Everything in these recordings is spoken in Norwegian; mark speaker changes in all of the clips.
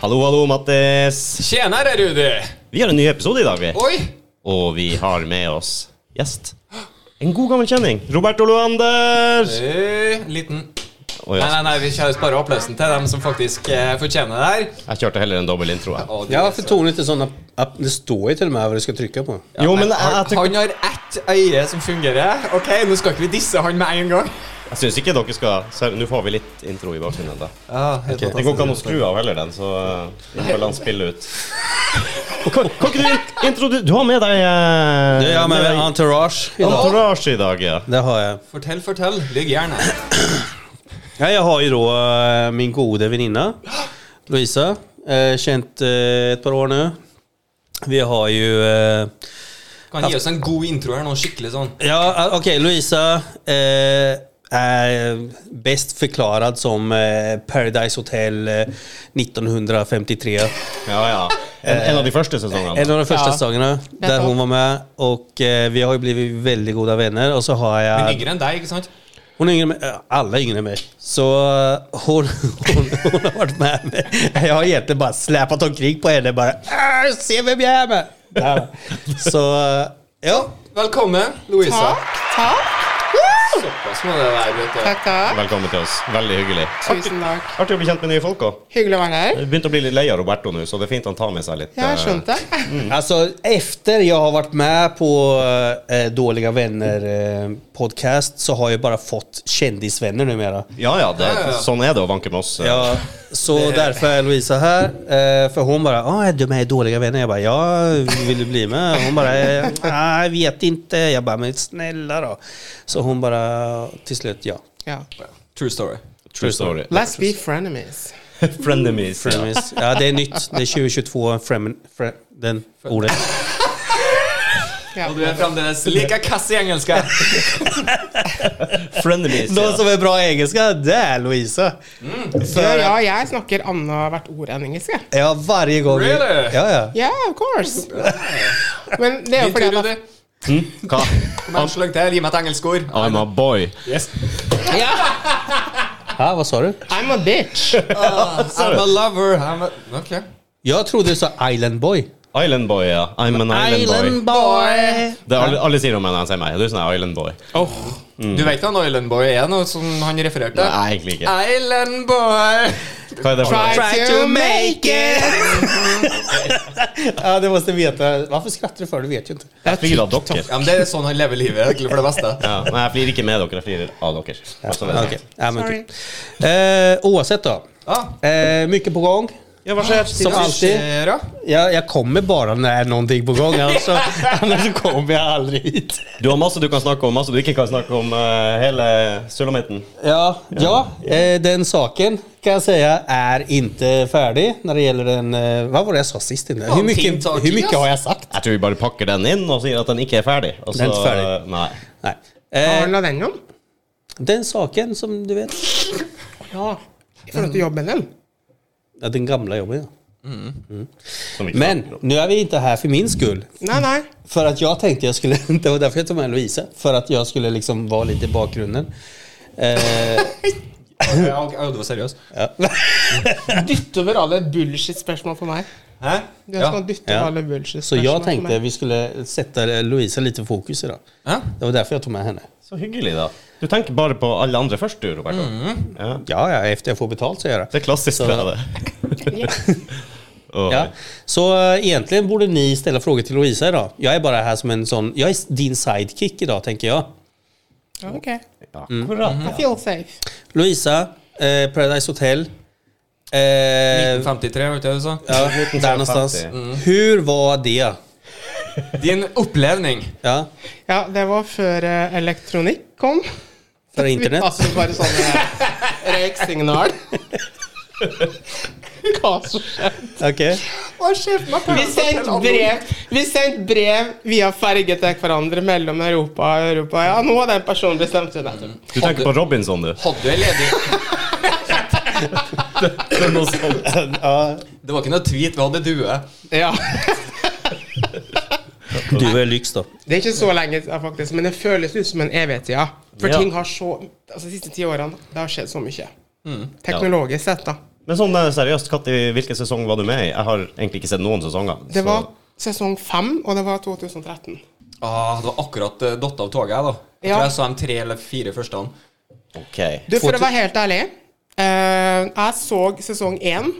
Speaker 1: Hallo, hallo, Mattis.
Speaker 2: Tjenere, Rudi!
Speaker 1: Vi har en ny episode i dag, vi.
Speaker 2: Oi!
Speaker 1: Og vi har med oss gjest. En god gammel kjenning. Roberto Luander.
Speaker 2: Eh, Liten
Speaker 1: Å,
Speaker 2: Nei,
Speaker 1: ja.
Speaker 2: nei, nei, vi kjører sparer applausen til dem som faktisk eh, fortjener det her.
Speaker 1: Jeg kjørte heller en dobbel intro. Jeg.
Speaker 2: Og de-
Speaker 3: Ja, for tonen til sånn app- app- Det står jo til og med hva du skal trykke på.
Speaker 1: Jo, men
Speaker 2: Nei,
Speaker 1: jeg, jeg,
Speaker 2: han,
Speaker 1: tyk-
Speaker 2: han har ett øye som fungerer. Ok, Nå skal ikke vi disse han med en gang.
Speaker 1: jeg syns ikke dere skal Ser- Nå får vi litt intro i bakgrunnen. da
Speaker 2: Ah, helt
Speaker 1: Det går ikke an å skru av heller, den, så eh, vi får la den spille ut. Og Kan, kan ikke du in- intro... Du, du har med deg eh,
Speaker 3: Ja, men
Speaker 1: med deg
Speaker 3: entourage i dag.
Speaker 1: entourage i dag, ja.
Speaker 3: Det har jeg.
Speaker 2: Fortell, fortell. Ligg gjerne.
Speaker 3: Ja, jeg har jo da eh, min gode venninne Louisa. Eh, Kjent eh, et par år nå. Vi har jo eh,
Speaker 2: Kan gi oss en god intro her nå, skikkelig sånn.
Speaker 3: Ja, eh, ok, Louisa eh, er best forklaret som eh, Paradise Hotel eh, 1953.
Speaker 1: ja, ja. En, en av de første sesongene.
Speaker 3: En av de første
Speaker 2: Ja.
Speaker 3: sangene der hun var med, og eh, vi har jo blitt veldig gode venner. Og så har jeg
Speaker 2: Men yngre enn deg, ikke sant?
Speaker 3: Hon är yngre med, eh, alla är yngre än mig. Så eh, hon, hon, hon har varit med mig. Jag har egentligen bara släpat omkring på henne. Bara, "Äh, se vem jag är med! Ja. Så eh, ja,
Speaker 2: Velkommen, Louisa.
Speaker 4: Takk, takk,
Speaker 2: Såpass må det være. vet du.
Speaker 4: takk, takk.
Speaker 1: Velkommen til oss. Veldig hyggelig.
Speaker 4: Tusen takk.
Speaker 1: Artig å bli kjent med nye folk òg.
Speaker 4: Hyggelig å være her.
Speaker 1: Jeg begynte å bli litt lei av Roberto nå, så det er fint han tar med seg litt.
Speaker 4: Jeg har
Speaker 1: eh,
Speaker 4: skjønt det.
Speaker 3: alltså efter jag har varit med på eh, Dåliga Vänner eh, podcast så har jag bara fått kändisvänner numera.
Speaker 1: Ja, ja, det,
Speaker 2: Ja, ja, ja.
Speaker 1: sånn er det å vanke med oss. eh.
Speaker 3: Ja, så därför är Louisa här. Eh, för hon bara, ah, är du med i Dåliga Vänner? Jag bara, ja, vill du bli med? Hon bara, eh, nej, jag vet inte. Jag bara, men snälla då. Så hon bara, till slut, ja.
Speaker 4: Ja.
Speaker 2: True story.
Speaker 1: True story.
Speaker 4: Let's be frenemies.
Speaker 1: Frenemies. Ja.
Speaker 3: Frenemies. Ja, det är nytt. Det är 2022, fremen, fre, den ordet.
Speaker 4: Ja.
Speaker 2: Og du er fremdeles like kass i engelsk.
Speaker 1: Frenemies,
Speaker 3: Någon
Speaker 1: ja.
Speaker 3: som är bra engelska, det är Louisa.
Speaker 4: Ja, ja,
Speaker 3: För,
Speaker 4: jeg snakker annethvert ord enn engelsk. jeg.
Speaker 3: ja, varje gång. vi-
Speaker 2: Really?
Speaker 3: Ja, ja.
Speaker 4: Ja, of course. Men det er jo
Speaker 2: Din
Speaker 4: fordi
Speaker 2: tur,
Speaker 4: at
Speaker 2: Rudi.
Speaker 1: Hva?
Speaker 2: Kom igjen, sløgg til. Gi meg et engelsk ord.
Speaker 1: I'm a boy.
Speaker 3: Ha, vad sa du?
Speaker 4: I'm a bitch.
Speaker 2: I'm a lover. I'm a... Ok.
Speaker 3: Jag trodde du sa Island Boy.
Speaker 1: Island boy, ja. I'm an island, boy.
Speaker 3: Boy!
Speaker 1: Det er alle, alle sier om meg når han sier meg. Du er sånn her island boy.
Speaker 4: Oh.
Speaker 2: Du vet han Island Boy er noe som han refererte til?
Speaker 1: Nei, egentlig ikke.
Speaker 2: Island Boy!
Speaker 1: Hva er det for
Speaker 4: Try
Speaker 1: noe?
Speaker 4: to make it.
Speaker 3: Ja, du måste veta. Varför skrattar du för? Du vet ju inte.
Speaker 1: Jeg flirer av dere.
Speaker 2: Ja, men Det er sånn han lever livet egentlig, for det beste.
Speaker 1: Ja, nei, jeg flirer ikke med dere, jeg flirer av dere. Altså, vet
Speaker 3: Okej.
Speaker 1: jeg.
Speaker 3: Ja, men
Speaker 4: Sorry.
Speaker 3: kul. Eh, oavsett då.
Speaker 2: Ja.
Speaker 3: Eh, mycket på gång.
Speaker 1: Ja, hva skjer?
Speaker 3: Som alltid.
Speaker 2: Skjer'a.
Speaker 3: Jag, jag kommer bara när någonting på gång. Alltså, annars så kommer jag aldrig hit.
Speaker 1: Du har masse du kan snakke om, masse du ikke kan snakke om. eh, hele sulamitten.
Speaker 3: Ja, ja eh, den saken kan jag säga är inte färdig när det gäller den... Eh, vad var det jag sa sist? Innan? Hur
Speaker 2: Någonting
Speaker 3: mycket,
Speaker 2: tar
Speaker 3: hur mycket
Speaker 2: tid,
Speaker 3: har jag sagt?
Speaker 1: Jeg tror vi bare pakker den inn og sier at den ikke er ferdig. Og
Speaker 3: Den er ikke ferdig.
Speaker 1: Nei.
Speaker 3: Nej.
Speaker 4: Hva
Speaker 3: Eh,
Speaker 4: handler den om?
Speaker 3: den saken som du vet...
Speaker 4: Ja. I forhold til jobben din?
Speaker 3: Ja, den gamla jobben. ja.
Speaker 1: Som vi ikke
Speaker 3: Men
Speaker 1: snakker om.
Speaker 3: nu är vi inte här för min skull.
Speaker 4: Nei, nei.
Speaker 3: För att jag tänkte jag skulle, det var därför jag tog med Louise, för att jag skulle liksom vara lite i bakgrunden. Eh,
Speaker 2: Ja, ok, ja, du var seriøs?
Speaker 4: Dytt over alle bullshit-spørsmål på meg.
Speaker 2: Hæ?
Speaker 4: Du
Speaker 2: Ja.
Speaker 4: skal dytte
Speaker 3: Ja.
Speaker 4: over alle bullshit
Speaker 3: så jag tänkte vi skulle sätta Louise lite fokus idag.
Speaker 2: Hæ?
Speaker 3: Det var därför jag tog med henne.
Speaker 1: Så hyggelig, da. Du tenker bare på alle andre først, du, Roberto. Ja.
Speaker 3: Ja, ja, efter jag får betalt så gör jag
Speaker 1: Det
Speaker 3: det.
Speaker 1: er klassisk
Speaker 3: Mm. Så-
Speaker 1: med det. Åh.
Speaker 3: Ja. Så eh, egentligen borde ni ställa frågor till Louisa idag. Jag är bara här som en sån, jag är din sidekick idag tänker jag.
Speaker 4: Ok.
Speaker 1: Ja,
Speaker 3: Mm.
Speaker 1: akkurat.
Speaker 3: Mhm.
Speaker 4: I feel safe.
Speaker 3: Louisa, eh, Paradise Hotel. Eh,
Speaker 2: 1953, vet du hva du sa?
Speaker 3: ja, där någonstans. Hur var det?
Speaker 4: Eh.
Speaker 2: Din opplevning.
Speaker 3: Ja.
Speaker 4: Ja, det var før eh, elektronikk kom.
Speaker 3: För internet.
Speaker 4: Altså bare sånne røyksignal. Hva som skjer?
Speaker 3: Okej.
Speaker 4: Å, sjefen har Vi sendte brev Vi sendte brev via ferge til hverandre mellom Europa og Europa. Ja, nå har den personen bestemt seg nettopp.
Speaker 1: Du tenker på Robinson, du.
Speaker 2: Hadde du en ledig
Speaker 1: Det er noe sånt.
Speaker 3: Ja.
Speaker 2: Det var ikke noe tweet, vi hadde due.
Speaker 4: Ja.
Speaker 3: Du är lyx då.
Speaker 4: Det er ikke så lenge siden, faktisk, men det føles ut som en evighet siden. For
Speaker 1: Ja.
Speaker 4: ting har så Altså, de siste ti årene, det har skjedd så mye.
Speaker 1: Mm.
Speaker 4: Teknologisk sett, da.
Speaker 1: Men sånn eh, seriøst, Katti, hvilken sesong var du med i? Jeg har egentlig ikke sett noen sesonger.
Speaker 4: Det
Speaker 1: så-
Speaker 4: var sesong fem, og det var 2013.
Speaker 2: Ah, det var akkurat uh, datt av toget, jeg, da. Jeg
Speaker 4: Ja.
Speaker 2: tror jeg sa de tre eller fire første.
Speaker 1: Ok.
Speaker 4: Du, for å være helt ærlig, eh, jeg så sesong én,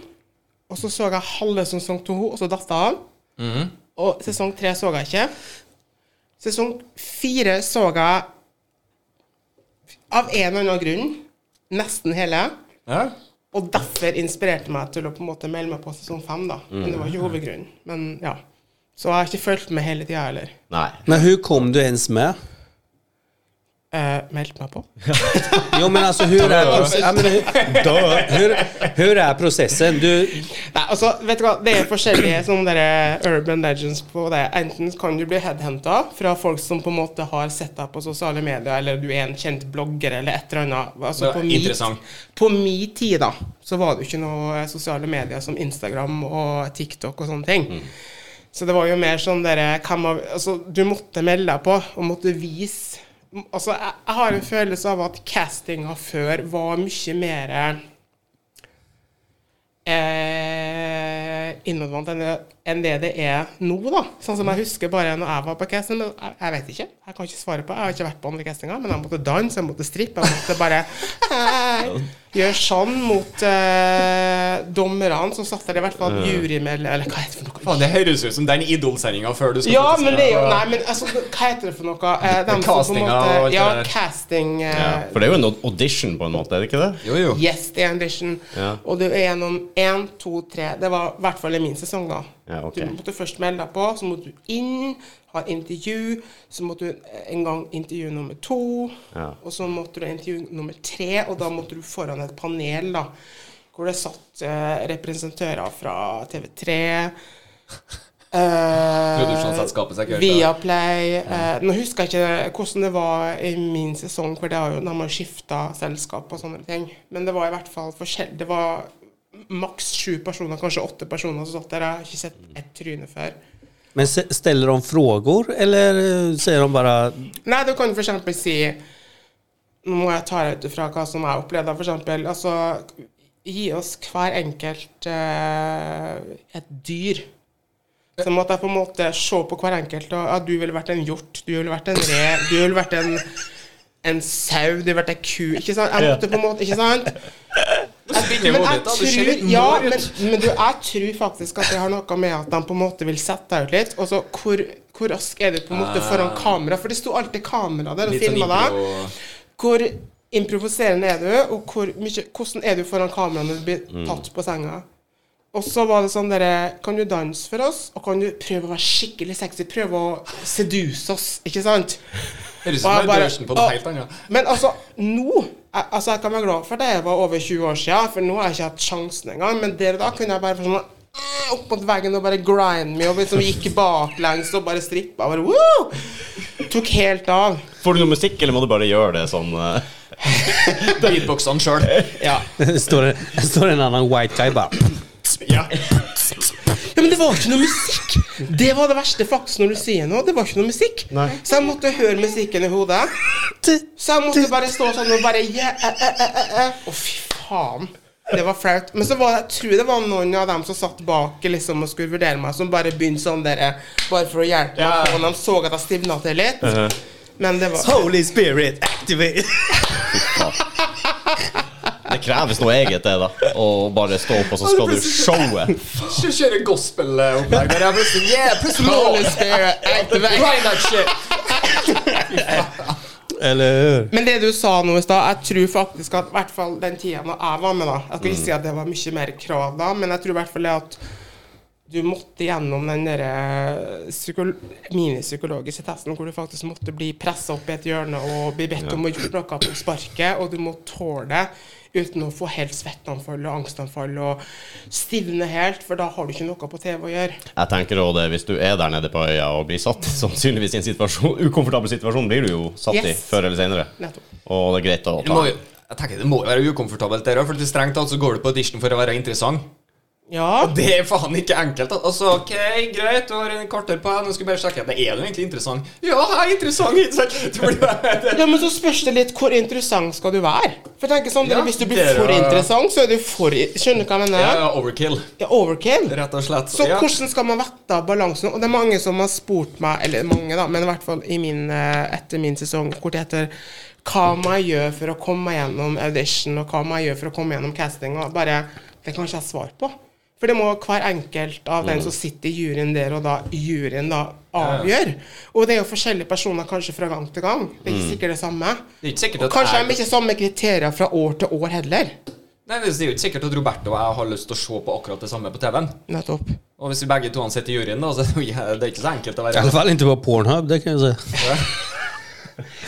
Speaker 4: og så så jeg halve sesong to, og så datt jeg av. Og sesong tre så jeg ikke. Sesong fire så jeg av en eller annen grunn nesten hele.
Speaker 2: Ja?
Speaker 4: Og derfor inspirerte meg til å på en måte melde meg på sesong fem, da. Men det var ikke hovedgrunnen. Men ja. Så jeg har ikke fulgt med hele tida heller.
Speaker 1: Nei.
Speaker 3: Men hur kom du ens med?
Speaker 4: Eh, meldt meg på.
Speaker 3: Jo men alltså hur är, proce- ja, men hur, hur, hur är processen? Du,
Speaker 4: Nei, altså, vet du hva, Det er forskjellige sånne der eh, urban legends på det. Enten kan du bli headhunta fra folk som på en måte har sett deg på sosiale medier, eller du er en kjent blogger eller et eller annet. Altså,
Speaker 2: Det er
Speaker 4: på, mi,
Speaker 2: interessant.
Speaker 4: på mi tid da, så var det jo ikke noe eh, sosiale medier som Instagram og TikTok og sånne ting.
Speaker 2: Mm.
Speaker 4: Så det var jo mer sånn derre hvem av- altså, Du måtte melde deg på, og måtte vise Altså, jeg, jeg har en følelse av at castinga før var mye mer eh, innadvendt enn, det- enn det det er nå, da. Sånn som jeg husker bare når jeg var på casting. Men jeg, jeg vet ikke. Jeg kan ikke svare på Jeg har ikke vært på andre castinger, men jeg måtte danse, jeg måtte strippe, jeg måtte bare eh, gjøre sånn mot eh, dommerne som satt der, i hvert fall jurymedlemmer, eller hva heter det for noe.
Speaker 2: Faen, det høres ut som den Idol-sendinga før du skal
Speaker 4: Ja,
Speaker 2: faktisk-
Speaker 4: men det er jo Nei, men altså, hva heter det for noe? Eh, dem som på en
Speaker 2: Castinga og alt
Speaker 4: måte, ja,
Speaker 2: det der.
Speaker 4: casting eh,
Speaker 1: Ja. For det er jo en audition, på en måte, er det ikke det?
Speaker 2: Jo, jo.
Speaker 4: Yes, det er audition.
Speaker 1: Ja.
Speaker 4: Og du er gjennom én, to, tre Det var i hvert fall i min sesong, da.
Speaker 1: Ja, ok.
Speaker 4: Du måtte først melde deg på, så måtte du inn, ha intervju. Så måtte du en gang intervju nummer to.
Speaker 1: Ja.
Speaker 4: Og så måtte du ha intervju nummer tre, og da måtte du foran et panel, da. Hvor det satt eh, representanter fra TV3 eh,
Speaker 2: Produksjonsselskapet sikkert, ja.
Speaker 4: Viaplay eh, Nå husker jeg ikke hvordan det var i min sesong, for det har jo, da har man skifta selskap og sånne ting. Men det var i hvert fall forskjell... Det var maks sju personer, kanskje åtte personer som satt der. Jeg har ikke sett ett tryne før.
Speaker 3: men s- ställer de frågor eller eh, säger de bara
Speaker 4: Nei, du kan for eksempel si Nå må jeg ta deg ut ifra hva som jeg opplevde, for eksempel. Altså, gi oss hver enkelt eh, et dyr. Så måtte jeg på en måte se på hver enkelt. Og, ja, du ville vært en hjort, du ville vært en rev, du ville vært en, en sau, du ville vært en ku. Ikke sant? Jeg måtte på en måte, ikke sant?
Speaker 2: Spinner i
Speaker 4: Men
Speaker 2: hodet
Speaker 4: jeg
Speaker 2: ditt, da. Du ser
Speaker 4: tror,
Speaker 2: litt
Speaker 4: ja,
Speaker 2: mår
Speaker 4: men,
Speaker 2: ut.
Speaker 4: men du, jeg tror faktisk at det har noe med at de på en måte vil sette deg ut litt. Og så hvor, hvor rask er du på en måte foran kamera? For det sto alltid kamera der
Speaker 2: Ah.
Speaker 4: og
Speaker 2: Litt sånn
Speaker 4: filma deg.
Speaker 2: impro-
Speaker 4: Hvor improviserende er du, og hvor mye, hvordan er du foran kamera når du
Speaker 2: Mm.
Speaker 4: blir tatt på senga? Og så var det sånn derre Kan du danse for oss? Og kan du prøve å være skikkelig sexy? Prøve å seduse oss, ikke sant?
Speaker 2: Høres ut
Speaker 4: Og
Speaker 2: som
Speaker 4: jeg bare-
Speaker 2: audition på noe
Speaker 4: og-
Speaker 2: helt annet.
Speaker 4: Men altså, nå jeg, altså, jeg kan være glad for det jeg var over 20 år siden, for nå har jeg ikke hatt sjansen engang. Men der og da kunne jeg bare få sånn eh, opp mot veggen og bare grind me, og liksom gikk baklengs og bare strippa. Bare, woo! Tok helt av.
Speaker 1: Får du noe musikk, eller må du bare gjøre det sånn eh?
Speaker 2: Beatboxene sjøl.
Speaker 4: Ja.
Speaker 3: står, det- står det en annan white guy bara
Speaker 2: Ja.
Speaker 4: Ja, men det var ikke noe musikk! Det var det verste faktisk når du sier noe. Det var ikke noe musikk.
Speaker 1: Nei.
Speaker 4: Så jeg måtte høre musikken i hodet. Så jeg måtte bare stå sånn og bare yeah, eh, eh, eh, eh, eh. Å, fy faen. Det var flaut. Men så var det, jeg tror det var noen av dem som satt bak liksom, og skulle vurdere meg, som bare begynte sånn der eh, Bare for å hjelpe
Speaker 2: Ja.
Speaker 4: meg. Og de så at jeg stivna til litt. Men det var
Speaker 3: Holy spirit activate!
Speaker 1: Det kreves noe eget, det, da. Å bare stå opp, og så skal du showet.
Speaker 2: Kjø- Kjøre gospelopplegg der. Jeg plutselig Yeah, plutselig
Speaker 4: Holy Spirit, activate.
Speaker 2: Grind that shit.
Speaker 3: Eller hur?
Speaker 4: Men det du sa nå i stad, jeg tror faktisk at i hvert fall den tida når jeg var med, da Jeg skal ikke si at det var mye mer krav da, men jeg tror i hvert fall det at du måtte gjennom den derre psykol- minipsykologiske testen hvor du faktisk måtte bli pressa opp i et hjørne og bli bedt om å gjøre noe på sparket, og du må tåle det uten å få helt svetteanfall og angstanfall og stivne helt, for da har du ikke noe på TV å gjøre.
Speaker 1: Jeg tenker også det, Hvis du er der nede på øya og blir satt sannsynligvis i en situasjon, ukomfortabel situasjon, blir du jo satt i
Speaker 4: Yes.
Speaker 1: før eller senere.
Speaker 4: Nettopp.
Speaker 1: Og det er greit å
Speaker 2: Det
Speaker 1: ta
Speaker 2: må, jo- jeg tenker det må jo være ukomfortabelt, der, for strengt tatt så går du på audition for å være interessant.
Speaker 4: Ja.
Speaker 2: Det er faen ikke enkelt. da. Altså, ok, greit, du har en kvarter på deg, nå skal jeg bare sjekke. Det er du egentlig interessant? Ja, jeg er interessant! ikke sant? Du blir
Speaker 4: Ja, men så spørs det litt hvor interessant skal du være. For jeg tenker sånn,
Speaker 2: Ja,
Speaker 4: Hvis du blir
Speaker 2: det er
Speaker 4: for
Speaker 2: jo-
Speaker 4: interessant, så er du for Skjønner du hva jeg
Speaker 2: ja,
Speaker 4: mener?
Speaker 2: ja, overkill,
Speaker 4: Det er overkill.
Speaker 2: rett og slett.
Speaker 4: Så
Speaker 2: ja.
Speaker 4: hvordan skal man vette av balansen? Og det er mange som har spurt meg, eller mange, da, men i hvert fall i min, eh, etter min sesong, hvor det heter hva må jeg gjøre for å komme meg gjennom audition, og hva må jeg gjøre for å komme gjennom casting? Og bare Det kan ikke jeg svare på. For det må hver enkelt av
Speaker 2: Mm.
Speaker 4: den som sitter i juryen der, og da juryen da avgjør. Og det er jo forskjellige personer kanskje fra gang til gang. Det er ikke sikkert det samme.
Speaker 2: Mm. Det er ikke sikkert
Speaker 4: Og
Speaker 2: at
Speaker 4: kanskje
Speaker 2: jeg-
Speaker 4: de ikke er samme kriterier fra år til år heller.
Speaker 2: Nei, Det er jo ikke sikkert at Roberto og jeg har lyst til å se på akkurat det samme på TV-en.
Speaker 4: Nettopp.
Speaker 2: Og hvis vi begge to sitter i juryen, da, så er det jo- det er ikke så enkelt å
Speaker 3: I alla
Speaker 2: være
Speaker 3: fall inte på Pornhub, det kan jag säga.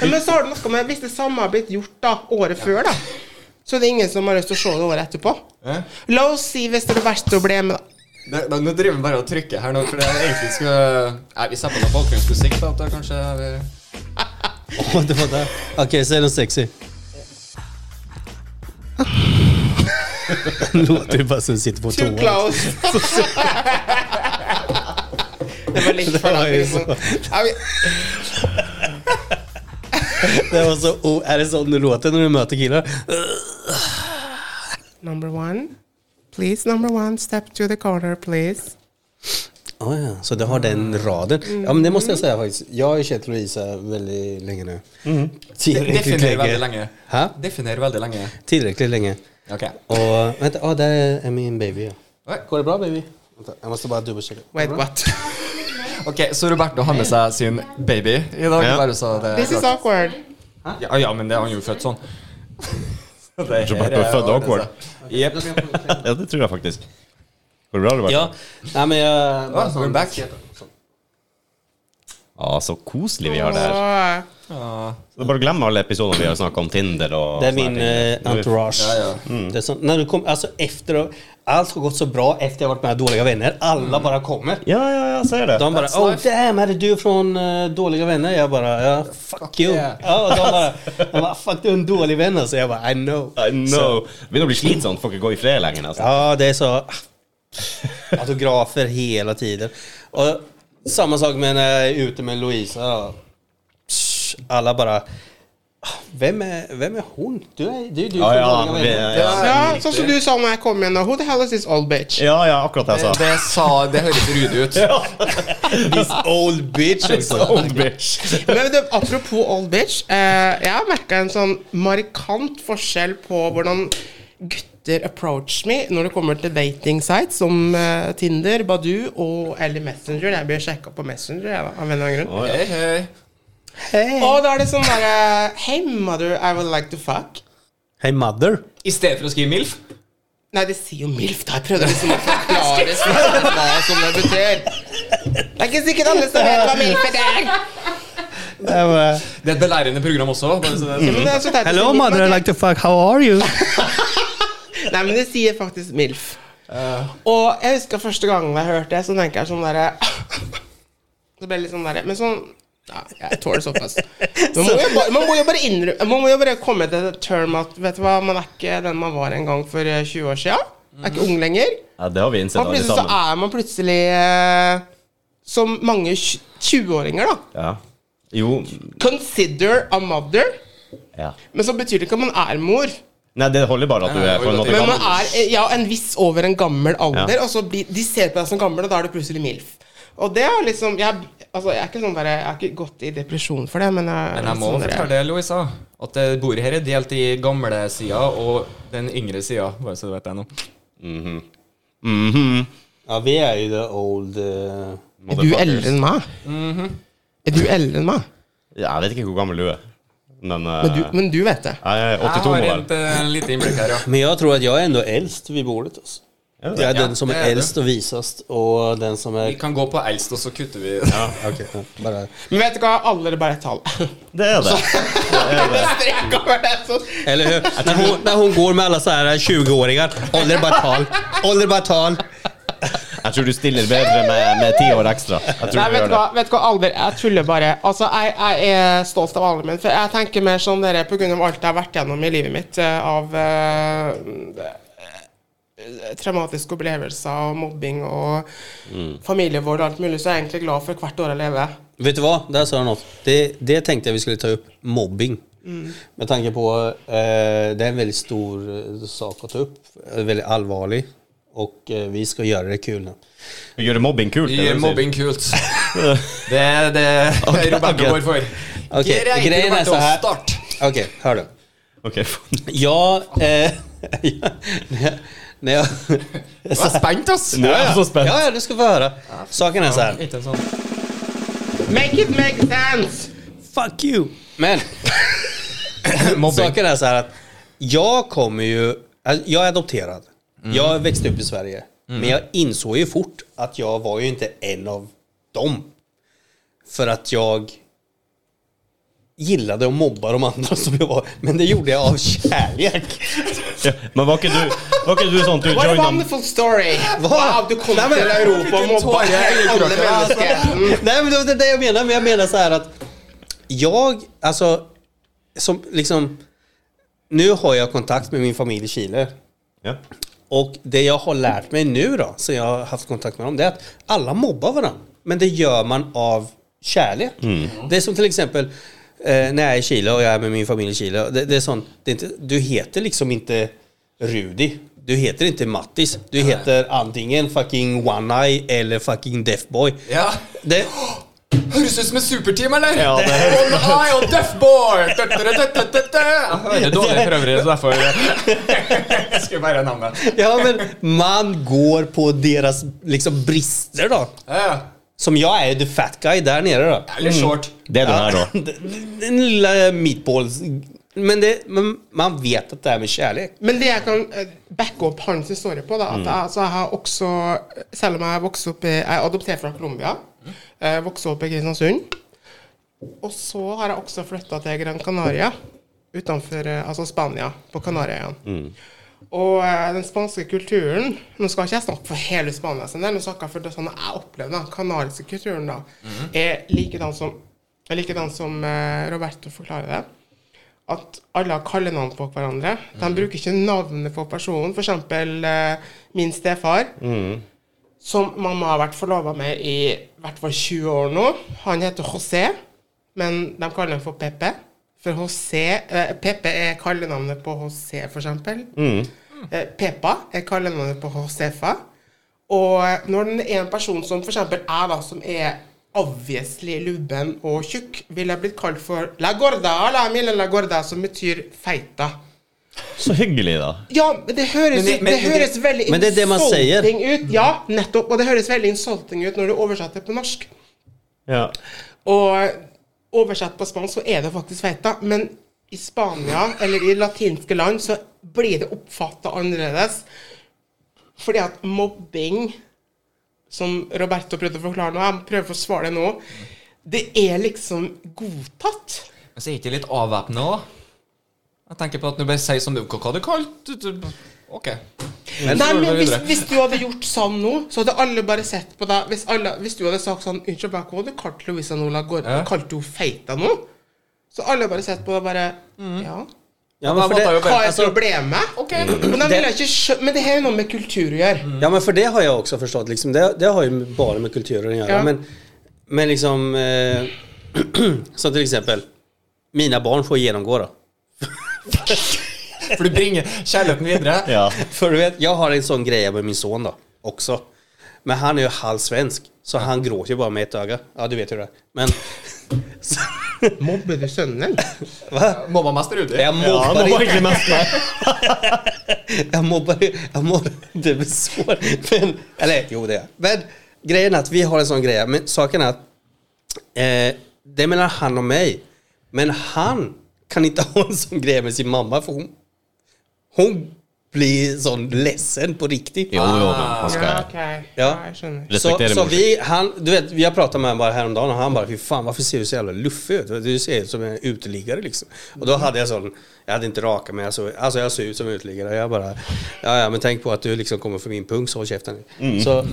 Speaker 4: Ja, Men så har det noe med Hvis det samme har blitt gjort da året før, da, så det er ingen som har lyst til å se det året etterpå.
Speaker 2: Ja.
Speaker 4: La oss si hvis det verste ble med da.
Speaker 2: Det- da- Nå driver vi bare og trykker her nå, for det er egentlig skulle Nei, vi setter på noe bakgrunnsmusikk, da, at det kanskje er
Speaker 3: Åh, det var där. Okej, säg något sexy. Låter ju bara som sitter på
Speaker 4: Too
Speaker 3: toa.
Speaker 4: close. det var litt for
Speaker 3: Det var
Speaker 4: langt.
Speaker 3: jo
Speaker 4: Liksom. Ja, vi-
Speaker 3: Det var så, oh, är det sån du låter när du möter killar?
Speaker 4: Number one. Please, number one, step to the corner, please.
Speaker 3: Ah, ja. Så det har den
Speaker 4: Mm.
Speaker 3: raden. Ja, men det måste jag säga faktiskt. Jag har ju känt Louisa väldigt länge nu.
Speaker 4: Mm.
Speaker 3: Tillräckligt
Speaker 2: Definerer veldig
Speaker 3: länge.
Speaker 2: lenge.
Speaker 3: Hæ?
Speaker 2: Definerer veldig lenge.
Speaker 3: Tillräckligt länge.
Speaker 2: Ok.
Speaker 3: Och vänta, ah, där är min baby.
Speaker 2: Oj.
Speaker 3: Går det bra baby? Vänta, jag måste bara dubbelchecka.
Speaker 4: Wait, what?
Speaker 2: Ok, så Roberto har med seg sin baby i dag.
Speaker 1: Ja.
Speaker 2: Bare så det er
Speaker 4: This is
Speaker 2: klart.
Speaker 4: awkward.
Speaker 2: Ja, ja, men det er han jo født sånn. Så det her
Speaker 1: Roberto er født
Speaker 2: ordnet
Speaker 1: awkward.
Speaker 2: seg. Jep.
Speaker 1: Ja, det tror jeg faktisk. Går det bra, Robert?
Speaker 3: altså. Ja, nei, men jeg
Speaker 2: Ah, we're back.
Speaker 1: Ah, så koselig vi har det her.
Speaker 4: Åh.
Speaker 2: Ah,
Speaker 1: Så det er bare å glemme alle episodene vi har snakket om Tinder og
Speaker 3: Det er
Speaker 1: sånne
Speaker 3: min
Speaker 1: her
Speaker 3: eh,
Speaker 1: ting.
Speaker 3: entourage. Mm.
Speaker 2: Ja, ja.
Speaker 3: Det är sånt, när du kom, alltså efter, att- allt har gått så bra efter jag varit med i Dåliga Vänner. Alla bara kommer.
Speaker 1: Ja, ja, ja, ser det.
Speaker 3: De bara
Speaker 2: That's
Speaker 3: oh
Speaker 2: life."
Speaker 3: damn, är det du från eh, Dåliga Vänner? Jag bara ja, fuck,
Speaker 2: Fuck
Speaker 3: you.
Speaker 2: yeah.
Speaker 3: Ja, och de bara, de bara fuck du är en dålig vän alltså. Jag bara I know.
Speaker 1: I know. Det begynner å bli slitsomt. Får ikke gå i fred lenger, nesten.
Speaker 3: Ja, det är så ah, autografer hela tiden. Och samma sak med när jag är ute med Louisa. då. Psh, Alla bara ah, vem är, vem är hon? Du är, det är ju du
Speaker 1: Ja,
Speaker 3: från
Speaker 1: ja,
Speaker 3: Dåliga
Speaker 1: vi,
Speaker 3: Vänner.
Speaker 1: ja.
Speaker 4: Ja, sånn som du sa når jeg kom igjen. da. Who the hell is this old bitch?
Speaker 1: ja, ja, akkurat det jeg sa.
Speaker 2: det sa Det høres ryddig ut.
Speaker 3: This old bitch också.
Speaker 1: Old Oh, bitch.
Speaker 4: Men du, apropos old bitch. Eh, jeg har merka en sånn markant forskjell på hvordan gutter approach me når det kommer til dating sites som eh, Tinder, Badoo og eller Messenger. Jeg blir sjekka på Messenger jeg, da, av en eller annen grunn.
Speaker 2: Hei, hei.
Speaker 3: Hey.
Speaker 4: Og da er det sånn derre Hey, mother, I would like to fuck.
Speaker 3: hey mother.
Speaker 2: I stedet for å skrive MILF.
Speaker 4: Nei, det sier jo MILF. Da jeg prøvde liksom å forklare sånn hva som det betyr. Det er ikke sikkert alle som vet hva MILF er.
Speaker 3: Jag bara,
Speaker 2: Det er et belærende program også. Bare så det er
Speaker 4: Men det er så teit å si
Speaker 3: Hello
Speaker 4: MILF,
Speaker 3: mother,
Speaker 4: men-
Speaker 3: I like to fuck, how are you?
Speaker 4: Nei, men det sier faktisk MILF. Og jeg husker første gangen jeg hørte det, så tenker jeg sånn derre Så ble jeg litt sånn derre Men sånn ja, jeg tåler såpass. Man må, jo bare, man, må jo bare innrø- man må jo bare komme til det term at Vet du hva, man er ikke den man var en gang for eh, 20 år sia. Er ikke ung lenger.
Speaker 1: Ja, det har vi innsett
Speaker 4: Og
Speaker 1: alle
Speaker 4: plutselig så
Speaker 1: sammen.
Speaker 4: er man plutselig eh, som mange tj- 20-åringer, da.
Speaker 1: Ja. Jo
Speaker 4: Consider a mother.
Speaker 1: ja.
Speaker 4: Men så betyr det ikke at man er mor.
Speaker 1: Nei, det holder bare at du er på en måte
Speaker 4: Men
Speaker 1: gammel.
Speaker 4: man er eh, ja, en viss over en gammel alder,
Speaker 1: Ja.
Speaker 4: og så blir, de ser på deg som gammel, og da er du plutselig MILF. Og det er liksom Jeg, altså, jeg er ikke sånn bare Jeg har ikke gått i depresjon for det, men jeg,
Speaker 2: Men jeg må
Speaker 4: sånn der-
Speaker 2: fortelle deg, Louisa, at det bordet her er delt i gamle sida og den yngre sida. Bare så du vet det nå.
Speaker 1: Mhm.
Speaker 3: Ja, vi er jo the old eh,
Speaker 4: Er du eldre enn meg? Er du eldre enn meg?
Speaker 1: Ja, jeg vet ikke hvor gammel du er. Men, eh,
Speaker 4: Men du, men du vet det.
Speaker 1: jeg er
Speaker 2: Jeg
Speaker 1: 82
Speaker 2: har
Speaker 1: modell.
Speaker 2: et eh, lite innblikk her, ja.
Speaker 3: Men jag tror att jag är ändå äldst vid bordet. Alltså.
Speaker 1: Er
Speaker 3: Det
Speaker 1: det det?
Speaker 3: er den som
Speaker 2: det
Speaker 3: er
Speaker 2: er det.
Speaker 3: eldst og visest, og den som
Speaker 2: Vi
Speaker 3: er
Speaker 2: kan gå på eldst, og så kutter vi
Speaker 1: Ja,
Speaker 3: Ok, ja, bare
Speaker 4: Men vet du hva, alle er bare et tall.
Speaker 1: det er det.
Speaker 4: Strek over det, sånn.
Speaker 3: Eller hur? När hon, när hon går med alla så här 20-åringar. Ålder bara tal. Ålder bara tal.
Speaker 1: Jeg tror du stiller bedre med med ti år ekstra. Jeg tror
Speaker 4: Nei,
Speaker 1: du
Speaker 4: vet
Speaker 1: gjør
Speaker 4: du
Speaker 1: det.
Speaker 4: hva, vet du hva alder Jeg tuller bare. Altså, jeg, jeg er stolt av alderen min. For jeg tenker mer sånn dere på grunn av alt jeg har vært gjennom i livet mitt eh, av eh, eh, traumatiske opplevelser og mobbing og
Speaker 1: Mm.
Speaker 4: familievold og alt mulig, så jeg er egentlig glad for hvert år jeg lever.
Speaker 3: Vet du vad? Där sa jag något. Det, det tänkte jag vi skulle ta upp. Mobbing. Med tanke på eh, det är en väldigt stor eh, sak att ta upp. Eh, Väldigt allvarlig. Och eh, vi ska göra det kul nu.
Speaker 1: Gjøre mobbing kult.
Speaker 2: Vi
Speaker 1: det er
Speaker 2: Gjør
Speaker 1: det du sier.
Speaker 2: mobbing kult. Det er det Roberto går for.
Speaker 3: Ok,
Speaker 2: Greit,
Speaker 3: grejen är
Speaker 2: Roberto,
Speaker 3: så här.
Speaker 2: start.
Speaker 3: Okej, hör du.
Speaker 1: Ok,
Speaker 3: Jag... Eh, när jag...
Speaker 2: Jeg er spent, ass.
Speaker 1: Nå er jeg så spent.
Speaker 3: Ja, ja, du ska få höra. Saken är så här.
Speaker 2: Ikke en sånn
Speaker 4: Make it make sense!
Speaker 3: Fuck you! Men
Speaker 2: mobbing.
Speaker 3: saken är så här att jag kommer ju... Jag är adopterad.
Speaker 4: Mm.
Speaker 3: Jag växte upp i Sverige. Men jag insåg ju fort att jag var ju inte en av dem. För att jag gillade att mobba de andra som jag var. Men det gjorde jag av kärlek.
Speaker 1: Ja, men var ikke du, var ikke du sånn at du
Speaker 4: What a
Speaker 1: joina
Speaker 4: wonderful story!
Speaker 3: Hva?
Speaker 4: Wow, du kom
Speaker 3: Nei, men-
Speaker 4: til Europa og mobba
Speaker 2: Tårer i
Speaker 4: alle
Speaker 2: øyekroken, altså.
Speaker 4: mennesker.
Speaker 3: Nej men det var inte det jag menar, men jag menar så här att jag, alltså, som liksom, nu har jag kontakt med min familj i Chile.
Speaker 1: ja.
Speaker 3: Och det jag har lärt mig nu då, så jag har haft kontakt med dem, det är att alla mobbar varandra. Men det gör man av kärlek. Det är som till exempel eh, när jag är i Chile och jag är med min familj i Chile. Det, det är sånt, det är inte, du heter liksom inte Rudi. Du heter inte Mattis. Du heter antingen fucking One Eye eller fucking Deafboy.
Speaker 2: Ja.
Speaker 3: Det,
Speaker 2: Høres ut som en superteam, eller?
Speaker 1: Ja, det er-
Speaker 2: One eye on deaf boy! Jeg hører dårlig for øvrig, så derfor Skulle bare navnet.
Speaker 3: Ja, men man går på deras liksom brister då.
Speaker 2: Ja, ja.
Speaker 3: Som jag är ju the fat guy där nere då.
Speaker 2: Eller short.
Speaker 1: Det er du her òg.
Speaker 3: Den- Den lilla meatballs... Men, det, men man vet att det är med kärlek.
Speaker 4: Men det jeg kan eh, backe opp hans historie på, da, at jeg, altså, jeg har også Selv om jeg vokste opp i, jeg er adoptert fra Colombia, eh, vokste opp i Kristiansund. Og så har jeg også flytta til Gran Canaria, utenfor eh, altså Spania, på Kanariøyene. Og eh, den spanske kulturen Nå skal ikke jeg snakke for hele Spania, sin del, men snakker jeg for det sånn jeg opplevde den kanariske kulturen, da, er likedan som, er likedan som eh, Roberto forklarer det at alle har kallenavn på hverandre. De bruker ikke navnet på personen. F.eks. Eh, min stefar, som mamma har vært forlova med i hvert fall 20 år nå. Han heter José, men de kaller ham for Pepe. For José, eh, Pepe er kallenavnet på José, f.eks. Eh, Pepa er kallenavnet på Josefa. Og når den er en person som f.eks. jeg, da, som er obviously lubben og tjukk, ville jeg blitt kalt for la gorda, la mille la gorda, som betyr feita.
Speaker 1: Så hyggelig, da.
Speaker 4: Ja, men det høres,
Speaker 2: Men det-
Speaker 4: ut-
Speaker 2: men-
Speaker 4: det
Speaker 2: men det-
Speaker 4: høres veldig
Speaker 3: men det er det man sier.
Speaker 4: insulting ut. Ja, nettopp. Og det høres veldig insulting ut når du oversetter på norsk.
Speaker 1: Ja.
Speaker 4: Og oversett på spansk så er det faktisk feita, men i Spania eller i latinske land så blir det oppfatta annerledes. Fordi at mobbing, som Roberto prøvde å forklare nå, jeg prøver å forsvare det nå, det er liksom godtatt.
Speaker 2: Men så er ikke det litt avvæpna òg? Jeg tenker på at du bare sier som du Hva du kalte du Ok.
Speaker 4: Nei,
Speaker 2: så går vi
Speaker 4: men hvis,
Speaker 2: videre.
Speaker 4: hvis du hadde gjort sånn nå, så hadde alle bare sett på deg Hvis, alle, hvis du hadde sagt sånn Unnskyld, hva hadde du kalt Louisa Nola Gård?
Speaker 2: Ja.
Speaker 4: Kalte hun feita nå? Så alle bare sett på deg og bare
Speaker 2: Mm.
Speaker 4: Ja.
Speaker 3: Ja,
Speaker 2: men for
Speaker 3: men for
Speaker 2: det-
Speaker 3: det,
Speaker 4: Hva er
Speaker 3: alltså,
Speaker 4: problemet?
Speaker 2: Ok.
Speaker 4: Men, da vil jeg ikke skjø men det har jo noe med kultur å gjøre.
Speaker 3: ja, men för det har jag också förstått. Liksom. Det, det har ju bara med kulturen att göra.
Speaker 4: Ja.
Speaker 3: Men, men liksom... Eh, som till exempel, mina barn får genomgå då.
Speaker 2: For du bringer kjærligheten videre.
Speaker 1: ja.
Speaker 3: För du vet, jag har en sån grej med min son då, också. Men han är ju halvsvensk, så han gråter ju bara med ett öga. Ja, du vet hur det är. Men... Så, Mm.
Speaker 4: Mobber du sønnen?
Speaker 3: va?
Speaker 2: Mamma mest er ute.
Speaker 3: Jag
Speaker 1: ja han
Speaker 3: mobbar,
Speaker 1: må
Speaker 3: inte,
Speaker 1: ikke mest meg.
Speaker 3: jag mobbar, jag mobbar inte med sår. Men, eller jo, det är jag. Men grejen är att vi har en sån grej. Men saken är att eh, det menar han och mig. sånn Men han kan inte ha en sån grej med sin mamma, för hon, hon bli sånn ledsen på riktig.
Speaker 1: Jo, jo, men han
Speaker 4: Ja,
Speaker 1: skal
Speaker 4: ok.
Speaker 3: Ja.
Speaker 4: Ja, jeg skjønner.
Speaker 3: Så,
Speaker 1: respektere
Speaker 3: så
Speaker 1: mor sin.
Speaker 3: vi, han, du vet, vi har pratat med honom bara häromdagen och han bara fy fan varför ser du så jävla luffig ut? Du ser ut som en uteliggare liksom. Och då hade jag sån, jag hade inte rakat mig, jag såg, alltså jag såg ut som en uteliggare. Jag bara, ja ja men tänk på att du liksom kommer för min pung så håll käften.
Speaker 1: Mm.
Speaker 3: Så,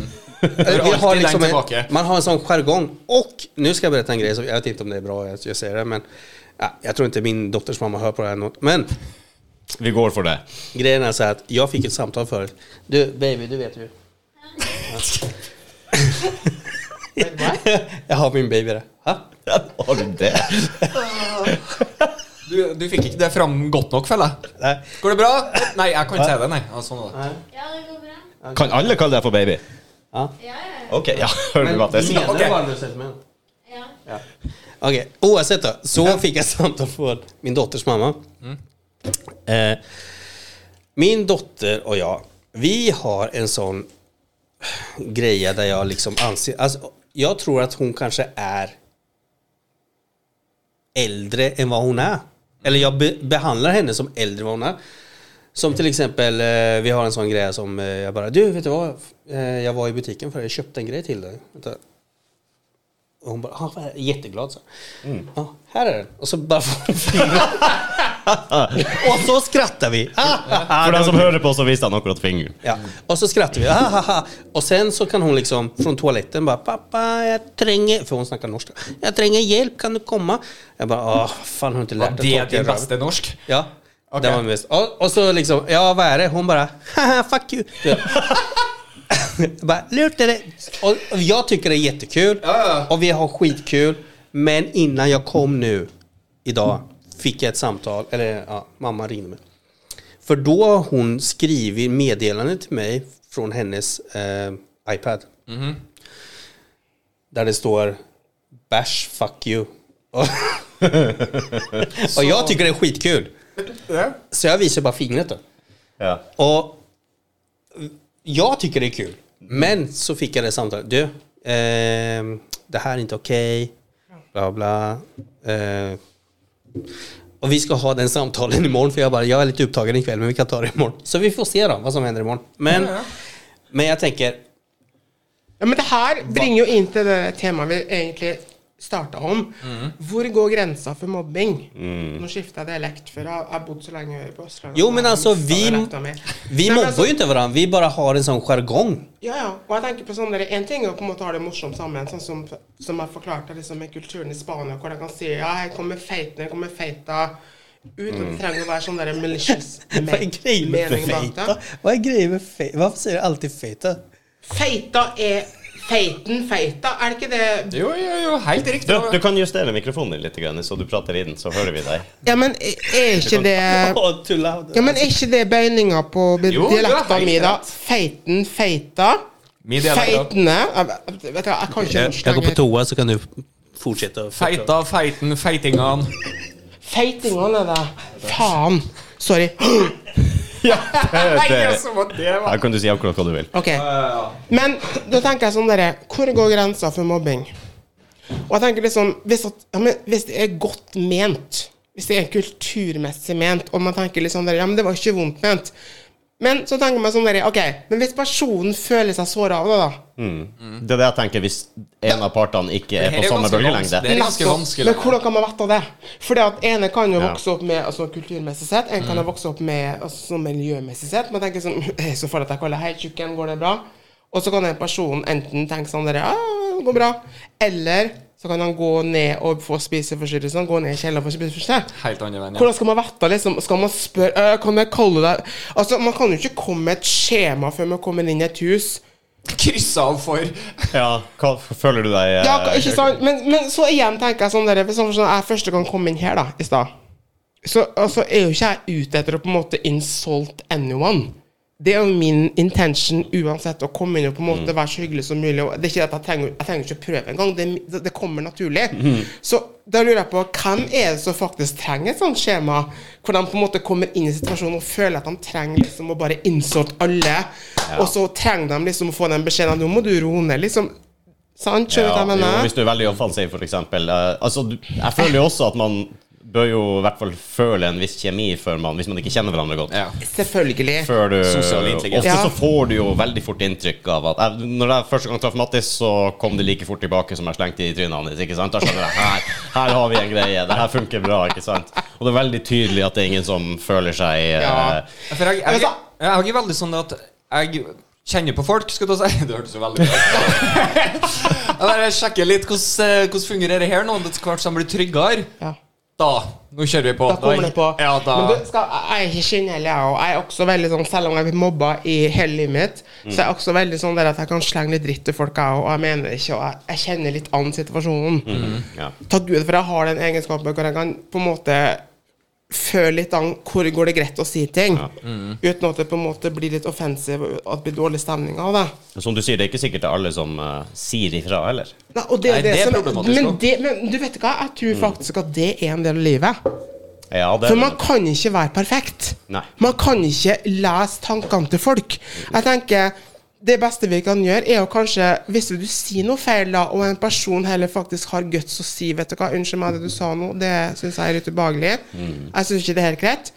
Speaker 3: vi har
Speaker 2: alltid
Speaker 3: liksom
Speaker 2: längst
Speaker 3: en,
Speaker 2: tillbaka.
Speaker 3: man har en sån jargong. Och nu ska jag berätta en grej, som jag vet inte om det är bra att jag säger det men ja, jag tror inte min dotters mamma hör på det här något. Men
Speaker 1: Vi går for det.
Speaker 3: Grejen är så här att jag fick ett samtal förut. Du baby, du vet ju. jag har min baby där. Ha?
Speaker 1: Har du det?
Speaker 2: Du, du fikk ikke det fram godt nok, føler jeg.
Speaker 3: Nej.
Speaker 2: Går det bra? Nei, jeg kan ikke si det, nei. Ja, sånn er det.
Speaker 5: Ja, det går bra.
Speaker 1: Kan alle kalle deg for baby?
Speaker 3: Ja.
Speaker 5: Ja, ja, ja.
Speaker 1: Ok, ja. Hører du hva jeg sier?
Speaker 3: menar
Speaker 2: Okej.
Speaker 3: bara du sett med
Speaker 5: ja.
Speaker 3: Okej, oavsett då. Så fick jag ett samtal från min dotters mamma. Eh, min dotter och jag, vi har en sån grej där jag liksom anser... Alltså, jag tror att hon kanske är äldre än vad hon är. Eller jag be behandlar henne som äldre än vad hon är. Som till exempel, eh, vi har en sån grej som eh, jag bara, du vet du vad? Eh, jag var i butiken för jag köpte en grej till dig. Vänta. Och hon bara, ah, vad är det?" jätteglad så.
Speaker 2: Mm.
Speaker 3: Ja, här är den. Och så bara får hon fingret. Och så skrattar vi.
Speaker 2: Ah.
Speaker 1: For den som hører på, så viste han akkurat fingeren.
Speaker 3: Ja. Och så skrattar vi. Ah, ha, ha. Och sen så kan hon liksom från toaletten bara pappa jag tränger, för hon snackar norska. Jag tränger hjälp, kan du komma? Jag bara, ah, fan har du inte
Speaker 2: Ja,
Speaker 3: lärt
Speaker 2: det
Speaker 3: dig
Speaker 2: er din beste norsk.
Speaker 3: Ja.
Speaker 2: Okej.
Speaker 3: Det var min bästa. Och, och så liksom, ja vad är det? Hon bara, haha fuck you. Du vet. Jag bara, lurt är det. Och och jag tycker det är jättekul.
Speaker 2: Ja, ja.
Speaker 3: Och vi har skitkul. Men innan jag kom nu, idag, fick jag ett samtal, eller ja, mamma ringde mig. För då har hon skrivit meddelande till mig från hennes eh, iPad.
Speaker 2: Mhm.
Speaker 3: Där det står Bash fuck you. Och, och jag tycker det är skitkul. Så jag visar bara fingret då.
Speaker 1: Ja.
Speaker 3: Och jag tycker det är kul. Men så fick jag det samtalet. Du, ehm, det här är inte okej. Bla bla. Eh, och vi ska ha den samtalen imorgon. För jag bara, jag är lite upptagen ikväll men vi kan ta det imorgon. Så vi får se då vad som händer imorgon. Men, men jeg tenker
Speaker 4: Ja, men det her bringer jo inn til det temaet vi egentlig starta om.
Speaker 3: Mm.
Speaker 4: Hvor går grensa for mobbing? Nå skifta jeg dialekt, for jeg jeg har bodd så lenge på Østlandet.
Speaker 3: Jo, men altså, vi- Vi
Speaker 4: Nei, men altså,
Speaker 3: mobber jo ikke hverandre, vi bare har en sånn jargong.
Speaker 4: Ja, ja. Og jeg tenker på sånn der, En ting er å på en måte ha det morsomt sammen, sånn som, som jeg forklarte liksom, med kulturen i Spania, hvor de kan si ja, her kommer feitene, her kommer feita ut. og Det trenger å være sånn der malicious me-
Speaker 3: Hva er greia med
Speaker 4: mening bak
Speaker 3: feita?
Speaker 4: det.
Speaker 3: Hva er greia med feita? Hvorfor sier du alltid feita?
Speaker 4: Feita er feiten, feita. Er det ikke det
Speaker 2: Jo, jo, jo, helt
Speaker 1: Du,
Speaker 2: riktig.
Speaker 1: du kan justere mikrofonen din litt, grann, så du prater i den, så hører vi deg.
Speaker 4: Ja, men er ikke det
Speaker 3: Åh, too loud.
Speaker 4: Eh, Ja, men er ikke det bøyninga på be-
Speaker 2: Jo, du har
Speaker 4: dialekta
Speaker 2: helt
Speaker 4: mi, da?
Speaker 2: rett.
Speaker 4: Feiten, feita.
Speaker 2: Min dialekt, da.
Speaker 4: Feitene Jeg vet du hva, jeg kan ikke
Speaker 3: Jeg,
Speaker 4: norsk
Speaker 3: jeg går på
Speaker 4: lenger.
Speaker 3: toa, så kan du fortsette. å forklare.
Speaker 2: Feita, feiten, feitingan.
Speaker 4: Feitingene, da. Faen. Sorry.
Speaker 2: Nei,
Speaker 1: det-
Speaker 2: ja, som at det var
Speaker 1: Her kan du si akkurat hva du vil.
Speaker 4: Ok. Men da tenker jeg sånn dere Hvor går grensa for mobbing? Og jeg tenker liksom Hvis, at, ja, men, hvis det er godt ment, hvis det er kulturmessig ment, og man tenker liksom dere, Ja, men det var ikke vondt ment. Men så tenker man sånn dere, Ok, men hvis personen føler seg såra av det, da
Speaker 1: Det er det jeg tenker, hvis en av partene ikke Mm. er
Speaker 2: Det her
Speaker 1: på
Speaker 2: er
Speaker 1: samme
Speaker 2: ganske
Speaker 1: bølgelengde.
Speaker 2: vanskelig. Det er ganske
Speaker 4: Nettopp.
Speaker 2: vanskelig.
Speaker 4: Men hvordan kan man vite det? Fordi at ene kan jo
Speaker 1: Ja.
Speaker 4: vokse opp med altså, kulturmessig sett, en kan jo vokse opp med altså, sånn miljømessig sett. Man tenker sånn «Hei, Så får jeg deg kalle Hei, tjukken, går det bra? Og så kan den personen enten tenke sånn dere, Ja, det går bra. Eller så kan han gå ned og få spiseforstyrrelser. Gå ned i kjelleren og få spiseforstyrrelse.
Speaker 2: helt andre veien. Ja.
Speaker 4: Hvordan skal man vite liksom? Skal man spørre «Øh, Kan jeg kalle deg Altså, man kan jo ikke komme med et skjema før man kommer inn i et hus.
Speaker 2: Kryss av for
Speaker 1: Ja, hva føler du deg eh,
Speaker 4: Ja, ka- ikke sant? Men, men så igjen tenker jeg sånn der, Hvis sånn, sånn, jeg første gang kom inn her da, i stad, så altså, er jo ikke jeg ute etter å på en måte insult anyone. Det er jo min intention uansett, å komme inn og på en
Speaker 1: Mm.
Speaker 4: måte være så hyggelig som mulig. Og det er ikke at Jeg trenger, jeg trenger ikke å prøve engang. Det, det, det kommer naturlig.
Speaker 1: Mm.
Speaker 4: Så da lurer jeg på hvem er det som faktisk trenger et sånt skjema? Hvor de på en måte kommer inn i situasjonen og føler at de trenger liksom å bare insulte alle. Og så trenger de liksom å få den beskjeden at nå må du roe ned, liksom. Sant? Skjønner du
Speaker 1: Ja,
Speaker 4: hva jeg
Speaker 1: jo,
Speaker 4: mener?
Speaker 1: hvis du er veldig offensiv, for eksempel. Eh, altså, du, jeg føler jo også at man bør jo i hvert fall føle en viss kjemi før man, hvis man ikke kjenner hverandre godt.
Speaker 2: Ja.
Speaker 4: Selvfølgelig.
Speaker 1: Før du,
Speaker 2: Sosial intelligens.
Speaker 1: Ofte
Speaker 4: Ja.
Speaker 1: så får du jo veldig fort inntrykk av at jeg, Når jeg første gang traff Mattis, så kom det like fort tilbake som jeg slengte i trynet hans. Ikke sant? Da skjønner jeg her, her har vi en greie. Det her funker bra. Ikke sant? Og det er veldig tydelig at det er ingen som føler seg eh,
Speaker 2: Ja. For jeg, jeg,
Speaker 4: Men
Speaker 2: jeg,
Speaker 4: så-
Speaker 2: er veldig sånn at jeg kjenner på folk, skulle du si. Det hørtes jo veldig bra ut. Jeg bare sjekker litt hvordan, eh, hvordan fungerer det her nå, etter hvert som jeg blir tryggere.
Speaker 4: Ja.
Speaker 2: Da nå kjører vi på.
Speaker 4: Da kommer det på.
Speaker 2: Ja, da.
Speaker 4: Men du skal, jeg er ikke skinnhellig, jeg òg. Jeg er også veldig sånn, selv om jeg har blitt mobba i hele livet mitt, så er jeg også veldig sånn der at jeg kan slenge litt dritt til folk, jeg òg. Og jeg mener det ikke, og jeg, jeg kjenner litt an situasjonen.
Speaker 2: Mhm.
Speaker 1: ja.
Speaker 4: Takk Gud for jeg har den egenskapen hvor jeg kan på en måte føle litt an hvor går det greit å si ting,
Speaker 1: Ja.
Speaker 2: Mhm.
Speaker 4: uten at det på en måte blir litt offensiv og at det blir dårlig stemning av det.
Speaker 1: Som du sier, det er ikke sikkert det er alle som eh, sier ifra heller.
Speaker 4: Nei, og det,
Speaker 2: Nei,
Speaker 4: er det
Speaker 2: det er
Speaker 4: som,
Speaker 2: problematisk
Speaker 4: men,
Speaker 2: også. Mhm.
Speaker 4: det, men du vet hva, jeg tror faktisk at det er en del av livet.
Speaker 1: Ja, det,
Speaker 4: For man kan ikke være perfekt.
Speaker 1: Nei.
Speaker 4: Man kan ikke lese tankene til folk. Jeg tenker det beste vi kan gjøre, er å kanskje Hvis du sier noe feil, da, og en person heller faktisk har guts å si Vet du hva, unnskyld meg, det du sa nå, det syns jeg er litt ubehagelig.
Speaker 1: Mm.
Speaker 4: Jeg syns ikke det er helt greit.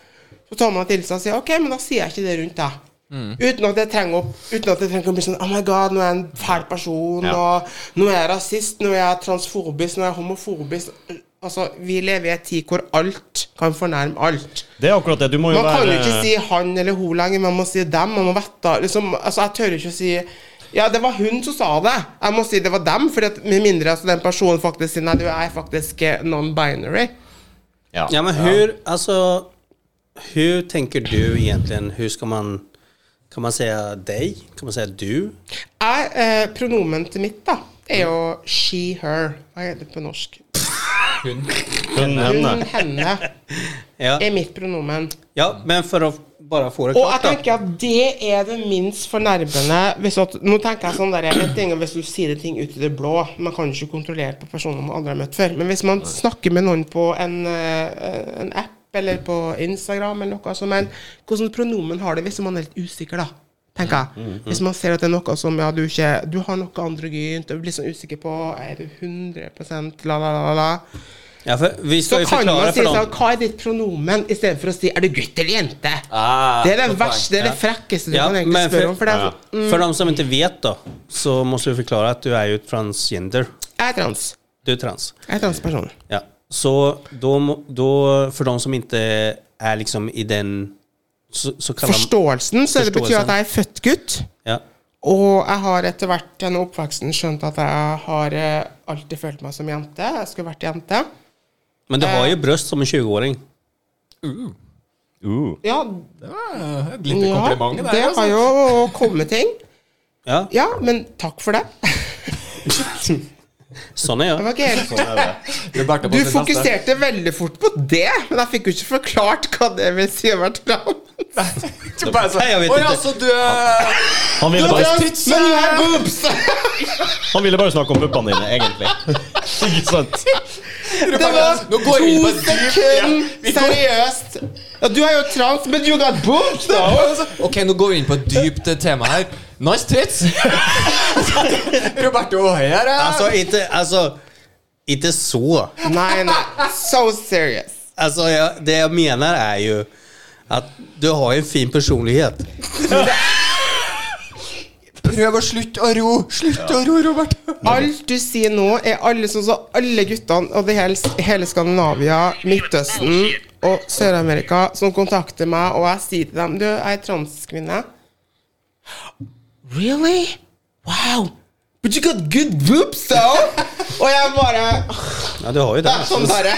Speaker 4: Så tar man det til seg og sier OK, men da sier jeg ikke det rundt deg.
Speaker 1: Mm.
Speaker 4: Uten at det trenger å, uten at det trenger å bli sånn Oh my god, nå er jeg en fæl person,
Speaker 1: Ja.
Speaker 4: og nå er jeg rasist, nå er jeg transfobisk, nå er jeg homofobisk Altså, vi lever i en tid hvor alt kan fornærme alt.
Speaker 1: det er akkurat det. Du må jo
Speaker 4: Man kan jo
Speaker 1: være
Speaker 4: ikke si han eller hun lenger, man må si dem. Man må vette liksom, altså, Jeg tør ikke å si ja, det var hun som sa det. Jeg må si det var dem. Fordi at Med mindre altså, den personen faktisk sier nei, du er faktisk eh, non-binary.
Speaker 1: ja.
Speaker 3: Ja, men hur, alltså, hur tänker du egentligen? Hur ska man, kan man säga dig? Kan man säga du?
Speaker 4: Jeg, eh, pronomen til mitt da er jo she, her. Hva er det på norsk?
Speaker 2: Hun.
Speaker 1: Hun, henne.
Speaker 4: Hun, henne
Speaker 3: Ja,
Speaker 4: er mitt pronomen.
Speaker 3: ja men för att bara få det
Speaker 4: Og jeg
Speaker 3: klart då.
Speaker 4: tenker at det er det minst fornærmende hvis at, Nå tenker jeg sånn der, en ting er hvis du sier ting ut i det blå Man kan ikke kontrollere på personer man aldri har møtt før. Men hvis man snakker med noen på en, eh, en app eller på Instagram eller noe sånt, men hvordan pronomen har det hvis man er litt usikker, da? Tenker jeg. Hvis man ser at det er noe som ja, du ikke Du har noe androgynt, og blir sånn usikker på Er du 100 la, la, la, la?
Speaker 3: Ja, för vi ska
Speaker 4: Så
Speaker 3: ju
Speaker 4: kan man
Speaker 3: förklara
Speaker 4: si
Speaker 3: för
Speaker 4: sånn
Speaker 3: dem.
Speaker 4: Hva er ditt pronomen? Istedenfor å si Er du gutt eller jente?
Speaker 2: Ah,
Speaker 4: Det er det
Speaker 2: godt poeng.
Speaker 4: verste, det er det frekkeste du
Speaker 3: Ja,
Speaker 4: kan egentlig
Speaker 3: men for-
Speaker 4: spørre om. For det Mm. er, sånn,
Speaker 1: Ja.
Speaker 3: För de som inte vet då, så måste vi förklara att du är ju transgender.
Speaker 4: Jeg er trans.
Speaker 3: Du är trans.
Speaker 4: Jeg er transperson.
Speaker 3: Ja. Så då, må- då, för de som inte är liksom i den så, så kallar
Speaker 4: Forståelsen, så det betyr
Speaker 3: Forståelsen.
Speaker 4: at jeg er født gutt.
Speaker 3: Ja.
Speaker 4: Og jeg har etter hvert gjennom oppveksten skjønt at jeg har eh, alltid følt meg som jente. Jeg skulle vært jente.
Speaker 3: Men du har ju bröst som en 20-åring.
Speaker 1: Uh.
Speaker 4: Ja,
Speaker 2: Det var et lite
Speaker 4: ja
Speaker 2: kompliment der.
Speaker 4: det har jo kommet ting.
Speaker 3: Ja,
Speaker 4: Ja, men takk for det.
Speaker 3: sån är jag.
Speaker 4: Det var ikke helt
Speaker 1: Sånn er det.
Speaker 2: Roberta på
Speaker 4: Du
Speaker 2: sin neste.
Speaker 4: fokuserte veldig fort på det, men jeg fikk jo ikke forklart hva det vil si å være trans.
Speaker 2: Du bare så,
Speaker 3: Nei, jeg vet
Speaker 2: Å ja,
Speaker 3: ikke.
Speaker 2: så du er
Speaker 1: Han ville, bare,
Speaker 2: trans-
Speaker 4: eh, Men du er boobs!
Speaker 1: han ville bare snakke om puppene dine, egentlig. Ikke sant?
Speaker 4: Det var
Speaker 2: Nå går vi inn på
Speaker 4: to
Speaker 2: et dypt-
Speaker 4: sekunder!
Speaker 2: Ja, vi går-
Speaker 4: Seriøst. Ja, du er jo trans, men you got boobs, da!
Speaker 2: Ok, nå går vi inn på et dypt eh, tema her. Nice tits! Roberto Høyer
Speaker 3: Alltså inte, alltså, inte altså, så.
Speaker 4: Nei, nei. So serious.
Speaker 3: Alltså jag, det jag menar är ju att du har ju en fin personlighet.
Speaker 2: Prøv å slutte å ro! Slutt å ro, Roberto!
Speaker 4: Alt du sier nå, er alle sånn som alle guttene og det hele, hele Skandinavia, Midtøsten og Sør-Amerika som kontakter meg, og jeg sier til dem Du, jeg er transkvinne. Really? Wow. But you got good boobs, though! Og jeg bare
Speaker 3: Ja, du har ju det.
Speaker 4: Sånn bare.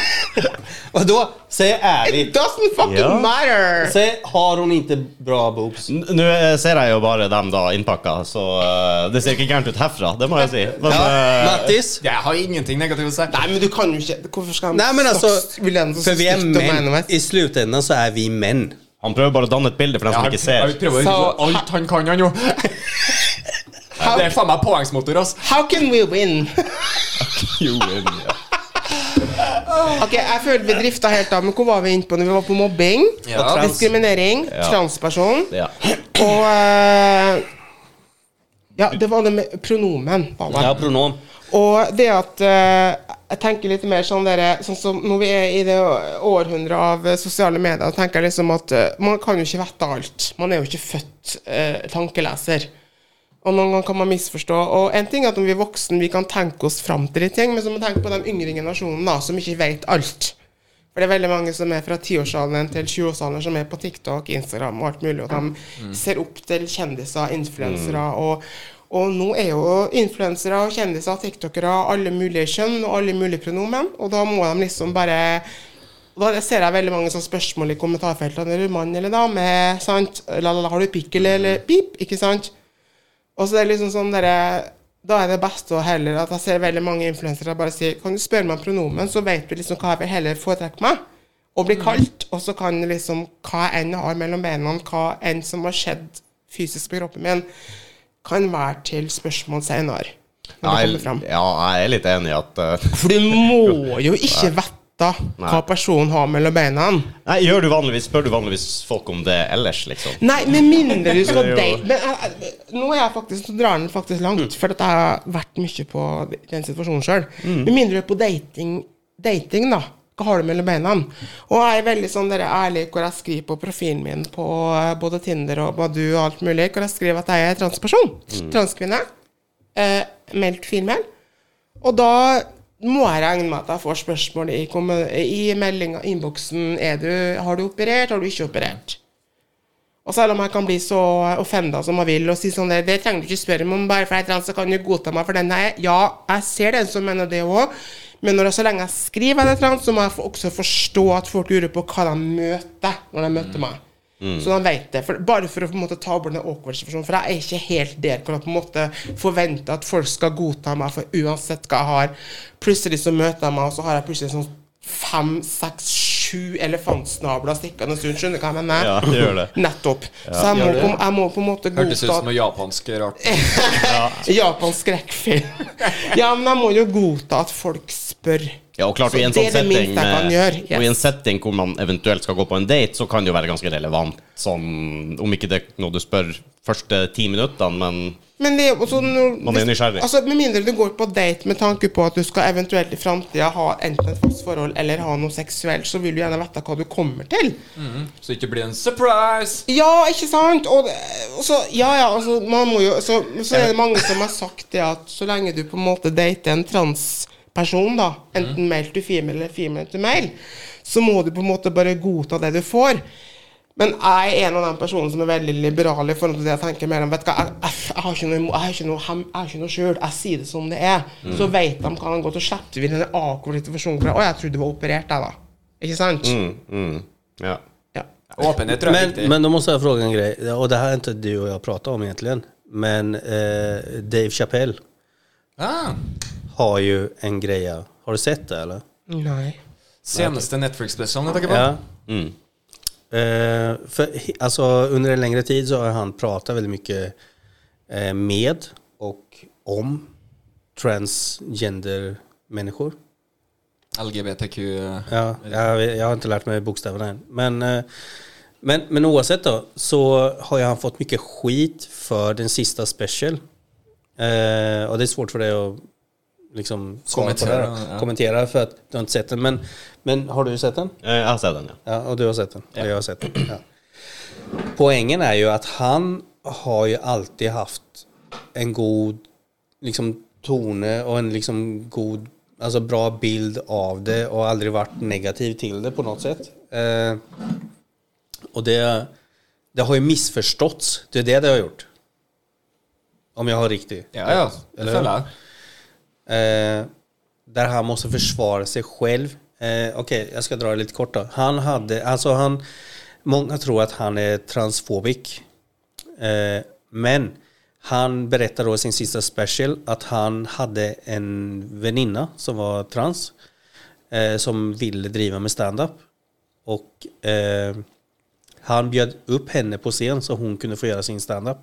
Speaker 3: Vadå? Säg
Speaker 4: It
Speaker 3: ärligt.
Speaker 4: doesn't fucking
Speaker 1: Ja.
Speaker 4: matter.
Speaker 3: Säg, har hon inte bra boobs?
Speaker 1: N- Nå eh, ser jeg jo bare dem da innpakka, så eh, det ser ikke gærent ut herfra. Det må jeg si. Men,
Speaker 3: Ja,
Speaker 1: eh,
Speaker 3: Mattis?
Speaker 2: Jeg har ingenting negativt å si.
Speaker 4: Nei, men du kan jo ikke Hvorfor skal han
Speaker 3: Nej men alltså,
Speaker 4: snakke- vil han så
Speaker 3: för vi är
Speaker 4: stygt om meg nå,
Speaker 3: män.
Speaker 4: vet du?
Speaker 3: I slutändan så är vi män.
Speaker 1: han prøver bare å danne et bilde for dem som ikke ser.
Speaker 2: Jeg prøver å
Speaker 4: Så-
Speaker 2: unngå alt han kan, han jo. Det er faen meg påhengsmotor, ass.
Speaker 4: How can we win?
Speaker 1: Jo, ja.
Speaker 4: Ok, Jeg føler vi drifta helt av, men hvor var vi inne på når vi var på mobbing?
Speaker 2: Ja.
Speaker 4: Diskriminering,
Speaker 1: Ja.
Speaker 4: transperson
Speaker 1: Ja.
Speaker 4: og eh, Ja, det var det med pronomen. var det.
Speaker 3: Ja, pronom.
Speaker 4: Og det at eh, Jeg tenker litt mer sånn dere, sånn som når vi er i det århundret av eh, sosiale medier, tenker jeg liksom at eh, man kan jo ikke vite alt. Man er jo ikke født eh, tankeleser. Og noen ganger kan man misforstå. Og en ting er at når vi er voksen, vi kan tenke oss fram til litt ting, men så må man tenke på den yngre generasjonen da, som ikke vet alt. For det er veldig mange som er fra 10-årsalderen til 20-årsalderen som er på TikTok, Instagram og alt mulig, og de ser opp til kjendiser, influensere og og nå er jo influensere og kjendiser, tiktokere, alle mulige kjønn og alle mulige pronomen, og da må de liksom bare da ser jeg veldig mange sånne spørsmål i kommentarfeltene. Er du mann eller dame? Sant? La, la, la, har du pikk eller, eller pip? Ikke sant? Og så er det liksom sånn derre Da er det best å heller at jeg ser veldig mange influensere bare si Kan du spørre meg om pronomen, så vet du liksom hva jeg vil heller foretrekke meg? Og bli kalt. Og så kan liksom hva enn jeg har mellom beina, hva enn som har skjedd fysisk med kroppen min, kan være til spørsmål senere. Når det
Speaker 1: jeg,
Speaker 4: kommer fram.
Speaker 1: ja, jeg er litt enig i at eh,
Speaker 4: For du må jo ikke vite hva personen har mellom beina.
Speaker 1: Nei, gjør du vanligvis, spør du vanligvis folk om det ellers, liksom?
Speaker 4: Nei, med mindre du
Speaker 1: Det er
Speaker 4: skal
Speaker 1: jo-
Speaker 4: date Men jeg, jeg, nå er jeg faktisk, nå drar den faktisk langt, for at jeg har vært mye på den situasjonen sjøl. Med mindre du er på dating, dating da. Hva har du mellom beina? Og jeg er veldig sånn dere ærlig hvor jeg skriver på profilen min på eh, både Tinder og Badu og alt mulig, hvor jeg skriver at jeg er transperson. Transkvinne. Eh, meldt finmel. Og da må jeg regne med at jeg får spørsmål i, kommu- i meldinga, innboksen er du, Har du operert? Har du ikke operert? Og selv om jeg kan bli så offenda som jeg vil og si sånn det, det trenger du ikke spørre meg om, bare for jeg er trans, så kan du godta meg for den jeg er. Ja, jeg ser den som mener det òg, men når, så lenge jeg skriver at jeg er trans, så må jeg få- også forstå at folk lurer på hva de møter når de møter meg. Så de vet det. For, bare for å på en måte ta bort den awkward situasjonen, for jeg er ikke helt der hvor jeg på en måte forventer at folk skal godta meg for uansett hva jeg har. Plutselig så møter jeg meg, og så har jeg plutselig sånn fem, seks, sju elefantsnabler stikkende rundt. Skjønner du hva jeg mener?
Speaker 1: Ja, det gjør det.
Speaker 4: Nettopp. Så jeg må,
Speaker 2: Gjør det.
Speaker 4: på, jeg må på en måte
Speaker 2: Hørtes ut
Speaker 4: godta
Speaker 2: som noe japansk rart.
Speaker 4: Japansk skrekkfilm. ja, men jeg må jo godta at folk spør.
Speaker 1: Ja, og klart,
Speaker 4: Så
Speaker 1: i en
Speaker 4: det
Speaker 1: sånn
Speaker 4: er det
Speaker 1: setting
Speaker 4: minste jeg kan
Speaker 1: med-
Speaker 4: gjøre, yes.
Speaker 1: Og i en setting hvor man eventuelt skal gå på en date, så kan det jo være ganske relevant. Sånn, om ikke det er noe du spør første ti minuttene, men
Speaker 4: Men det er jo også når,
Speaker 1: Man er
Speaker 4: hvis-
Speaker 1: nysgjerrig.
Speaker 4: Altså, Med mindre du går på date med tanke på at du skal eventuelt i framtida ha enten et fast forhold eller ha noe seksuelt, så vil du gjerne vite hva du kommer til.
Speaker 2: Så det ikke blir en surprise!
Speaker 4: Ja, ikke sant? Og, det- og så, ja, ja, altså, man må jo så, så er det mange som har sagt det at så lenge du på en måte dater en transperson, da, enten male to female eller female to male, så må du på en måte bare godta det du får. Men jeg er en av de personene som er veldig liberal i forhold til det jeg tenker mer om. Vet du hva, jeg, jeg, jeg har ikke noe imo- jeg har ikke noe hem- jeg har ikke noe sjøl. Jeg sier det som det er. Så vet de hva de går til. Så slipper vi den akkurat situasjonen. hvor jeg, Å, jeg trodde du var operert, jeg, da. Ikke sant?
Speaker 1: mm, mm, ja.
Speaker 4: Ja.
Speaker 2: Åpenhet tror jeg er
Speaker 3: Men,
Speaker 2: viktig.
Speaker 3: men då måste jag fråga en grej, och det här är inte du och jag pratar om egentligen. Men eh, Dave Chappelle
Speaker 2: Ah,
Speaker 3: har ju en greja. Har du sett det eller?
Speaker 4: Nei.
Speaker 2: seneste Netflix-spesialen jeg tenker på.
Speaker 3: Ja.
Speaker 1: Mm.
Speaker 3: Eh, för, he- alltså, under en längre tid så har han pratat väldigt mycket eh, med och om transgender-människor.
Speaker 2: LGBTQ
Speaker 3: Ja, jag, vet- jag har inte lärt mig bokstäverna än. Men, eh, men, men oavsett då, så har ju han fått mycket skit för den sista special. Eh, och det är svårt för dig att liksom svara på det.
Speaker 2: Kommentera,
Speaker 3: då.
Speaker 2: ja.
Speaker 3: Kommentera för att du har inte sett den. Men, men har du sett den?
Speaker 1: Eh, Jeg har sett den, ja.
Speaker 3: Ja, och du har sett den. Och jag har sett den. Ja. Poängen är ju att han har ju alltid haft en god liksom, tone och en liksom, god, alltså, bra bild av det och aldrig varit negativ till det på något sätt. Eh, och det, det har ju missförståtts. Det är det det har gjort. Om jag har riktigt.
Speaker 2: Ja, ja. Det
Speaker 3: Eller-
Speaker 2: føler jeg.
Speaker 3: Eh, där han måste försvara sig själv. Eh, Okej, jag ska dra det lite kort då. Han hade, alltså han, många tror att han är transfobik. Eh, men han berättar då i sin sista special att han hade en väninna som var trans. Eh, som ville driva med stand-up. Och eh, han bjöd upp henne på scen så hon kunde få göra sin stand-up.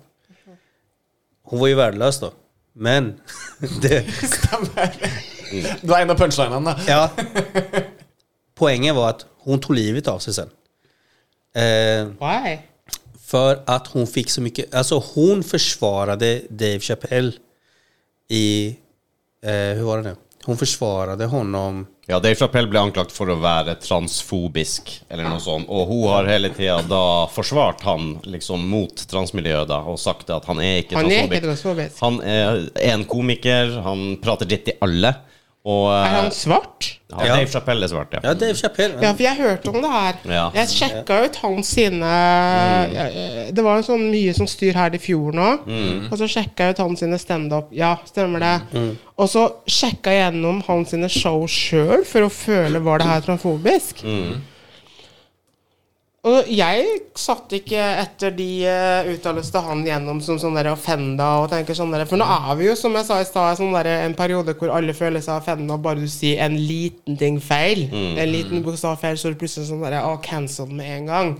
Speaker 3: Hon var ju värdelös då. Men det,
Speaker 2: Du er en av punchlinene, da.
Speaker 3: Ja. Poenget var att hon tog livet av sig sen. Eh,
Speaker 4: Why?
Speaker 3: för att hon fick så mycket, alltså hon försvarade Dave Chappelle i, eh, hur var det nu? Hon försvarade honom.
Speaker 1: Ja, Dave Chappelle ble anklagt for å være transfobisk, eller noe sånt. Og hun har hele tida da forsvart han liksom mot transmiljøet da, og sagt at han er ikke
Speaker 4: Han er ikke
Speaker 1: transfobisk.
Speaker 4: transfobisk.
Speaker 1: Han er en komiker, han prater dritt til alle. Og eh,
Speaker 4: Er han svart?
Speaker 1: ja, Dave Chappelle er svart, ja.
Speaker 3: Ja, Dave Chappelle.
Speaker 4: Mm. Ja, for jeg hørte om det her.
Speaker 1: Ja. Mm.
Speaker 4: Jeg sjekka ut hans sine eh, Det var en sånn mye sånn styr her i fjor nå.
Speaker 1: Mm.
Speaker 4: Og så sjekka jeg ut hans sine standup. Ja, stemmer det. Og så sjekka jeg gjennom hans sine show sjøl for å føle var det her transfobisk. Og jeg satt ikke etter de eh, uttalelsene han gjennom som sånn der offenda og tenker sånn der For nå er vi jo, som jeg sa i stad, sånn der en periode hvor alle føler seg offenda bare du sier en liten ting feil. En liten bokstav feil, så er du plutselig sånn der Å, cancelled med en gang.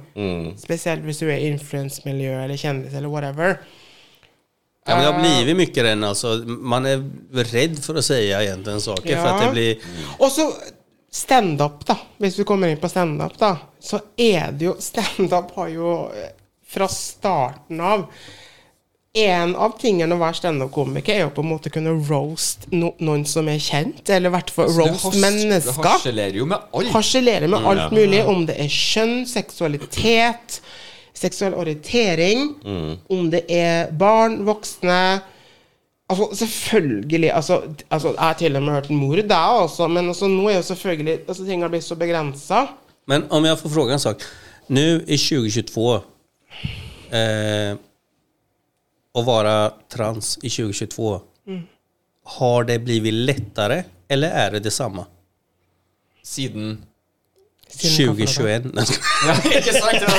Speaker 4: Spesielt hvis du er i influensemiljø eller kjendis eller whatever.
Speaker 3: Ja, men det har blivit mycket den alltså. Man är rädd för att säga egentligen saker för
Speaker 4: Ja.
Speaker 3: att det blir...
Speaker 4: Og så standup, da. Hvis vi kommer inn på standup, da, så er det jo Standup har jo eh, fra starten av En av tingene å være standup-komiker er jo på en måte å kunne roast no noen som er kjent, eller i hvert fall roast
Speaker 2: Altså, Det
Speaker 4: mennesker.
Speaker 2: harselerer jo med alt.
Speaker 4: Harselere med
Speaker 1: ja.
Speaker 4: alt mulig, om det er kjønn, seksualitet, seksuell orientering, om det er barn, voksne, Altså, selvfølgelig altså, d- altså, Jeg har til og med hørt mord, det også, men altså, nå er jo selvfølgelig altså, Ting har blitt så begrensa.
Speaker 3: Men om jag får fråga en sak. Nu i 2022, eh, att vara trans i 2022, har det blivit lättare eller är det detsamma?
Speaker 2: Siden
Speaker 3: 2021?
Speaker 2: ja, Ikke sant? Ja,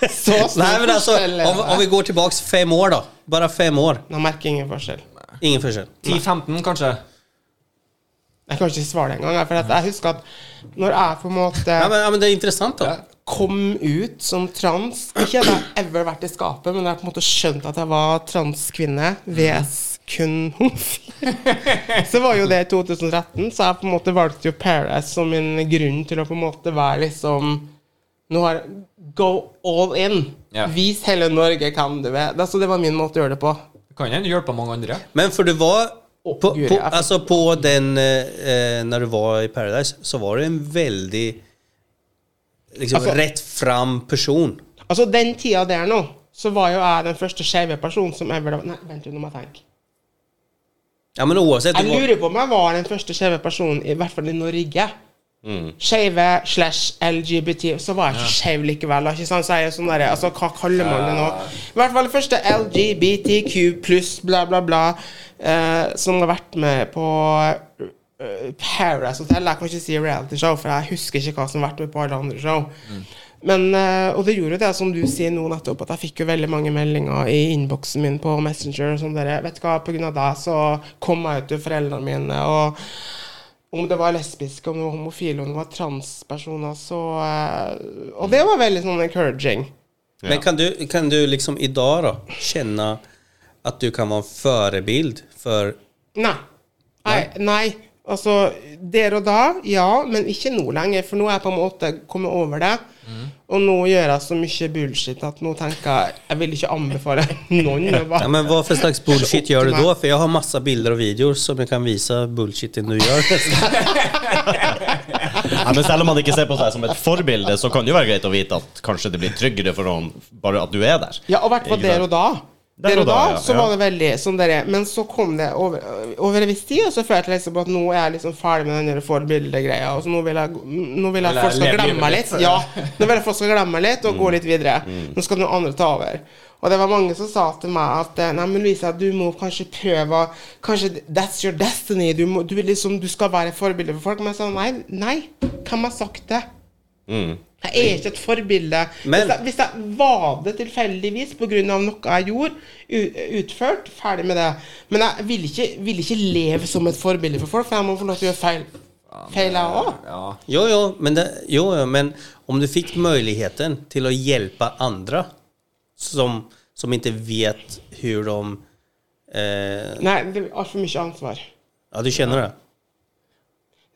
Speaker 2: det-
Speaker 4: Så stor
Speaker 3: Nej men altså, alltså,
Speaker 4: forskjell.
Speaker 3: om, om vi går tillbaks fem år då. Bara fem år.
Speaker 4: Nå merker jeg ingen forskjell.
Speaker 3: Ingen försök.
Speaker 2: 10-15, kanskje?
Speaker 4: Jeg kan ikke svare det engang. jeg, For at jeg husker at når jeg på en måte
Speaker 3: Ja, men, ja, men det är intressant då.
Speaker 2: Ja.
Speaker 4: kom ut som trans Ikke at jeg ever vært i skapet, men jeg har på en måte skjønt at jeg var transkvinne. VS kun homofil. Så var jo det i 2013, så jeg på en måte valgte jo Paradise som min grunn til å på en måte være liksom Nå har Go all in.
Speaker 2: Ja.
Speaker 4: Vis hele Norge hvem du er. Altså, det var min måte å gjøre det på.
Speaker 2: Det Kan hende hjelpe mange andre.
Speaker 3: Men för du var...
Speaker 4: Åh,
Speaker 3: På,
Speaker 4: gud,
Speaker 3: på,
Speaker 4: jag-
Speaker 3: alltså på den, eh, eh, när du var i Paradise så var du en väldigt liksom,
Speaker 4: Alltså-
Speaker 3: rätt fram person.
Speaker 4: Altså, den tida der nå, så var jo jeg den første skeive personen som ever Nei, vent, nå må jeg tenke.
Speaker 3: Ja men oavsett.
Speaker 4: Jeg
Speaker 3: du var,
Speaker 4: lurer på om jeg var den første skeive personen, i hvert fall i Norge. Skeive slash LGBT. Så var jeg ikke skeiv likevel. da, Ikke sant? Så jeg er jo sånn der, altså, hva kaller man det nå? I hvert fall den første LGBTQ pluss bla, bla, bla, eh, som har vært med på eh, Paradise Hotel. Jeg kan ikke si reality show, for jeg husker ikke hva som har vært med på alle andre show. Men, eh, og det gjorde jo det, som du sier nå nettopp, at jeg fikk jo veldig mange meldinger i innboksen min på Messenger. Som dere, vet du hva, på grunn av deg så kom jeg ut til foreldrene mine. og om det var lesbiske, om det var homofile, om det var transpersoner, så eh, Og det var veldig sånn encouraging.
Speaker 3: Men kan du, kan du liksom idag då känna att du kan vara en förebild för...
Speaker 4: Nei. Nei. nei. Altså, der og da, ja, men ikke nå lenger, for nå er jeg på en måte kommet over det. Og nå gjør jeg så mye bullshit at nå tenker jeg Jeg vil ikke anbefale noen
Speaker 3: Ja,
Speaker 4: å være
Speaker 3: men vad för slags bullshit gör du då? För jag har massa bilder och videor som jag kan visa bullshiten du gör.
Speaker 1: Nei, men selv om man ikke ser på seg som et forbilde, så kan det jo være greit å vite at kanskje det blir tryggere for noen bare at du er der.
Speaker 4: Ja, og i hvert fall
Speaker 1: Ikke
Speaker 4: der
Speaker 1: sant?
Speaker 4: og da. Der og da,
Speaker 1: ja,
Speaker 4: så
Speaker 1: ja.
Speaker 4: var det veldig sånn der, Men så kom det over, over en viss tid, og så følte jeg liksom at nå er jeg liksom ferdig med den der forbildegreia. Og så nå vil jeg, nå vil jeg
Speaker 2: Eller
Speaker 4: at folk
Speaker 2: leve
Speaker 4: skal glemme meg
Speaker 2: livet
Speaker 4: litt.
Speaker 2: litt.
Speaker 4: Ja, nå vil jeg at folk skal glemme meg litt, og gå litt videre. Nå skal noen andre ta over. Og det var mange som sa til meg at eh, Nei, men Louisa, du må kanskje prøve å- Kanskje that's your destiny. Du, må, du, er liksom, du skal være et forbilde for folk. Men jeg sa nei. nei, Hvem har sagt det? Jeg er ikke et forbilde.
Speaker 3: Men-
Speaker 4: hvis, jeg, hvis jeg var det tilfeldigvis pga. noe jeg gjorde, u- utført, ferdig med det. Men jeg vil ikke, vil ikke leve som et forbilde for folk, for jeg må få lov til å gjøre feil. Feil, jeg òg.
Speaker 2: Ja.
Speaker 3: Jo, jo, men, det, jo, jo, men om du fick möjligheten till att hjälpa andra som, som inte vet hur de... Eh,
Speaker 4: Nei, det er altfor mye ansvar.
Speaker 3: ja, du känner det?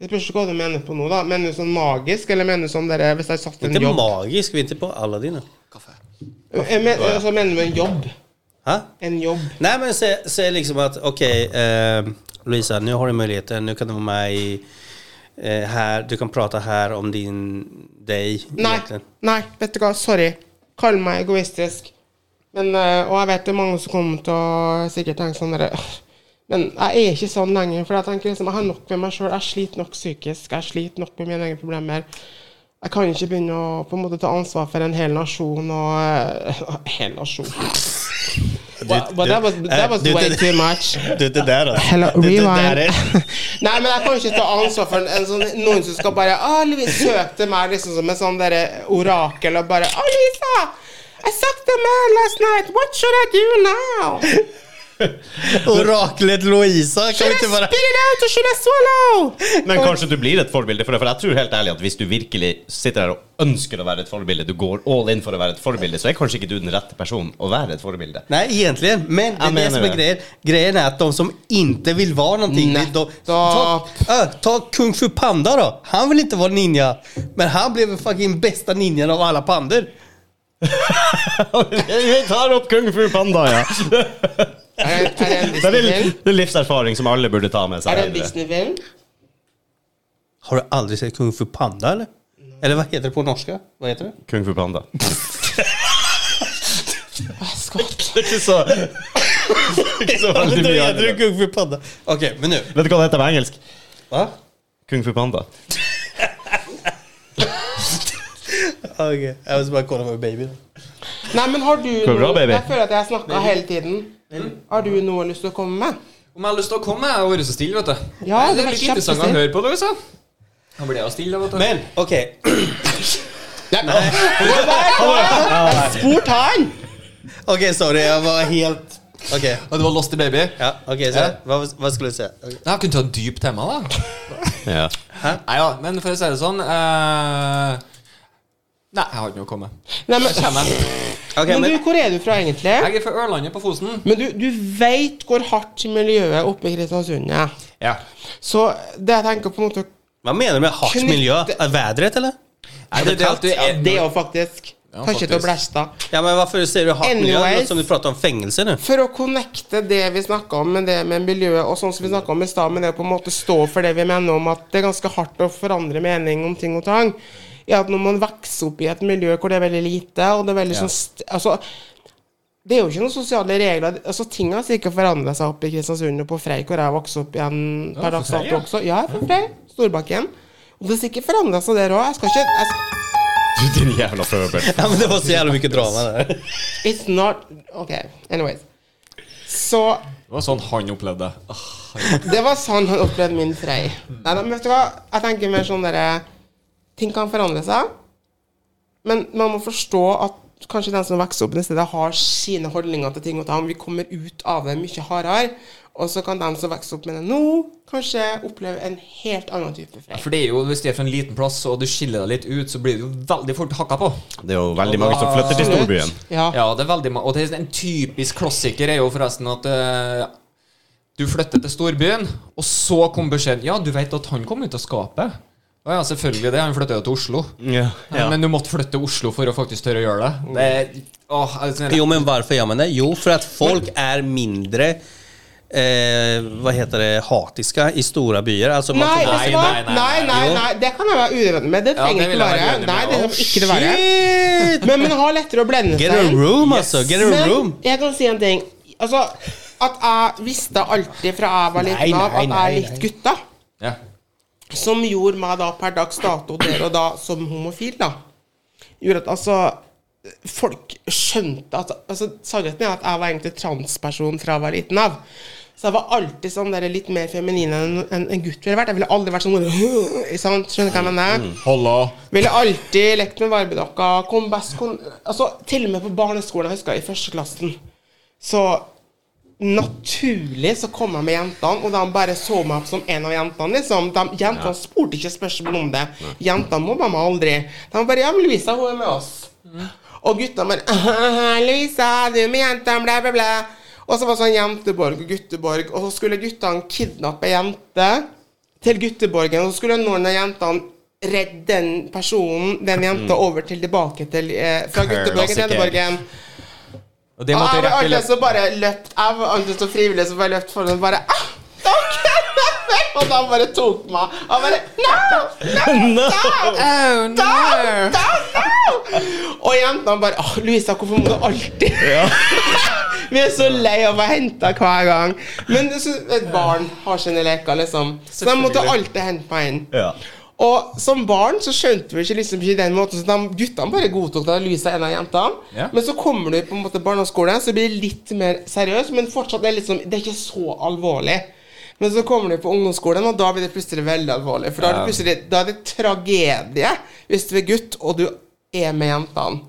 Speaker 4: Det spørs ikke hva du mener på nå, da. Mener du sånn magisk, eller mener du sånn dere, hvis jeg satt en
Speaker 3: Inte
Speaker 4: jobb?
Speaker 3: magisk, vi är inte på alla dina.
Speaker 2: Kaffe.
Speaker 4: Jeg men, altså, mener du en jobb?
Speaker 3: Ha?
Speaker 4: En jobb.
Speaker 3: Nej, men säg, säg liksom att okej, eh, Louisa, nu har du möjligheten, nu kan du vara med i eh, här, du kan prata här om din, dig.
Speaker 4: Nei,
Speaker 3: egentligen.
Speaker 4: nei, vet du hva, sorry. Kall meg egoistisk. Men, eh, og jeg vet det er mange som kommer til å sikkert tenke sånn derre «Åh». Men jeg er ikke sånn lenger, for jeg tenker liksom, jeg har nok med meg sjøl. Jeg sliter nok psykisk, jeg sliter nok med mine egne problemer. Jeg kan ikke begynne å på en måte ta ansvar for en hel nasjon og eh, Hel nasjon But, but that was, that was
Speaker 3: eh, du-
Speaker 4: way too much.
Speaker 3: Du, det där då?
Speaker 4: Hello,
Speaker 3: Det- det där
Speaker 4: rewind.
Speaker 3: är-
Speaker 4: Nei, men jeg kan ikke ta ansvar for en, en sånn, noen som skal bare Å, Louise, søk til meg liksom som en sånn derre orakel og bare Å, Louisa! I sucked a man last night. What should I do now?
Speaker 3: Oraklet Louisa, kan
Speaker 4: Should
Speaker 3: vi
Speaker 4: I
Speaker 3: inte bara...
Speaker 4: spit it out or should I swallow?
Speaker 1: Men kanskje du blir et forbilde for det, for jeg tror helt ærlig at hvis du virkelig sitter her og ønsker å være et forbilde, du går all in for å være et forbilde, så er kanskje ikke du den rette personen å være et forbilde.
Speaker 3: Nej, egentligen. Men det
Speaker 1: Jag
Speaker 3: är det
Speaker 1: menar
Speaker 3: som är
Speaker 1: det.
Speaker 3: grejen. Grejen är att de som inte vill vara någonting, det är de, ta, äh, ta Kung Fu Panda då. Han vill inte vara ninja, men han blev den fucking bästa ninjan av alla pandor.
Speaker 1: Vi tar opp Kung Fu Panda, ja.
Speaker 4: Er det- er det en
Speaker 1: Det er, liv-
Speaker 4: Disney-film?
Speaker 1: det er livserfaring som alle burde ta med seg.
Speaker 4: Er det en
Speaker 1: videre.
Speaker 4: Disney-film?
Speaker 3: Har du aldrig sett Kung Fu Panda eller? Eller vad heter det på norska? Vad heter det?
Speaker 1: Kung Fu Panda.
Speaker 4: Åh, Scott.
Speaker 1: Det er ikke så, ikke så veldig
Speaker 3: Då
Speaker 1: mye
Speaker 3: heter det
Speaker 1: annerledes.
Speaker 3: Kung Fu Panda. Okej, men nu.
Speaker 1: Vet du hva det heter på engelsk?
Speaker 3: Va?
Speaker 1: Kung Fu Panda.
Speaker 3: Okej, jag måste bara kolla med baby.
Speaker 4: Nei, men har du
Speaker 1: Går det bra,
Speaker 4: noe-
Speaker 1: baby?
Speaker 4: Jeg føler at jeg snakker hele tiden. Har du noe lyst til å komme med?
Speaker 2: Om jeg har lyst til å komme, jeg har vært så stille, vet du.
Speaker 4: Ja,
Speaker 2: det
Speaker 4: det
Speaker 2: er
Speaker 4: var
Speaker 2: litt interessant å
Speaker 4: kjempestill.
Speaker 2: høre på, Louisa. Han ble jo stille, vet du.
Speaker 3: Men okej,
Speaker 4: Spurt han!
Speaker 3: okej sorry, jag var helt... Okej.
Speaker 2: Og du var lost i baby?
Speaker 3: Ja, okej, så
Speaker 2: Ja.
Speaker 3: Vad, vad skulle du säga? Okej.
Speaker 2: Jeg kunne ta et dypt tema, da.
Speaker 1: Ja.
Speaker 2: Nei ja, men for å si det sånn eh, Nei, jeg har ikke noe å komme med.
Speaker 4: Nei, men,
Speaker 2: Jeg kommer.
Speaker 3: Okej,
Speaker 4: men
Speaker 3: men...
Speaker 4: du, hvor er du fra egentlig?
Speaker 2: Jeg er fra Ørlandet på Fosen.
Speaker 4: Men du, du veit hvor hardt miljøet oppe i Kristiansund er.
Speaker 2: Ja.
Speaker 4: Så det jeg tenker på en måte
Speaker 3: Vad menar du med hardt
Speaker 4: Knytte-
Speaker 3: miljö? Äh, Vädret eller?
Speaker 2: Nei, det er det at du
Speaker 4: ja,
Speaker 2: er
Speaker 4: Det er jo faktisk
Speaker 2: Ja,
Speaker 4: Kanskje til å
Speaker 2: faktisk.
Speaker 4: blæsta.
Speaker 3: Ja men varför säger du hardt miljö? Det låter
Speaker 4: Anyways.
Speaker 3: som du pratar om fängelse nu.
Speaker 4: For å connecte det vi snakka om med det med miljøet, og sånn som vi snakka om i stad, med det å på en måte stå for det vi mener om at det er ganske hardt å forandre mening om ting og tang, er at når man vokser opp i et miljø hvor det er veldig lite, og det er veldig sånn st Altså, det er jo ikke noen sosiale regler. Altså, Ting har sikkert forandra seg oppe i Kristiansund og på Frei, hvor jeg vokste opp igjen per dags
Speaker 2: Frei,
Speaker 4: dato
Speaker 2: ja.
Speaker 4: også. Ja, for Frei. Storbakken. Og det er sikkert forandra seg der òg. Jeg skal ikke jeg skal,
Speaker 1: Du, din jævla pøbel.
Speaker 3: Ja men det var så jävla mycket drama där.
Speaker 4: It's not OK. Anyways. Så
Speaker 2: Det var sånn han opplevde det. Åh, herregud.
Speaker 4: Det var sånn han opplevde min Frei. Nei, nei, men vet du hva? Jeg tenker mer sånn derre Ting kan forandre seg, men man må forstå at kanskje den som vokser opp i det stedet, har sine holdninger til ting og tang. Vi kommer ut av det mye hardere. Og så kan de som vokser opp med det nå, kanskje oppleve en helt annen type Frei.
Speaker 2: For det er jo, Hvis det er fra en liten plass og du skiller deg litt ut, så blir du jo veldig fort hakka på.
Speaker 1: Det er jo veldig mange som flytter til storbyen.
Speaker 4: Ja.
Speaker 2: Ja, det er veldig ma- Og det er en typisk klassiker er jo forresten at eh, du flytter til storbyen, og så kom beskjeden Ja, du vet at han kom ut av skapet? Å ja, selvfølgelig det. Han flytta jo til Oslo.
Speaker 4: Mm,
Speaker 1: Ja,
Speaker 2: Ja. Men du måtte flytte til Oslo for å faktisk tørre å gjøre det. det er, åh, altså,
Speaker 3: Jo men varför gör man det? Jo för att folk är mindre, eh, vad heter det, hatiska i stora byar. Alltså man
Speaker 4: Nei,
Speaker 3: får-
Speaker 4: vet du hva?
Speaker 2: Nei, nei, nei,
Speaker 4: nei, nei, nei,
Speaker 3: Jo.
Speaker 4: Det kan jeg være uenig med. Det
Speaker 2: Ja, det
Speaker 4: trenger
Speaker 2: vil
Speaker 4: ikke
Speaker 2: jeg være
Speaker 4: være.
Speaker 2: uenig med.
Speaker 4: Nei, det
Speaker 2: Å,
Speaker 4: trenger ikke det være.
Speaker 3: Shit!
Speaker 4: Men man har lettere å blende
Speaker 3: Get
Speaker 4: seg
Speaker 3: a
Speaker 4: inn.
Speaker 3: room altså, get a
Speaker 4: Men
Speaker 3: room.
Speaker 4: jeg kan si en ting. Altså, at jeg visste alltid fra jeg var liten av at jeg likte gutta.
Speaker 2: ja.
Speaker 4: Som gjorde meg da per dags dato der og da som homofil, da. Gjorde at altså Folk skjønte at altså, Sannheten er at jeg var egentlig transperson fra jeg var liten av. Så jeg var alltid sånn der litt mer feminin enn en, en gutt ville vært. Jeg ville aldri vært sånn ikke sant? Skjønner du hva jeg mener?
Speaker 2: Hallo.
Speaker 4: Ville alltid lekt med varmedokka. Kom best kon... Altså, til og med på barneskolen, jeg husker jeg, i første klassen, så naturlig så kom jeg med jentene, og de bare så meg opp som en av jentene, liksom. De, jentene spurte ikke spørsmål om det. Jentene mobba meg aldri. De bare 'Ja, men Louisa, hun er med oss'. Og gutta bare «Haha, 'Louisa, du er med jentene', bla, bla, bla. Og så var det sånn jenteborg og gutteborg, og så skulle guttene kidnappe ei jente til gutteborgen, og så skulle noen av jentene redde den personen, den jenta, over til tilbake til eh, Fra gutteborgen til
Speaker 2: Klassiker.
Speaker 4: jenteborgen.
Speaker 2: Og det
Speaker 4: Og
Speaker 2: måtte
Speaker 4: jeg
Speaker 2: jeg
Speaker 4: Ah,
Speaker 2: rekke
Speaker 4: var alltid
Speaker 2: løp.
Speaker 4: så bare løpt Jeg var alltid så frivillig som bare løpt foran og bare ah, Takk! Og da bare tok meg Han bare No! No!
Speaker 2: Oh, no.
Speaker 4: Da, da! Og jentene bare Åh, Louisa, hvorfor må du alltid Vi er så lei av å bli henta hver gang. Men det er så- et barn har sine leker, liksom. Så de måtte alltid hente meg inn.
Speaker 1: Ja.
Speaker 4: Og som barn så skjønte vi ikke liksom ikke den måten, så de guttene bare godtok det. Louisa er en av jentene.
Speaker 2: Ja.
Speaker 4: Men så kommer du på en måte barneskolen, så blir det litt mer seriøst, men fortsatt er det liksom, det er ikke så alvorlig. Men så kommer du på ungdomsskolen, og da blir det plutselig veldig alvorlig. For da er det plutselig da er det tragedie hvis du er gutt og du er med jentene.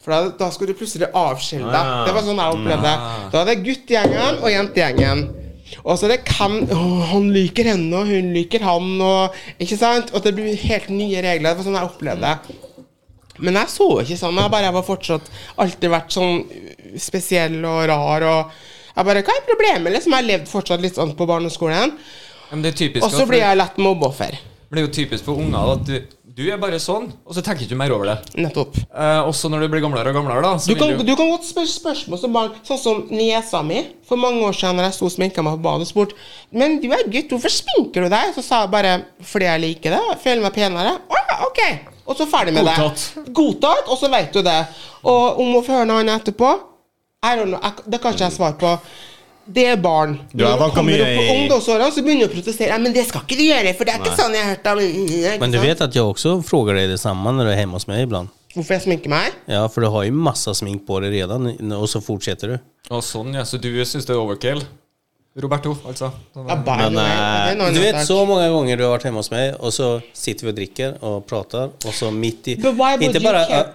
Speaker 4: For da, da skal du plutselig avskille deg.
Speaker 1: Ah.
Speaker 4: Det var sånn jeg opplevde det. Da er det guttegjengen og jentegjengen. Og så er det hvem å, Han liker henne, og hun liker han, og Ikke sant? Og det blir helt nye regler. Det var sånn jeg opplevde det. Men jeg så ikke sånn. Jeg bare jeg var fortsatt alltid vært sånn spesiell og rar og Jeg bare Hva er problemet? Liksom, jeg levde fortsatt litt sånn på barneskolen.
Speaker 2: Men det er typisk
Speaker 4: Og så
Speaker 2: at-
Speaker 4: blir jeg lett mobbeoffer.
Speaker 2: Det er jo typisk for unger at du, du er bare sånn, og så tenker du ikke mer over det.
Speaker 4: Nettopp.
Speaker 2: Eh, også når du blir gamlere og gamlere, da. Så
Speaker 4: Du kan,
Speaker 2: vil du,
Speaker 4: du kan godt spørre spørsmål som barn, sånn som niesa mi. For mange år siden når jeg sto og sminka meg på badet, og spurte Men du er gutt, hvorfor sminker du deg? Så sa jeg bare fordi jeg liker det, jeg føler meg penere. Å ja, ok. Og så ferdig med det.
Speaker 2: Godtatt.
Speaker 4: Godtatt. Og så vet du det. Og om å få høre noe annet etterpå I don't know, jeg, Det kan ikke jeg svare på. Det er barn.
Speaker 1: Du har vanka
Speaker 4: Kommer
Speaker 1: mye
Speaker 4: opp på
Speaker 1: i-
Speaker 4: ungdomsårene, så begynner du å protestere. Ja, men det skal ikke du gjøre, for det er ikke sånn jeg har hørt om Ikke
Speaker 3: Men du
Speaker 4: sant?
Speaker 3: vet att jag också frågar dig detsamma när du är hemma hos mig ibland.
Speaker 4: Hvorfor jeg sminker meg?
Speaker 3: Ja, för du har ju massa smink på dig redan och så fortsätter du.
Speaker 2: Å, sånn, ja. Så du syns det er overkill? Roberto, altså.
Speaker 4: Ja, by
Speaker 1: Men,
Speaker 4: the way,
Speaker 1: eh,
Speaker 4: det er en annen
Speaker 3: Du vet
Speaker 4: sak.
Speaker 3: så många gånger du har varit hemma hos mig och så sitter vi och dricker och pratar och så mitt i...
Speaker 4: But why would
Speaker 3: inte
Speaker 4: you
Speaker 3: bara...
Speaker 4: care?
Speaker 3: äh,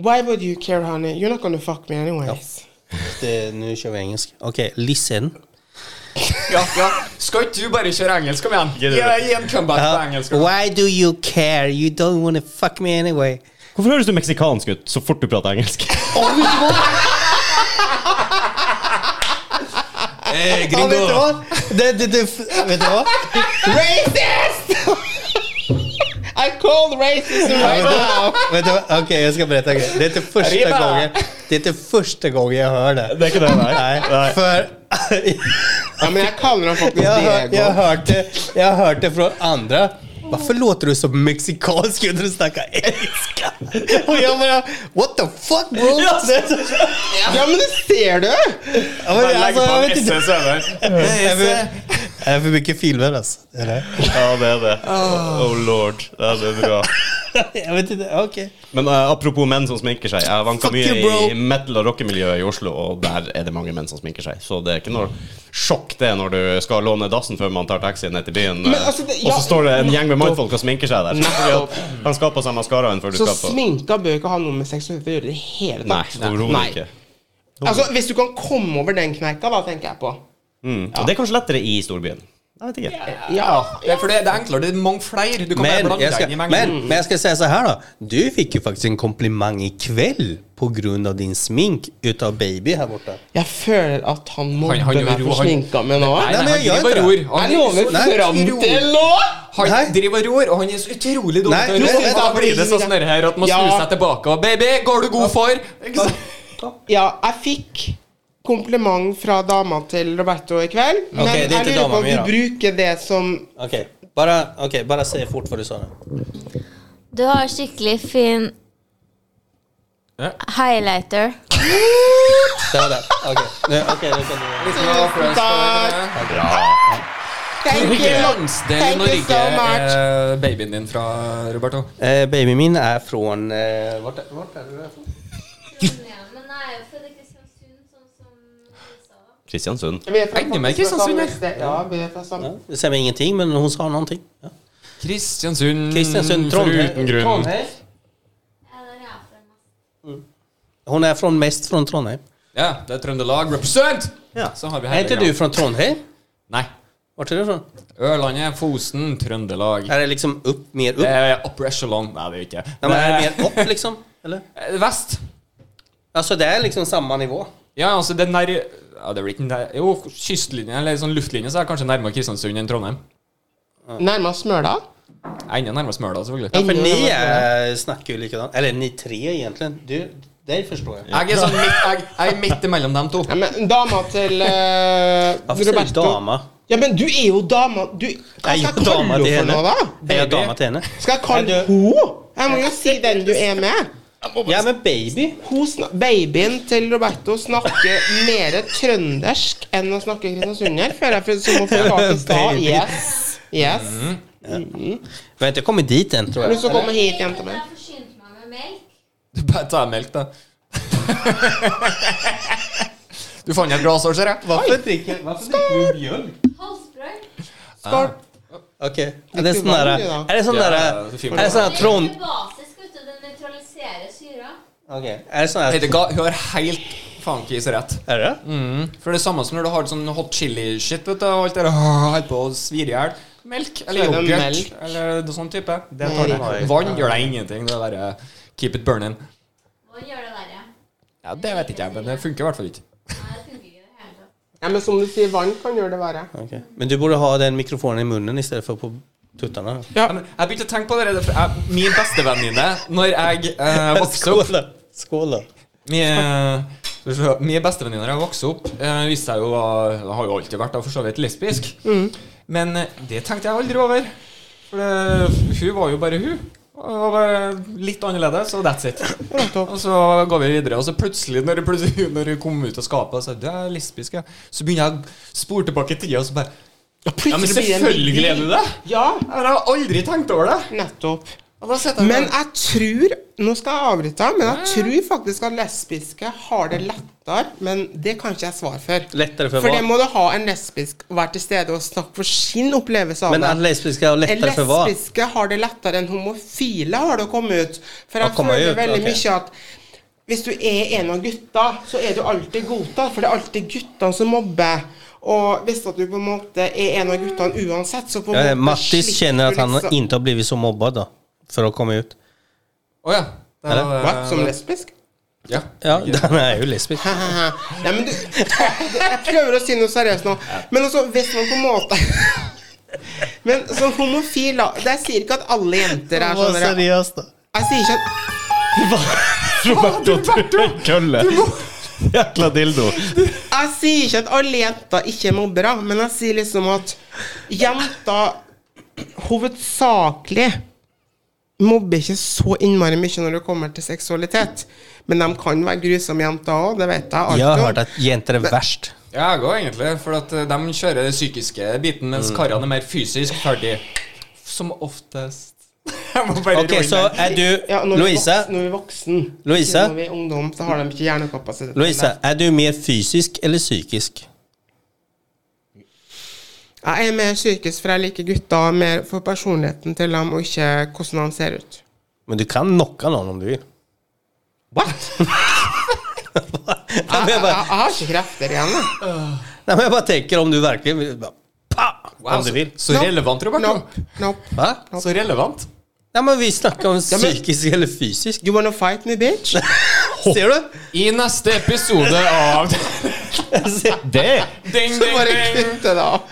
Speaker 4: Why would you care, honey? You're not gonna fuck me anyways.
Speaker 3: Det, nu kör vi engelska. Okej, listen.
Speaker 2: Ja, ja. Skal ikke du bare kjøre engelsk? Kom igjen.
Speaker 1: Gi det.
Speaker 2: Gi, gi en comeback på
Speaker 3: Ja,
Speaker 2: engelsk.
Speaker 3: why do you care? You don't wanna fuck me anyway.
Speaker 1: Hvorfor høres du meksikansk ut så fort du prater engelsk?
Speaker 2: Eh,
Speaker 3: Ja, vet du
Speaker 2: gringo.
Speaker 3: vad? Det, det, det, vet du vad?
Speaker 4: Racist! I called racism
Speaker 3: Ja,
Speaker 4: right
Speaker 3: men
Speaker 4: now.
Speaker 3: det- vet du vad? Okej, jag ska berätta en grej. Det är inte första
Speaker 2: Arriba!
Speaker 3: gången, det är inte första gången jeg hör det.
Speaker 1: Det er ikke det, nei.
Speaker 3: Nej,
Speaker 1: Nei.
Speaker 3: för
Speaker 4: Ja, men jeg kaller ham faktisk
Speaker 3: jag, hör, jag,
Speaker 4: Diego.
Speaker 3: har hört det, jag har hört det från andra. Varför låter du så mexikansk när du snackar engelska? Och jag bara, what the fuck bro?
Speaker 1: Ja.
Speaker 4: Ja, men det ser du!
Speaker 3: Ja, men,
Speaker 2: Legg
Speaker 4: Altså,
Speaker 3: alltså,
Speaker 2: på
Speaker 3: jag
Speaker 2: en
Speaker 3: vet inte.
Speaker 2: SS over.
Speaker 3: Det är för- det är för mycket filmer alltså. Det är det.
Speaker 1: Ja, det er det.
Speaker 4: Ah.
Speaker 1: Oh lord. Ja, det er bra.
Speaker 3: Jag vet inte, okej.
Speaker 1: Men eh, apropos menn som sminker seg. Jeg vanka
Speaker 3: Fuck
Speaker 1: mye
Speaker 3: you, bro.
Speaker 1: i metal- og rockemiljøet i Oslo, og der er det mange menn som sminker seg. Så det er ikke noe sjokk det når du skal låne dassen før man tar taxi ned til byen,
Speaker 4: Men
Speaker 1: eh,
Speaker 4: altså, det-
Speaker 1: og
Speaker 4: ja,
Speaker 1: så står det en gjeng med mannfolk og sminker seg der.
Speaker 4: Nettopp.
Speaker 1: Han skal på seg maskaraen før du
Speaker 4: Så
Speaker 1: skal på
Speaker 4: sminka bør ikke ha noe med seksuelt å gjøre i det hele
Speaker 1: Nei,
Speaker 4: tatt.
Speaker 1: overhodet
Speaker 4: Nei.
Speaker 1: ikke.
Speaker 4: Altså, Hvis du kan komme over den kneika, da, tenker jeg på.
Speaker 1: Mm. Og det er kanskje lettere i storbyen. Jeg vet ikke.
Speaker 2: Ja, det er, for det, det er enklere. Det er mange flere. Du kan bare
Speaker 3: Men
Speaker 2: blande
Speaker 3: jag, ska,
Speaker 2: deg inn i mengden.
Speaker 3: men, men jag ska säga så här då. Du fick ju faktiskt en komplimang ikväll på grund av din smink utav baby här borta.
Speaker 4: Jeg føler at han
Speaker 2: Han- han
Speaker 4: mobber meg
Speaker 2: gjør jo-
Speaker 4: for
Speaker 2: han-
Speaker 4: sminka mi nå.
Speaker 2: Nei,
Speaker 3: men
Speaker 2: nei,
Speaker 3: jeg gjør
Speaker 2: han driver og
Speaker 3: ikke det.
Speaker 2: ror.
Speaker 4: Jeg
Speaker 2: Han er
Speaker 4: lover
Speaker 2: så- Nei,
Speaker 4: fram
Speaker 2: ror.
Speaker 4: til nå!
Speaker 3: Nei.
Speaker 2: Han driver og ror, og han er så utrolig dum.
Speaker 3: Nei,
Speaker 2: til å
Speaker 3: du-
Speaker 2: ro.
Speaker 3: vet-
Speaker 2: Og Da blir det sånn sånn her at man
Speaker 4: Ja.
Speaker 2: snur seg tilbake og Baby, går du god for? Ikke sant?
Speaker 4: Ja, jeg fikk kompliment fra dama til Roberto i kveld. Men
Speaker 3: Ok, det er
Speaker 4: jeg
Speaker 3: ikke
Speaker 4: lurer på
Speaker 3: dama
Speaker 4: om
Speaker 3: mi,
Speaker 4: du
Speaker 3: da.
Speaker 4: bruker det som
Speaker 3: Okej, bara, okej, bara säg fort vad du sa nu.
Speaker 5: Du har skikkelig fin
Speaker 2: Ja.
Speaker 5: highlighter.
Speaker 3: Där, där. Okej, nu, okej, nu kan du...
Speaker 4: Takk.
Speaker 1: Bra.
Speaker 4: Thank
Speaker 2: Hvilken
Speaker 4: you.
Speaker 2: landsdel i
Speaker 4: Thank you
Speaker 2: Norge
Speaker 4: so much.
Speaker 2: er babyen din fra, Roberto?
Speaker 3: Eh, baby min är från... Eh, vart, är- vart är du ifrån?
Speaker 1: Kristiansund.
Speaker 4: Vi er fra
Speaker 2: Enda mer
Speaker 4: faktisk fra samme
Speaker 2: Kristiansund,
Speaker 4: sted. Ja, vi er fra samme
Speaker 3: Ja, det säger mig ingenting, men hon sa någonting. Ja.
Speaker 2: Kristiansund.
Speaker 3: Kristiansund,
Speaker 2: Mm, foruten
Speaker 3: Trondheim.
Speaker 2: grunn.
Speaker 3: Trondheim. Hon är från, mest från Trondheim.
Speaker 2: Ja, det er Trøndelag. Represent!
Speaker 1: Ja.
Speaker 2: Så har vi
Speaker 3: Är inte du
Speaker 2: Helgeland.
Speaker 3: från Trondheim?
Speaker 2: Nei.
Speaker 3: Vart är du ifrån?
Speaker 2: Ørlandet, Fosen, Trøndelag.
Speaker 3: Är det liksom upp, mer upp?
Speaker 2: Det er upper echelon. Eh, Nei, det er ikke
Speaker 3: Nej, men är det mer upp liksom? Eller?
Speaker 2: Eh, Vest.
Speaker 3: Alltså det är liksom samma nivå.
Speaker 2: Ja, altså, den der ja, det er vel ikke den der, Jo, kystlinje, eller sånn luftlinje, så er det kanskje nærmere Kristiansund enn Trondheim.
Speaker 4: Nærmest Smøla?
Speaker 2: Enda nærmere Smøla, selvfølgelig.
Speaker 3: Ja, för
Speaker 4: Ingen
Speaker 3: ni
Speaker 4: annan
Speaker 3: är, snackar ju likadant. Eller ni tre egentligen. Du, dig förstår jag.
Speaker 2: Jeg er sånn midt, jeg, jeg er midt imellom dem to.
Speaker 4: Ja, men dama til eh,
Speaker 3: Varför säger du
Speaker 4: Roberto
Speaker 3: dama?
Speaker 4: Ja, men du er jo dama du, Hva
Speaker 3: Jeg er
Speaker 4: skal jeg
Speaker 3: jo dama
Speaker 4: kalle
Speaker 3: til henne.
Speaker 4: henne for noe, da?
Speaker 3: Jeg er
Speaker 2: Baby.
Speaker 3: dama til henne.
Speaker 4: Skal jeg kalle
Speaker 3: Ja, du-
Speaker 4: henne Jeg må jo si den du er med.
Speaker 3: Ja, men baby
Speaker 4: Hun snak, babyen til Roberto snakker mer trøndersk enn å snakke kristiansunder, føler jeg, for som hun forklarte i stad.
Speaker 3: Baby.
Speaker 4: Yes. Yes.
Speaker 3: Vi har ikke kommet dit ennå, tror
Speaker 4: Har du lyst
Speaker 3: jeg.
Speaker 4: til å komme hit hjem til meg?
Speaker 5: Jeg forsynte meg med melk.
Speaker 2: Du bare tar melk, da. du fant et glass, ser jeg.
Speaker 3: Hvorfor drikker du mjølk?
Speaker 5: Halsbrød.
Speaker 4: Skål.
Speaker 3: Ok. Er det sånn derre Er det sånn
Speaker 2: Ja,
Speaker 3: derre
Speaker 2: det er fint.
Speaker 3: Er det sånn derre Trond...
Speaker 5: Det er basisk, vet du. Den nøytraliserer syra.
Speaker 3: Ok. Er det sånn
Speaker 2: Nei,
Speaker 3: derre
Speaker 2: det ga- Hun har helt fankis rett. Mm.
Speaker 3: Er det
Speaker 2: For det er samme som når du har sånn hot chili-shit, vet du, og alt det der ah, holder på å svire i hjel. Melk eller
Speaker 4: Så er det
Speaker 2: yoghurt
Speaker 4: melk.
Speaker 2: eller noe sånn type. Det
Speaker 4: Melk.
Speaker 2: tar jeg. Vann gjør deg ingenting. Det er bare keep it burning.
Speaker 5: Hva gjør det verre?
Speaker 2: Ja, Det vet ikke jeg, men det funker i hvert fall ikke.
Speaker 5: Nei, det funker ikke i det hele tatt.
Speaker 4: Ja, men som du sier, vann kan gjøre det verre.
Speaker 3: Ok. Men du burde ha den mikrofonen i munnen i stedet for på tuttene.
Speaker 2: Ja, men Jeg begynte å tenke på det der, for jeg, Min bestevenninne når jeg eh, vokste opp
Speaker 3: Skål, da. Skål, da.
Speaker 2: Min, skal vi se, min bestevenninne da jeg vokste opp, eh, viste jeg jo var- har jo alltid vært da, for så vidt lesbisk. Men eh, det tenkte jeg aldri over. For det, hun var jo bare hun. Og var eh, litt annerledes, og that's it. Og så går vi videre, og så plutselig, når, plutselig, når hun kom ut av skapet og sa du er lesbisk, ja, så begynner jeg å spore tilbake i tida, og så bare Ja, men
Speaker 4: Plutselig blir det en
Speaker 2: selvfølgelig er du
Speaker 4: big deal.
Speaker 2: det!
Speaker 4: Ja,
Speaker 2: Jeg har aldri tenkt over det.
Speaker 4: nettopp.
Speaker 2: Og da sitter jeg
Speaker 4: Men
Speaker 2: der.
Speaker 4: jeg tror Nå skal jeg avbryte, deg, men jeg tror faktisk at lesbiske har det lettere. Men det kan ikke jeg svare for.
Speaker 3: Lettere for
Speaker 4: For det
Speaker 3: hva?
Speaker 4: må du ha en lesbisk og være til stede og snakke for sin opplevelse av
Speaker 3: Men er
Speaker 4: det.
Speaker 3: lesbiske og lettere for hva?
Speaker 4: Lesbiske har det lettere enn homofile har det å komme ut.
Speaker 3: Å
Speaker 4: For jeg
Speaker 3: komme
Speaker 4: føler
Speaker 3: ut,
Speaker 4: veldig
Speaker 3: ok.
Speaker 4: mye at hvis du er en av gutta, så er du alltid godtatt, for det er alltid guttene som mobber. Og hvis at du på en måte er en av guttene uansett, så på en
Speaker 3: Ja,
Speaker 4: måte
Speaker 3: Mattis
Speaker 4: slipper
Speaker 3: kjenner
Speaker 4: du
Speaker 3: at han
Speaker 4: liksom-
Speaker 3: ikke har blitt så mobbet da, for å komme ut.
Speaker 2: Å ja. Det
Speaker 3: Eller?
Speaker 2: var- eh,
Speaker 4: Hva? Som lesbisk?
Speaker 2: Ja.
Speaker 3: Ja, han er jo lesbisk.
Speaker 4: Nei, men du Jeg prøver å si noe seriøst nå. Men altså, hvis man på en måte Men som homofil, da det- Jeg sier ikke at alle jenter er sånn. dere-
Speaker 3: seriøs, da.
Speaker 4: Jeg sier ikke at
Speaker 1: Roberto trykker en kølle. Jækla dildo.
Speaker 4: Jeg sier ikke at alle jenter ikke er mobbere, men jeg sier liksom at jenter hovedsakelig mobber ikke så innmari mye når det kommer til seksualitet. Men de kan være grusomme jenter òg, det vet jeg. alt
Speaker 3: Jeg har
Speaker 4: om.
Speaker 3: hørt at jenter er verst.
Speaker 2: Ja, jeg går egentlig, for at eh, de kjører den psykiske biten, mens karene er mer fysisk ferdig. Som oftest. Jeg må bare
Speaker 3: Ok,
Speaker 2: roe
Speaker 3: så
Speaker 2: meg.
Speaker 3: er
Speaker 4: Ja,
Speaker 3: du
Speaker 4: når
Speaker 3: Louise,
Speaker 4: Vi er voksen, når vi er voksen,
Speaker 3: Louise?
Speaker 4: Når vi er ungdom, så har de ikke hjernekapasitet. til
Speaker 3: Louise, er du mer fysisk eller psykisk?
Speaker 4: det. Jeg er mer psykisk, for jeg liker gutter mer for personligheten til dem, og ikke hvordan han ser ut.
Speaker 3: Men du kan knocke noen om du vil.
Speaker 4: What?
Speaker 3: Nei, men
Speaker 4: Jeg,
Speaker 3: jeg
Speaker 4: jeg,
Speaker 3: bare,
Speaker 4: jeg har ikke krefter igjen, jeg.
Speaker 3: nei, men jeg bare tenker om du virkelig vil bare, pa,
Speaker 2: Wow,
Speaker 3: Om du
Speaker 2: så,
Speaker 3: vil.
Speaker 2: så relevant, Roberto.
Speaker 4: Nope. nope.
Speaker 3: Hva?
Speaker 2: Så relevant.
Speaker 3: Nei, men vi snakker om
Speaker 4: men-
Speaker 3: psykisk eller fysisk.
Speaker 4: You wanna fight me, bitch?
Speaker 3: Ser du?
Speaker 2: I neste episode av
Speaker 1: Det
Speaker 2: Ding,
Speaker 4: Så
Speaker 2: ding,
Speaker 4: bare
Speaker 2: ding.
Speaker 4: kutte det av.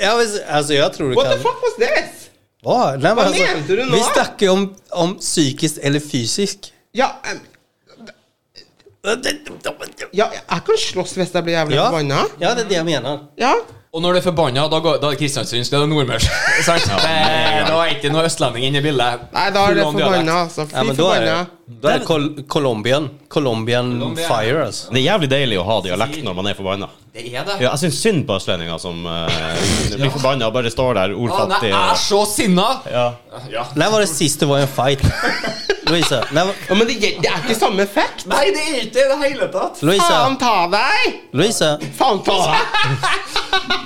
Speaker 3: Ja, men, altså, jeg tror du
Speaker 4: What the
Speaker 3: kan
Speaker 4: fuck was this?
Speaker 3: Hva? Nei, men,
Speaker 4: Hva
Speaker 3: altså,
Speaker 4: mente du nå?
Speaker 3: Vi snakker jo om, om psykisk eller fysisk.
Speaker 4: Ja, em, ja, jeg kan slåss hvis jeg blir jævlig
Speaker 3: Ja.
Speaker 4: forbanna.
Speaker 3: ja, det er det jeg mener.
Speaker 4: Ja.
Speaker 2: Og når du er forbanna, da, går- da er det Kristiansundsk, det er Nordmørs. Sant? Det- Da er ikke noe østlending inne i bildet.
Speaker 4: Nei, da er det
Speaker 2: Full on
Speaker 4: forbanna,
Speaker 2: dialekt.
Speaker 4: altså.
Speaker 3: Ja,
Speaker 4: Fy
Speaker 3: men da er det,
Speaker 4: forbanna.
Speaker 3: da er det Col Colombian. Colombian
Speaker 2: Colombian.
Speaker 3: fire, altså.
Speaker 1: Det er jævlig deilig å ha dialekt når man er forbanna.
Speaker 2: Det er det.
Speaker 1: Ja, jeg syns synd på østlendinger som eh, blir forbanna og bare står
Speaker 2: Ah,
Speaker 1: der
Speaker 2: nei,
Speaker 1: ordfattig.
Speaker 2: jeg er
Speaker 1: og-
Speaker 2: så sinna!
Speaker 1: Ja.
Speaker 2: Ja.
Speaker 3: När var det sist det var en fight? Louisa, när var...
Speaker 4: Ja, men det, det er ikke samme effekt.
Speaker 2: Nei, det er ikke det i det hele tatt.
Speaker 4: Faen
Speaker 3: Louisa,
Speaker 4: ta deg!
Speaker 3: Louisa,
Speaker 4: Faen ta deg!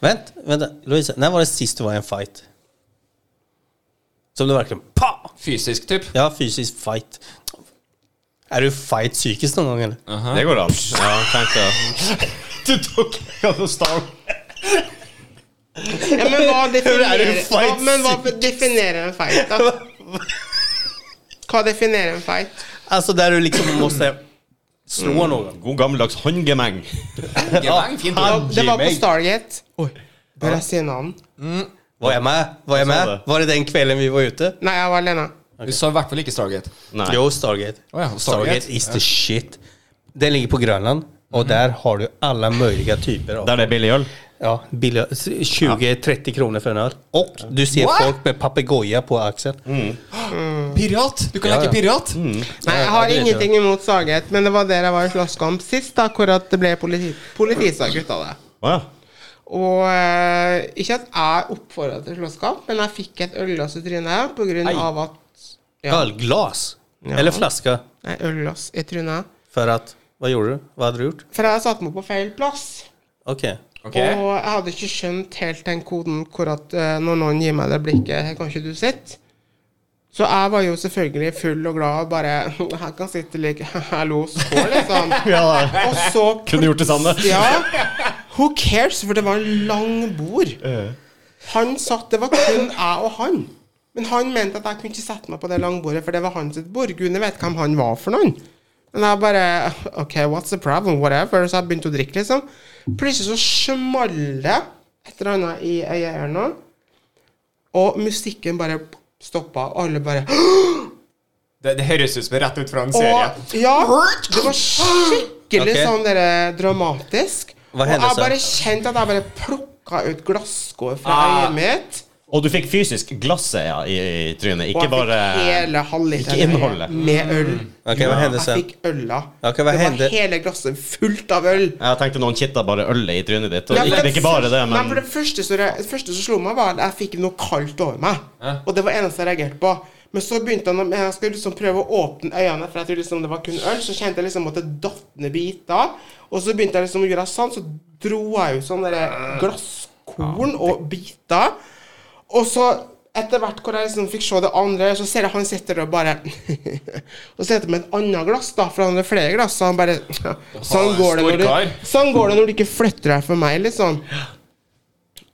Speaker 3: vänt, vänta, Louisa, när var det sist det var en fight? Som du verkligen, pa!
Speaker 2: Fysisk, typ.
Speaker 3: Ja, fysisk fight. Är du fight psykiskt någon gång eller?
Speaker 1: Det går an. Ja, tenkte jeg. Du tok av stav.
Speaker 4: Ja, men hva
Speaker 3: er det
Speaker 4: definerer, hva,
Speaker 3: fight
Speaker 4: men hva
Speaker 3: sick?
Speaker 4: definerer en fight, da? Hva definerer en fight?
Speaker 3: Alltså där du liksom måste slå någon.
Speaker 1: God gammeldags håndgemeng.
Speaker 2: Gevang, fint ord.
Speaker 4: Det var på
Speaker 3: G-meg.
Speaker 4: Stargate. Oi, bør jeg si navn?
Speaker 3: Var jag med? Var jag
Speaker 1: Jag sa
Speaker 3: med?
Speaker 1: det.
Speaker 3: Var det den kvällen vi var ute?
Speaker 4: Nei, jeg var alene.
Speaker 2: Du sa i hvert fall ikke Stargate.
Speaker 1: Nei.
Speaker 3: Jo, Stargate.
Speaker 2: Oh ja, Stargate.
Speaker 3: Stargate is the shit. Den ligger på Grönland och Mhm. där har du alla möjliga typer av...
Speaker 1: Der det er billig øl?
Speaker 3: Ja, billiga- 20-30 kronor för en öl. Och Mm. du ser
Speaker 2: What?
Speaker 3: folk med papegoja på axeln.
Speaker 2: Pirat! Du kan
Speaker 3: Ja,
Speaker 2: leke
Speaker 3: ja.
Speaker 2: pirat!
Speaker 4: Nei, jeg
Speaker 3: Ja,
Speaker 4: har
Speaker 3: det vet
Speaker 4: ingenting imot Saget, men det var der jeg var i slåsskamp sist, da, hvor at det ble politi, politisak ut av det.
Speaker 1: Å ja.
Speaker 4: Og eh, ikke at jeg oppfordra til slåsskamp, men jeg fikk et ølglass i trynet på grunn
Speaker 3: Ai.
Speaker 4: av at ja,
Speaker 3: Ölglas?
Speaker 4: Ja.
Speaker 3: Eller flaska?
Speaker 4: Nei, ølglass i trynet.
Speaker 3: För att, vad gjorde du? Vad hade du gjort?
Speaker 4: For jeg satte meg på feil plass.
Speaker 3: Okej.
Speaker 2: Ok.
Speaker 4: Og jeg hadde ikke skjønt helt den koden hvor at eh, når noen gir meg det blikket Her kan ikke du sitte. Så jeg var jo selvfølgelig full og glad og bare Jeg kan sitte like Hallo, skål, liksom.
Speaker 1: ja.
Speaker 4: Og så
Speaker 1: Kunne gjort det samme.
Speaker 4: Ja. Who cares? For det var en lang bord. Han satt Det var kun jeg og han. Men han mente at jeg kunne ikke sette meg på det langbordet, for det var hans sitt bord. Gudene vet hvem han var for noen. Men jeg bare OK, what's the problem? Whatever. Så jeg begynte å drikke, liksom. Plutselig så smalt det et eller annet i øyet her nå. Og musikken bare stoppa, og alle bare
Speaker 2: Det, det høres ut som det er rett ut fra en serie.
Speaker 4: og, ja, det var skikkelig
Speaker 3: Ok.
Speaker 4: sånn dere, dramatisk.
Speaker 3: Hva
Speaker 4: og
Speaker 3: hendte
Speaker 4: jeg
Speaker 3: så?
Speaker 4: bare kjente at jeg bare plukka ut glasskår fra
Speaker 2: Ah.
Speaker 4: øyet mitt.
Speaker 1: Og du fikk fysisk glasset ja, i, i trynet,
Speaker 4: Og
Speaker 1: ikke
Speaker 4: jeg
Speaker 1: bare
Speaker 4: fikk hele halvliteren
Speaker 1: ikke innholdet.
Speaker 4: med øl.
Speaker 3: Okej, vad hände
Speaker 4: Jeg
Speaker 3: sen?
Speaker 4: fikk øla.
Speaker 3: Ok, hva
Speaker 4: det
Speaker 3: hende-
Speaker 4: var hele glasset fullt av øl.
Speaker 1: Jeg tenkte noen kitta bare ølet i trynet ditt. Og
Speaker 4: Ja, for
Speaker 1: ikke, det er ikke bare det,
Speaker 4: Nei, for
Speaker 1: men
Speaker 4: det første, som, det første som slo meg, var at jeg fikk noe kaldt over meg.
Speaker 2: Ja.
Speaker 4: Og det var det eneste jeg reagerte på. Men så begynte han å- jeg skulle liksom prøve å åpne øynene, for jeg trodde liksom det var kun øl. Så kjente jeg liksom at det datt ned biter. Og så begynte jeg liksom å gjøre sånn, så dro jeg ut sånne der glasskorn og biter. Og så etter hvert hvor jeg liksom fikk se det andre, så ser jeg han sitter og bare Og sitter med et annet glass, da, for han har flere glass, så han bare Sånn går det når
Speaker 2: Storkar.
Speaker 4: du, sånn går det når du ikke flytter deg for meg, liksom.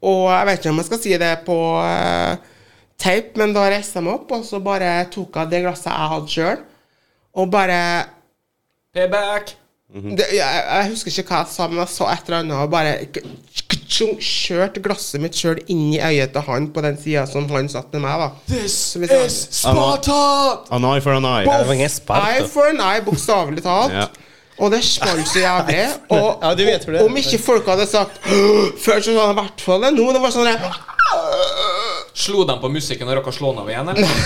Speaker 4: Og jeg vet ikke om jeg skal si det på eh, tape, men da reiste jeg meg opp, og så bare tok jeg det glasset jeg hadde sjøl, og bare
Speaker 2: Payback!
Speaker 4: det, jeg, jeg husker ikke hva jeg sa, men jeg så et eller annet og bare k- k- tjung, kjørte glasset mitt sjøl inn i øyet til han på den sida som han satt med meg, da.
Speaker 2: This
Speaker 4: vi tar-
Speaker 2: is Sparta!
Speaker 1: An eye for an eye.
Speaker 3: Det var ingen spark
Speaker 4: Eye
Speaker 3: då.
Speaker 4: for an eye, bokstavelig talt.
Speaker 1: Ja.
Speaker 4: Og det smalt så jævlig. Og
Speaker 3: Ja, du vet hvor det er.
Speaker 4: om ikke folk hadde sagt Før så hadde sånn, i hvert fall det nå. Det var sånn der,
Speaker 2: Slo dem på musikken og rakk å slå den av igjen? eller?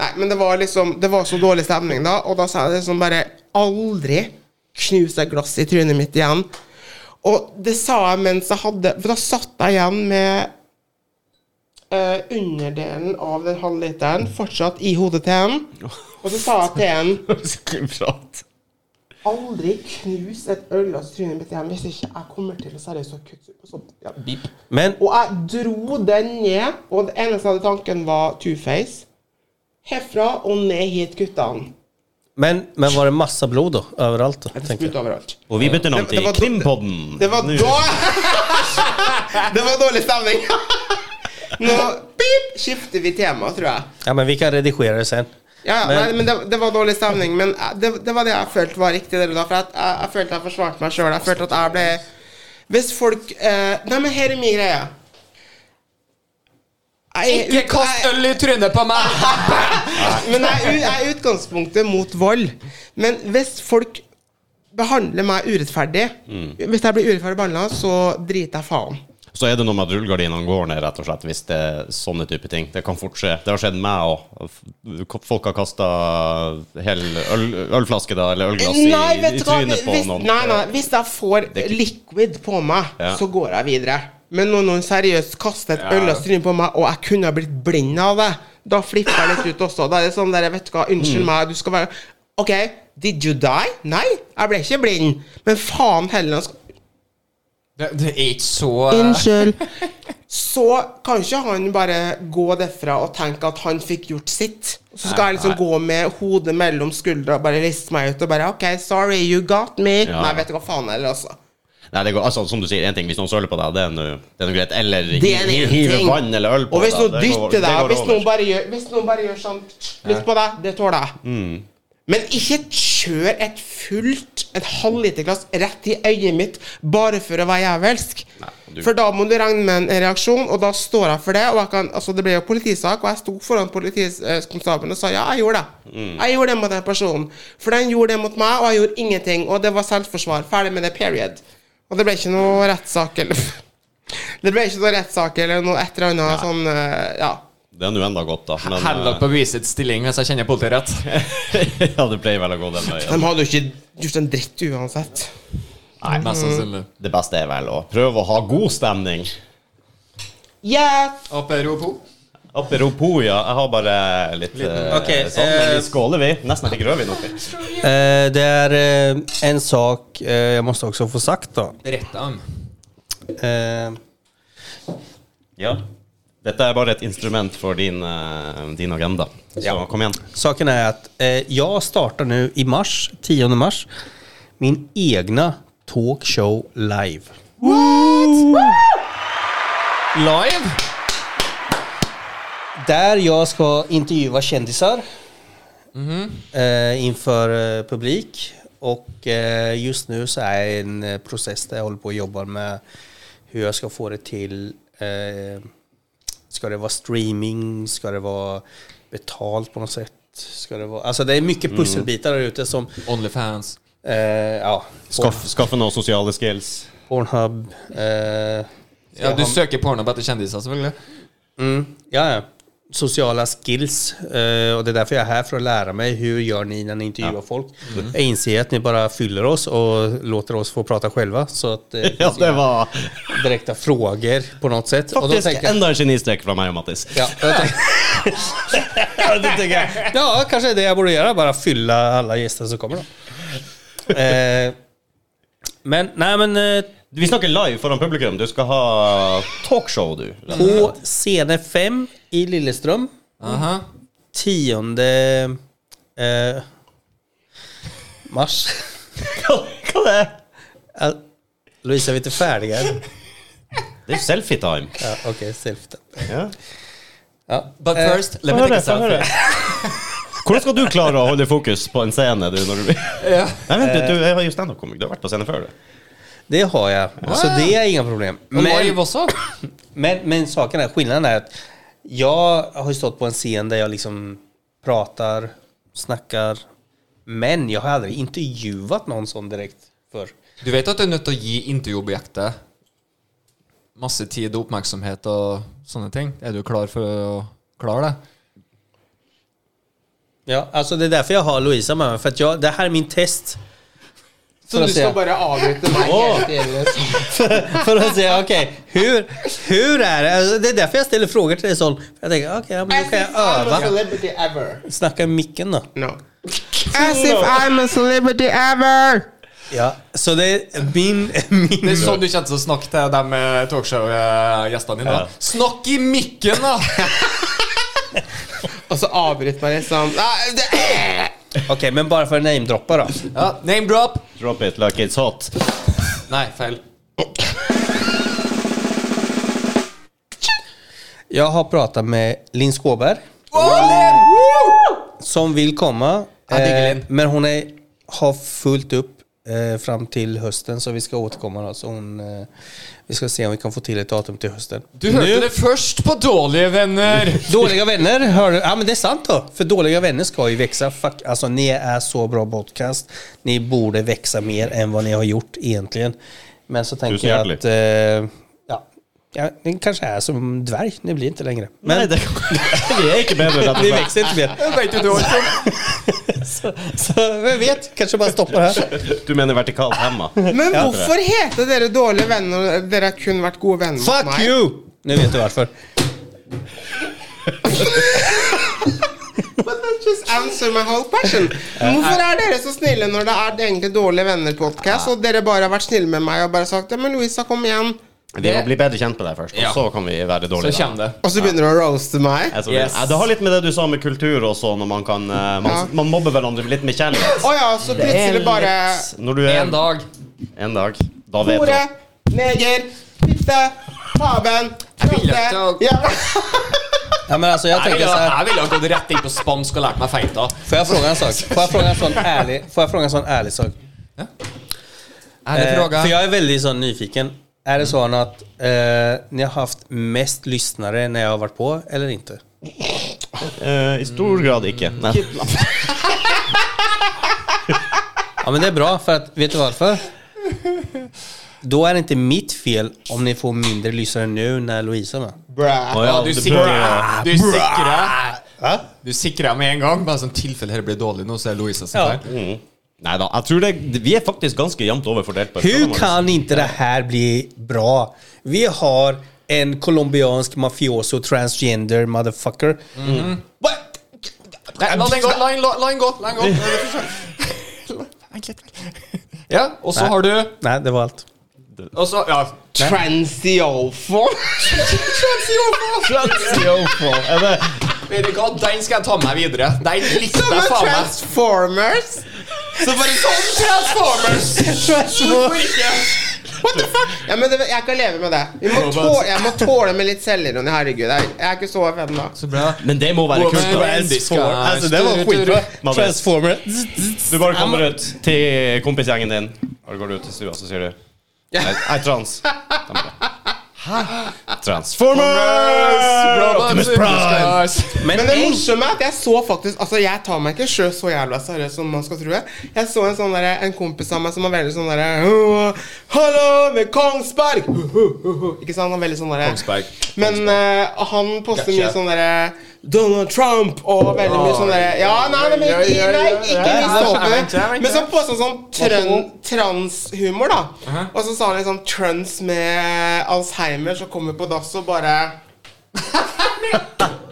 Speaker 4: Nei, men det var liksom Det var så dårlig stemning da, og da sa jeg liksom bare Aldri knus et glass i trynet mitt igjen. Og det sa jeg mens jeg hadde For da satt jeg igjen med eh, underdelen av den halvliteren fortsatt i hodet til henne. Og så sa jeg til henne
Speaker 1: Prat.
Speaker 4: Aldri knus et ølglass i trynet mitt igjen hvis ikke jeg kommer til å seriøst å kutte ut på sånt. Ja.
Speaker 3: Men
Speaker 4: Og jeg dro den ned, og det eneste jeg hadde tanken, var two-face. Herfra og ned hit, guttene.
Speaker 3: Men, men var det massa blod då? Överallt då?
Speaker 4: Det
Speaker 3: tänker jag.
Speaker 4: spruta overalt.
Speaker 1: Og vi bytter navn
Speaker 4: Det- det
Speaker 1: til
Speaker 4: var-
Speaker 1: Krimpodden.
Speaker 4: Det var
Speaker 1: Nå-
Speaker 4: da Det var dårlig stemning. Nå pip, skifter vi tema, tror jeg.
Speaker 3: Ja, men vi kan redigera det sen.
Speaker 4: Ja, ja,
Speaker 3: Men-
Speaker 4: nei, men det, det var dårlig stemning, men eh, det, det var det jeg følte var riktig. Der, og da, for jeg, jeg, jeg følte jeg forsvarte meg sjøl. Jeg følte at jeg ble Hvis folk eh, Nei, men her er min greie. Jeg,
Speaker 2: Ikke kast øl i trynet på meg!
Speaker 4: Men jeg er u- jeg er i utgangspunktet mot vold. Men hvis folk behandler meg urettferdig Hvis jeg blir urettferdig behandla, så driter jeg faen.
Speaker 1: Så er det noe med at rullegardinene går ned, rett og slett, hvis det er sånne type ting. Det kan fort skje. Det har skjedd meg òg. Folk har kasta hel øl, ølflaske da, eller ølglass i,
Speaker 4: Nei, vet
Speaker 1: i
Speaker 4: du hva?
Speaker 1: trynet på
Speaker 4: Hvis,
Speaker 1: noen.
Speaker 4: nei, nei, hvis jeg får
Speaker 1: Det er ikke-
Speaker 4: liquid på meg,
Speaker 1: Ja.
Speaker 4: så går jeg videre. Men når noen seriøst kaster et
Speaker 2: Ja.
Speaker 4: øl og stryn på meg, og jeg kunne ha blitt blind av det, da flipper jeg litt ut også. Da er det sånn der, vet du hva,
Speaker 1: Mm.
Speaker 4: unnskyld meg, du skal være OK, did you die? Nei, jeg ble ikke blind. Men faen heller, nå skal
Speaker 2: Det, det er ikke så eh,
Speaker 4: Unnskyld. Så kan ikke han bare gå derfra og tenke at han fikk gjort sitt. Så skal jeg liksom gå med hodet mellom skuldra og bare riste meg ut og bare OK, sorry, you got me.
Speaker 1: Ja.
Speaker 4: Nei, vet du hva faen heller, altså.
Speaker 1: Nei, det går, altså, som du sier, en ting hvis noen søler på deg, det er nå det er noe greit. Eller
Speaker 4: Det er en
Speaker 1: hi-
Speaker 4: egen
Speaker 1: hiver
Speaker 4: ting.
Speaker 1: vann eller øl på
Speaker 4: Og hvis
Speaker 1: deg.
Speaker 4: noen dytter deg, og hvis noen bare gjør, hvis noen bare gjør sånn litt på deg, det tåler jeg. Men ikke kjør et fullt, et halvliterglass rett i øyet mitt bare for å være jævelsk.
Speaker 1: du-
Speaker 4: For da må du regne med en reaksjon, og da står jeg for det. Og jeg kan, altså det ble jo politisak, og jeg sto foran politikonstabelen og sa ja, jeg gjorde det. Jeg gjorde det mot den personen. For den gjorde det mot meg, og jeg gjorde ingenting. Og det var selvforsvar. Ferdig med det, period. Og det ble ikke noe rettssak eller Det ble ikke noe rettssak eller noe et eller annet sånn eh, Ja.
Speaker 1: Det er nå enda godt, da. Men
Speaker 2: Held dere på bevisets stilling hvis jeg kjenner politiet rett.
Speaker 1: eh, ja, det pleier vel å gå den
Speaker 4: De
Speaker 1: veien.
Speaker 4: hadde jo ikke gjort en dritt uansett.
Speaker 2: Nei, mest sannsynlig.
Speaker 1: Det beste er vel å prøve å ha god stemning.
Speaker 4: Yes!
Speaker 2: Apropos.
Speaker 1: Apropos, ja. Jeg har bare litt eh,
Speaker 3: Ok,
Speaker 1: sånn, men
Speaker 3: eh,
Speaker 1: vi skåler, vi. Nesten jeg fikk rødvin oppi.
Speaker 3: Eh, det er eh, en sak eh, jeg måste også få sagt da.
Speaker 2: Rett dem.
Speaker 3: Eh,
Speaker 1: Ja. Dette er bare et instrument for din, eh, din agenda. Så
Speaker 3: Ja.
Speaker 1: kom igjen.
Speaker 3: saken är att eh, jag startar nu i mars, 10 mars, min egna talkshow live.
Speaker 2: Live!
Speaker 3: Där jag ska intervjua kändisar eh, inför eh, publik. Och eh, just nu så är jag i en eh, process där jag håller på och jobbar med hur jag ska få det till. Eh, ska det vara streaming? Ska det vara betalt på något sätt? Ska det, vara, alltså det är
Speaker 1: Mm.
Speaker 3: mycket pusselbitar där ute som
Speaker 2: Onlyfans.
Speaker 3: eh, ja,
Speaker 1: Skaff, skaffe noen sosiale skills.
Speaker 3: Pornhub. Eh,
Speaker 2: Ja,
Speaker 3: jag
Speaker 2: du
Speaker 3: har-
Speaker 2: søker porno på etter kjendiser, selvfølgelig.
Speaker 3: Mm, ja, ja. Sociala skills. eh, och det är därför jag är här för att lära mig hur gör ni när ni intervjuar folk.
Speaker 1: Mm.
Speaker 3: Jag inser att ni bara fyller oss och låter oss få prata själva. Så att det
Speaker 1: Ja,
Speaker 3: finns
Speaker 1: det
Speaker 3: inga
Speaker 1: var
Speaker 3: direkta frågor på något sätt. och då
Speaker 1: faktisk
Speaker 3: tänker jag,
Speaker 1: enda en genistrek fra meg og Mattis.
Speaker 3: ja, jag tänker, Ja, det tänker jag, ja, kanske det jag borde göra. Bara fylla alla gäster som kommer. Då. Eh, men nej, men eh,
Speaker 1: Vi snakker live foran publikum. Du skal ha talkshow, du.
Speaker 3: på scene 5 i Lilleström
Speaker 2: Aha.
Speaker 3: tionde eh, mars.
Speaker 1: Hva, hva det er
Speaker 3: Eh, Louise, vi är inte färdiga än.
Speaker 1: det? er selfie time.
Speaker 3: Ja, Okej, self-tap.
Speaker 1: Ja.
Speaker 3: Ja.
Speaker 2: But
Speaker 3: Eh,
Speaker 2: first, let me take a selfie.
Speaker 1: Hvordan skal du klare å holde fokus på en scene? Du, når du... Eh.
Speaker 2: Ja.
Speaker 1: Nei, vent, du, du er jo standup-komiker. Du har vært på scene før, du.
Speaker 3: Det har jag, så det är inga problem.
Speaker 2: Og
Speaker 3: Men,
Speaker 2: live også.
Speaker 3: men, men saken är, skillnaden är att jag har ju stått på en scen där jag liksom pratar, snackar, men jeg har aldrig intervjuat någon sån direkt förr.
Speaker 2: Du vet at du er nødt til å gi intervjuobjektet masse tid og oppmerksomhet og sånne ting? Er du klar for å klare det?
Speaker 3: Ja, alltså det är därför jag har Louisa med mig, för att jag, det här är min test.
Speaker 4: Så
Speaker 3: Får
Speaker 4: du
Speaker 3: jeg se.
Speaker 4: skal bare avbryte meg hele tiden?
Speaker 3: För att säga okej, hur, hur är det? Alltså, det är därför jag ställer frågor till dig Sol. För Jag tänker okej, ja, men då
Speaker 4: As
Speaker 3: kan
Speaker 4: if
Speaker 3: jag
Speaker 4: I'm a
Speaker 3: öva.
Speaker 4: celebrity ever.
Speaker 3: Snacka i micken då.
Speaker 4: No. As if I'm a celebrity ever!
Speaker 3: Ja. Så det är min... min
Speaker 2: Det er sånn du kjente til å snakke til de talkshow-gjestene dine.
Speaker 1: Ja.
Speaker 2: da. Snakk i mikken, da!
Speaker 4: Og så avbryter man liksom Nei, det-
Speaker 3: Okej, men bara för att namedroppa då.
Speaker 2: Ja, name drop.
Speaker 1: Drop it like it's hot.
Speaker 2: Nei, feil.
Speaker 3: Jag har pratat med Linn Skåberg. Som vill komma. eh,
Speaker 2: Ja, det är Linn.
Speaker 3: men hon är, har fullt upp eh, fram till hösten så vi ska återkomma då. Så hon, eh, vi ska se om vi kan få till ett datum till hösten.
Speaker 2: Du hørte det først på Dårlige venner.
Speaker 3: Dåliga vänner, hör du? Ja men det är sant då. För dåliga vänner ska ju växa. Fuck, alltså ni är så bra podcast. Ni borde växa mer än vad ni har gjort egentligen. Men så tänker
Speaker 1: Tusen
Speaker 3: jag
Speaker 1: hjärtligt.
Speaker 3: att... Eh, ja, ja, ni kanske är som dvärg. Ni blir inte längre. Men
Speaker 1: Nei, det Vi er ikke bedre, rett og
Speaker 3: ni
Speaker 1: slett.
Speaker 3: växer inte mer.
Speaker 2: Vet du, du har ikke
Speaker 3: Så, så vem vet, kanske bara stoppar här.
Speaker 1: Du mener vertikalt hemma.
Speaker 4: Men hvorfor heter dere dårlige venner og dere har kun vært gode venner mot
Speaker 3: Fuck
Speaker 4: meg?
Speaker 3: you! Nu vet du varför.
Speaker 4: But that just answer my whole question. Hvorfor er dere så snille når det er det egentlig Dårlige venner-podkast, og dere bare har vært snille med meg og bare sagt ja, men Louisa, kom igjen.
Speaker 1: Vi må bli bedre kjent med deg først, og
Speaker 2: Ja.
Speaker 1: så kan vi være
Speaker 2: Så
Speaker 1: dårlige. venner.
Speaker 2: kommer det.
Speaker 4: Og så begynner du å roaste meg.
Speaker 1: Jeg tror-
Speaker 2: Yes.
Speaker 1: Ja, Det har litt med det du sa med kultur og sånn, når man kan eh, man,
Speaker 4: Ja.
Speaker 1: man mobber hverandre litt med kjærlighet.
Speaker 4: Å ja, så plutselig bare
Speaker 1: Når du er
Speaker 2: En dag.
Speaker 1: En dag. Da vet du.
Speaker 4: Hore, neger, fitte, paven,
Speaker 2: vil at
Speaker 4: rotte
Speaker 2: jeg-
Speaker 4: ja.
Speaker 3: Ja, men altså, alltså, jag
Speaker 2: Jeg
Speaker 3: tänker
Speaker 2: ville
Speaker 3: så här.
Speaker 2: jeg ville ha gått rett inn på spansk og lært meg feita.
Speaker 3: sånn Får jag fråga en sak? Får jag fråga en sån ärlig, får jag fråga en sånn ärlig sak?
Speaker 2: Ærlig
Speaker 3: Eh,
Speaker 2: fråga.
Speaker 3: För jag är väldigt sån nyfiken. Är det så att eh, ni har haft mest lyssnare när jag har varit på eller inte?
Speaker 1: Eh, I stor grad ikke. Nei.
Speaker 3: Ja men det är bra för att, vet du varför? Då är det inte mitt fel om ni får mindre lyssnare nu när Louise är med.
Speaker 1: Å
Speaker 2: Ja,
Speaker 1: ja,
Speaker 2: du
Speaker 1: det
Speaker 2: sikra,
Speaker 1: burde-
Speaker 2: du sikra
Speaker 3: Va?
Speaker 2: Du sikra med en gang. Bare sånn tilfelle dette blir dårlig nå, så er Louisa sin
Speaker 3: Ja.
Speaker 2: her.
Speaker 1: Mm. Nei da, jeg tror det Vi er faktisk ganske jevnt over fordelt. på
Speaker 3: Hur
Speaker 1: spørsmål.
Speaker 3: kan inte det här bli bra? Vi har en colombiansk mafioso transgender motherfucker. Mm.
Speaker 2: What? Nei, La den gå, la den la- la den gå. La den gå. Vent litt. Ja, og så har du
Speaker 3: Nej, det var allt.
Speaker 2: Og så Ja.
Speaker 4: Transiofo.
Speaker 1: Er det,
Speaker 2: Vet du hva, den skal jeg ta med meg videre. Den likte
Speaker 4: Som
Speaker 2: jeg
Speaker 4: en
Speaker 2: faen meg.
Speaker 4: Transformers.
Speaker 2: Så bare sånn Transformers!
Speaker 4: Hvorfor ikke? What the fuck? Ja, men det, jeg kan leve med det. Vi må tåle, jeg må tåle med litt selvironi. Herregud, jeg, jeg er ikke så ennå.
Speaker 2: Så bra.
Speaker 1: men det må være Altså, kult. da.
Speaker 3: Alltså det var skitbra.
Speaker 1: Man vet.
Speaker 3: Transformer.
Speaker 1: Du bare kommer ut til kompisgjengen din, og du går ut til stua, så sier du Jeg jeg er trans. De bare, Hæ? Transformers! Optimus Prime!
Speaker 3: Men,
Speaker 4: Men det
Speaker 3: en,
Speaker 4: morsomme er at jeg så faktisk Altså, jeg tar meg ikke sjøl så jævla seriøst som man skal tro. Jeg så en sånn derre- en kompis av meg som var veldig sånn derre «Åh, Hallo med Kongsberg! Hu, hu, hu, hu. Ikke sant? Han er veldig sånn derre
Speaker 2: Kongsberg.
Speaker 4: Men eh, han poster
Speaker 2: Gotcha.
Speaker 4: mye sånn derre Donald Trump og veldig mye sånn derre Ja, nei, nei, men
Speaker 2: Oi, oi,
Speaker 4: ikke,
Speaker 2: oi, oi,
Speaker 4: nei,
Speaker 2: oi.
Speaker 4: ikke
Speaker 2: Ja,
Speaker 4: vi
Speaker 2: jeg
Speaker 4: så på
Speaker 2: vet, jeg
Speaker 4: det.
Speaker 2: vet,
Speaker 4: Men så
Speaker 2: jeg
Speaker 4: posta han sånn trøn, transhumor, da.
Speaker 2: Aha.
Speaker 4: Og så sa han liksom trans med Alzheimer, så kommer på dass og bare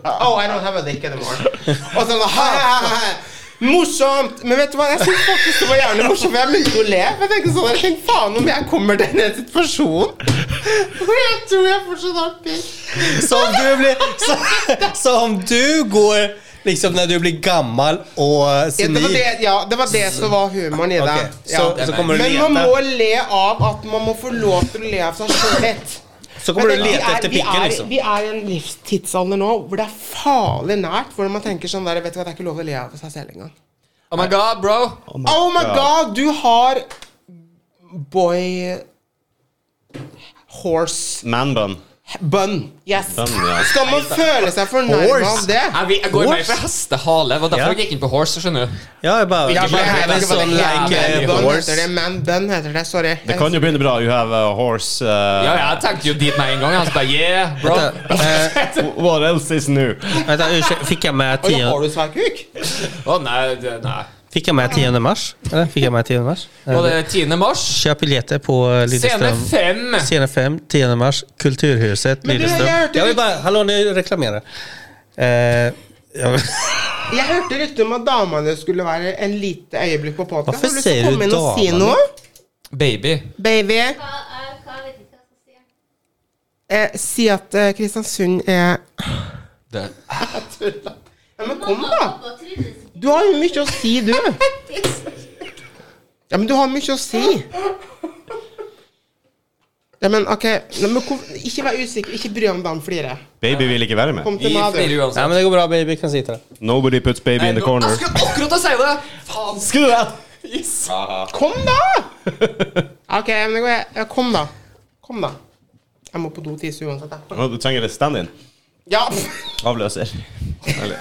Speaker 4: Oh, I don't have a dick anymore. Og sånn, ha, ha, ha, ha. Morsomt! Men vet du hva, jeg syns faktisk det var jævlig morsomt, for jeg begynte å le. Jeg tenkte sånn, jeg tenkte, faen om jeg kommer til den situasjonen hvor jeg tror jeg fortsatt har pikk.
Speaker 3: som du blir... så- Som du går liksom när du blir gammal och
Speaker 4: Ja, det var
Speaker 3: senil.
Speaker 4: det, ja, det var det som var humoren i det.
Speaker 3: Okej,
Speaker 4: Ja.
Speaker 3: så, så kommer du
Speaker 4: Men man
Speaker 3: leta,
Speaker 4: må le av at man må få lov til å le av seg sjøl litt.
Speaker 3: så kommer du
Speaker 4: Men det- vi
Speaker 3: leta
Speaker 4: er-
Speaker 3: efter
Speaker 4: vi
Speaker 3: picken
Speaker 4: er-
Speaker 3: liksom.
Speaker 4: Vi er i en livstidsalder nå hvor det er farlig nært. Hvor man tenker sånn der, vet du hva, det er ikke lov å le av seg selv engang.
Speaker 2: Oh my god, bro.
Speaker 4: Oh my god, du har boy horse
Speaker 1: Manbun.
Speaker 4: bun. Yes.
Speaker 1: Bun, ja.
Speaker 4: Skal man føle seg fornærma
Speaker 3: Horse?
Speaker 4: av det?
Speaker 2: Jeg, vil- jeg går mer for hestehale. Det var
Speaker 3: Ja.
Speaker 2: derfor jeg gikk inn på horse. skjønner du
Speaker 3: Ja, jag bara...
Speaker 2: Jag
Speaker 3: You
Speaker 2: bara-
Speaker 3: have a
Speaker 2: jag bara-
Speaker 3: son Sånn like
Speaker 2: jag
Speaker 3: a
Speaker 2: bara-
Speaker 4: Bun
Speaker 3: horse.
Speaker 4: heter det. Man bun heter det. Sorry.
Speaker 1: Det kan jo begynne bra. You have a horse. Uh,
Speaker 2: Ja, jeg tenkte jo dit med en gang. Han sa yeah, bro.
Speaker 3: Vänta,
Speaker 1: What else is new?
Speaker 3: Vänta, ursäkta, fick jag med
Speaker 4: Oi, har
Speaker 3: 10,
Speaker 4: du svær kuk?
Speaker 2: Å nei, det, nei.
Speaker 3: fick jag med 10 mars? Eller? Fick jag med 10 mars?
Speaker 2: Var det 10. mars?
Speaker 3: Köp biljetter på eh,
Speaker 2: Scene
Speaker 3: Lilleström.
Speaker 2: fem.
Speaker 3: Scene 5, 10 mars, Kulturhuset,
Speaker 4: Men du,
Speaker 3: Lillestrøm.
Speaker 4: jag hörde-
Speaker 3: Jag vill bara, hallå nu reklamerar jag. Eh, jag
Speaker 4: Jeg hørte rykter om at damene skulle være en lite øyeblikk på podkast.
Speaker 3: Hvorfor sier du
Speaker 4: Si
Speaker 3: damene?
Speaker 4: noe,
Speaker 2: Baby.
Speaker 4: baby.
Speaker 5: Hva, jeg, hva vet ikke hva jeg skal si.
Speaker 4: Eh, si at eh, Kristiansund er
Speaker 2: Det.
Speaker 4: Ja, men kom,
Speaker 5: Mamma og
Speaker 4: da!
Speaker 5: pappa trivdes ikke.
Speaker 4: Du har jo mye å si, du. Ja, men du har mye å si. Ja, men ok Nei, men, hvor- Ikke vær usikker. Ikke bry deg om Dan flirer.
Speaker 1: Baby vil ikke være med.
Speaker 4: Kom
Speaker 2: Vi
Speaker 4: til meg,
Speaker 2: flirer
Speaker 4: du.
Speaker 3: ja,
Speaker 2: uansett.
Speaker 3: men det går bra baby, kan sitta där.
Speaker 1: Nobody puts baby in the corner.
Speaker 2: Jeg skulle akkurat å si det! Faen.
Speaker 1: Skulle du det?
Speaker 2: Yes.
Speaker 4: Kom, da! Ok, men det går jeg. Ja, kom, da. Kom, da. Jeg må på do og tisse uansett. Jeg.
Speaker 1: Å, Du trenger litt stand-in.
Speaker 4: Ja.
Speaker 1: Avløser. Eller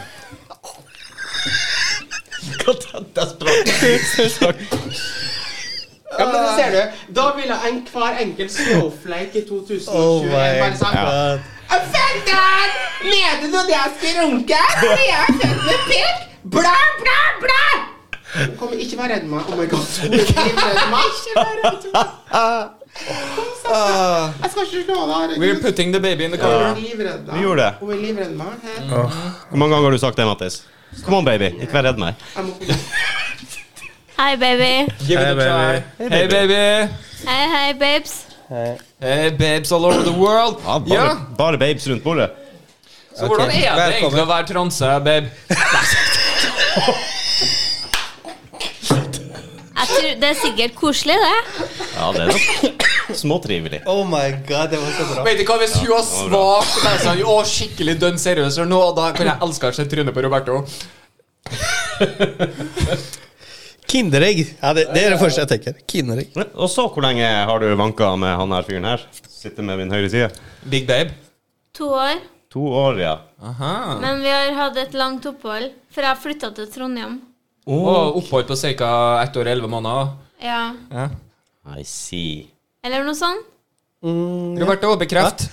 Speaker 1: Hva er desperat?
Speaker 4: ja, men så ser du. Da ville enhver enkelt snowflake i 2021 bare sagt «Jeg fant den! Mener du det jeg skal runke? Fordi jeg er født med pikk? Bla, bla, bla! Kom, ikke vær redd meg. Oh my god. Ikke vær redd meg. Ikke vær redd meg. Kom, sett
Speaker 1: Ah.
Speaker 4: deg. Jeg skal ikke slå deg.
Speaker 2: We're
Speaker 4: herregud.
Speaker 2: putting the baby in the
Speaker 4: Hun
Speaker 2: corner.
Speaker 4: er livredd meg.
Speaker 1: Vi gjorde det.
Speaker 4: Hun er livredd meg. Her.
Speaker 1: Hvor mange ganger har du sagt det, Mattis? Kom on, baby. Ikke vær redd meg.
Speaker 4: Jeg må-
Speaker 5: Hei, baby.
Speaker 2: Give it
Speaker 3: Hey,
Speaker 2: a try.
Speaker 3: baby.
Speaker 2: Hey, baby.
Speaker 5: Hei, hei, babes.
Speaker 2: Hey, babes all over the world.
Speaker 1: Ja, bare,
Speaker 2: Ja,
Speaker 1: bare babes rundt bordet.
Speaker 2: så hvordan er det
Speaker 3: Velkommen.
Speaker 2: egentlig å være transe, babe?
Speaker 5: Jeg tror, det er sikkert koselig, det.
Speaker 1: Ja, det er nok småtrivelig.
Speaker 3: Oh my god, det var så bra.
Speaker 2: Vet du hva, Hvis hun var svak og bare sånn, å, skikkelig dønn seriøs eller noe, da kan jeg elske å se trynet på Roberto.
Speaker 3: Kinderägg, ja, det, det är det första jag tänker. Kinderägg.
Speaker 1: Og så, hvor lenge har du vanka med han her fyren her? Sitter med min høyre side.
Speaker 2: Big babe.
Speaker 5: To år.
Speaker 1: To år, ja.
Speaker 2: Aha.
Speaker 5: Men vi har hatt et langt opphold, for jeg flytta til Trondheim.
Speaker 2: Og opphold på ca. ett år og elleve måneder.
Speaker 5: Ja.
Speaker 2: Ja.
Speaker 1: I see.
Speaker 5: Eller noe sånt.
Speaker 2: Roberto, bekreft.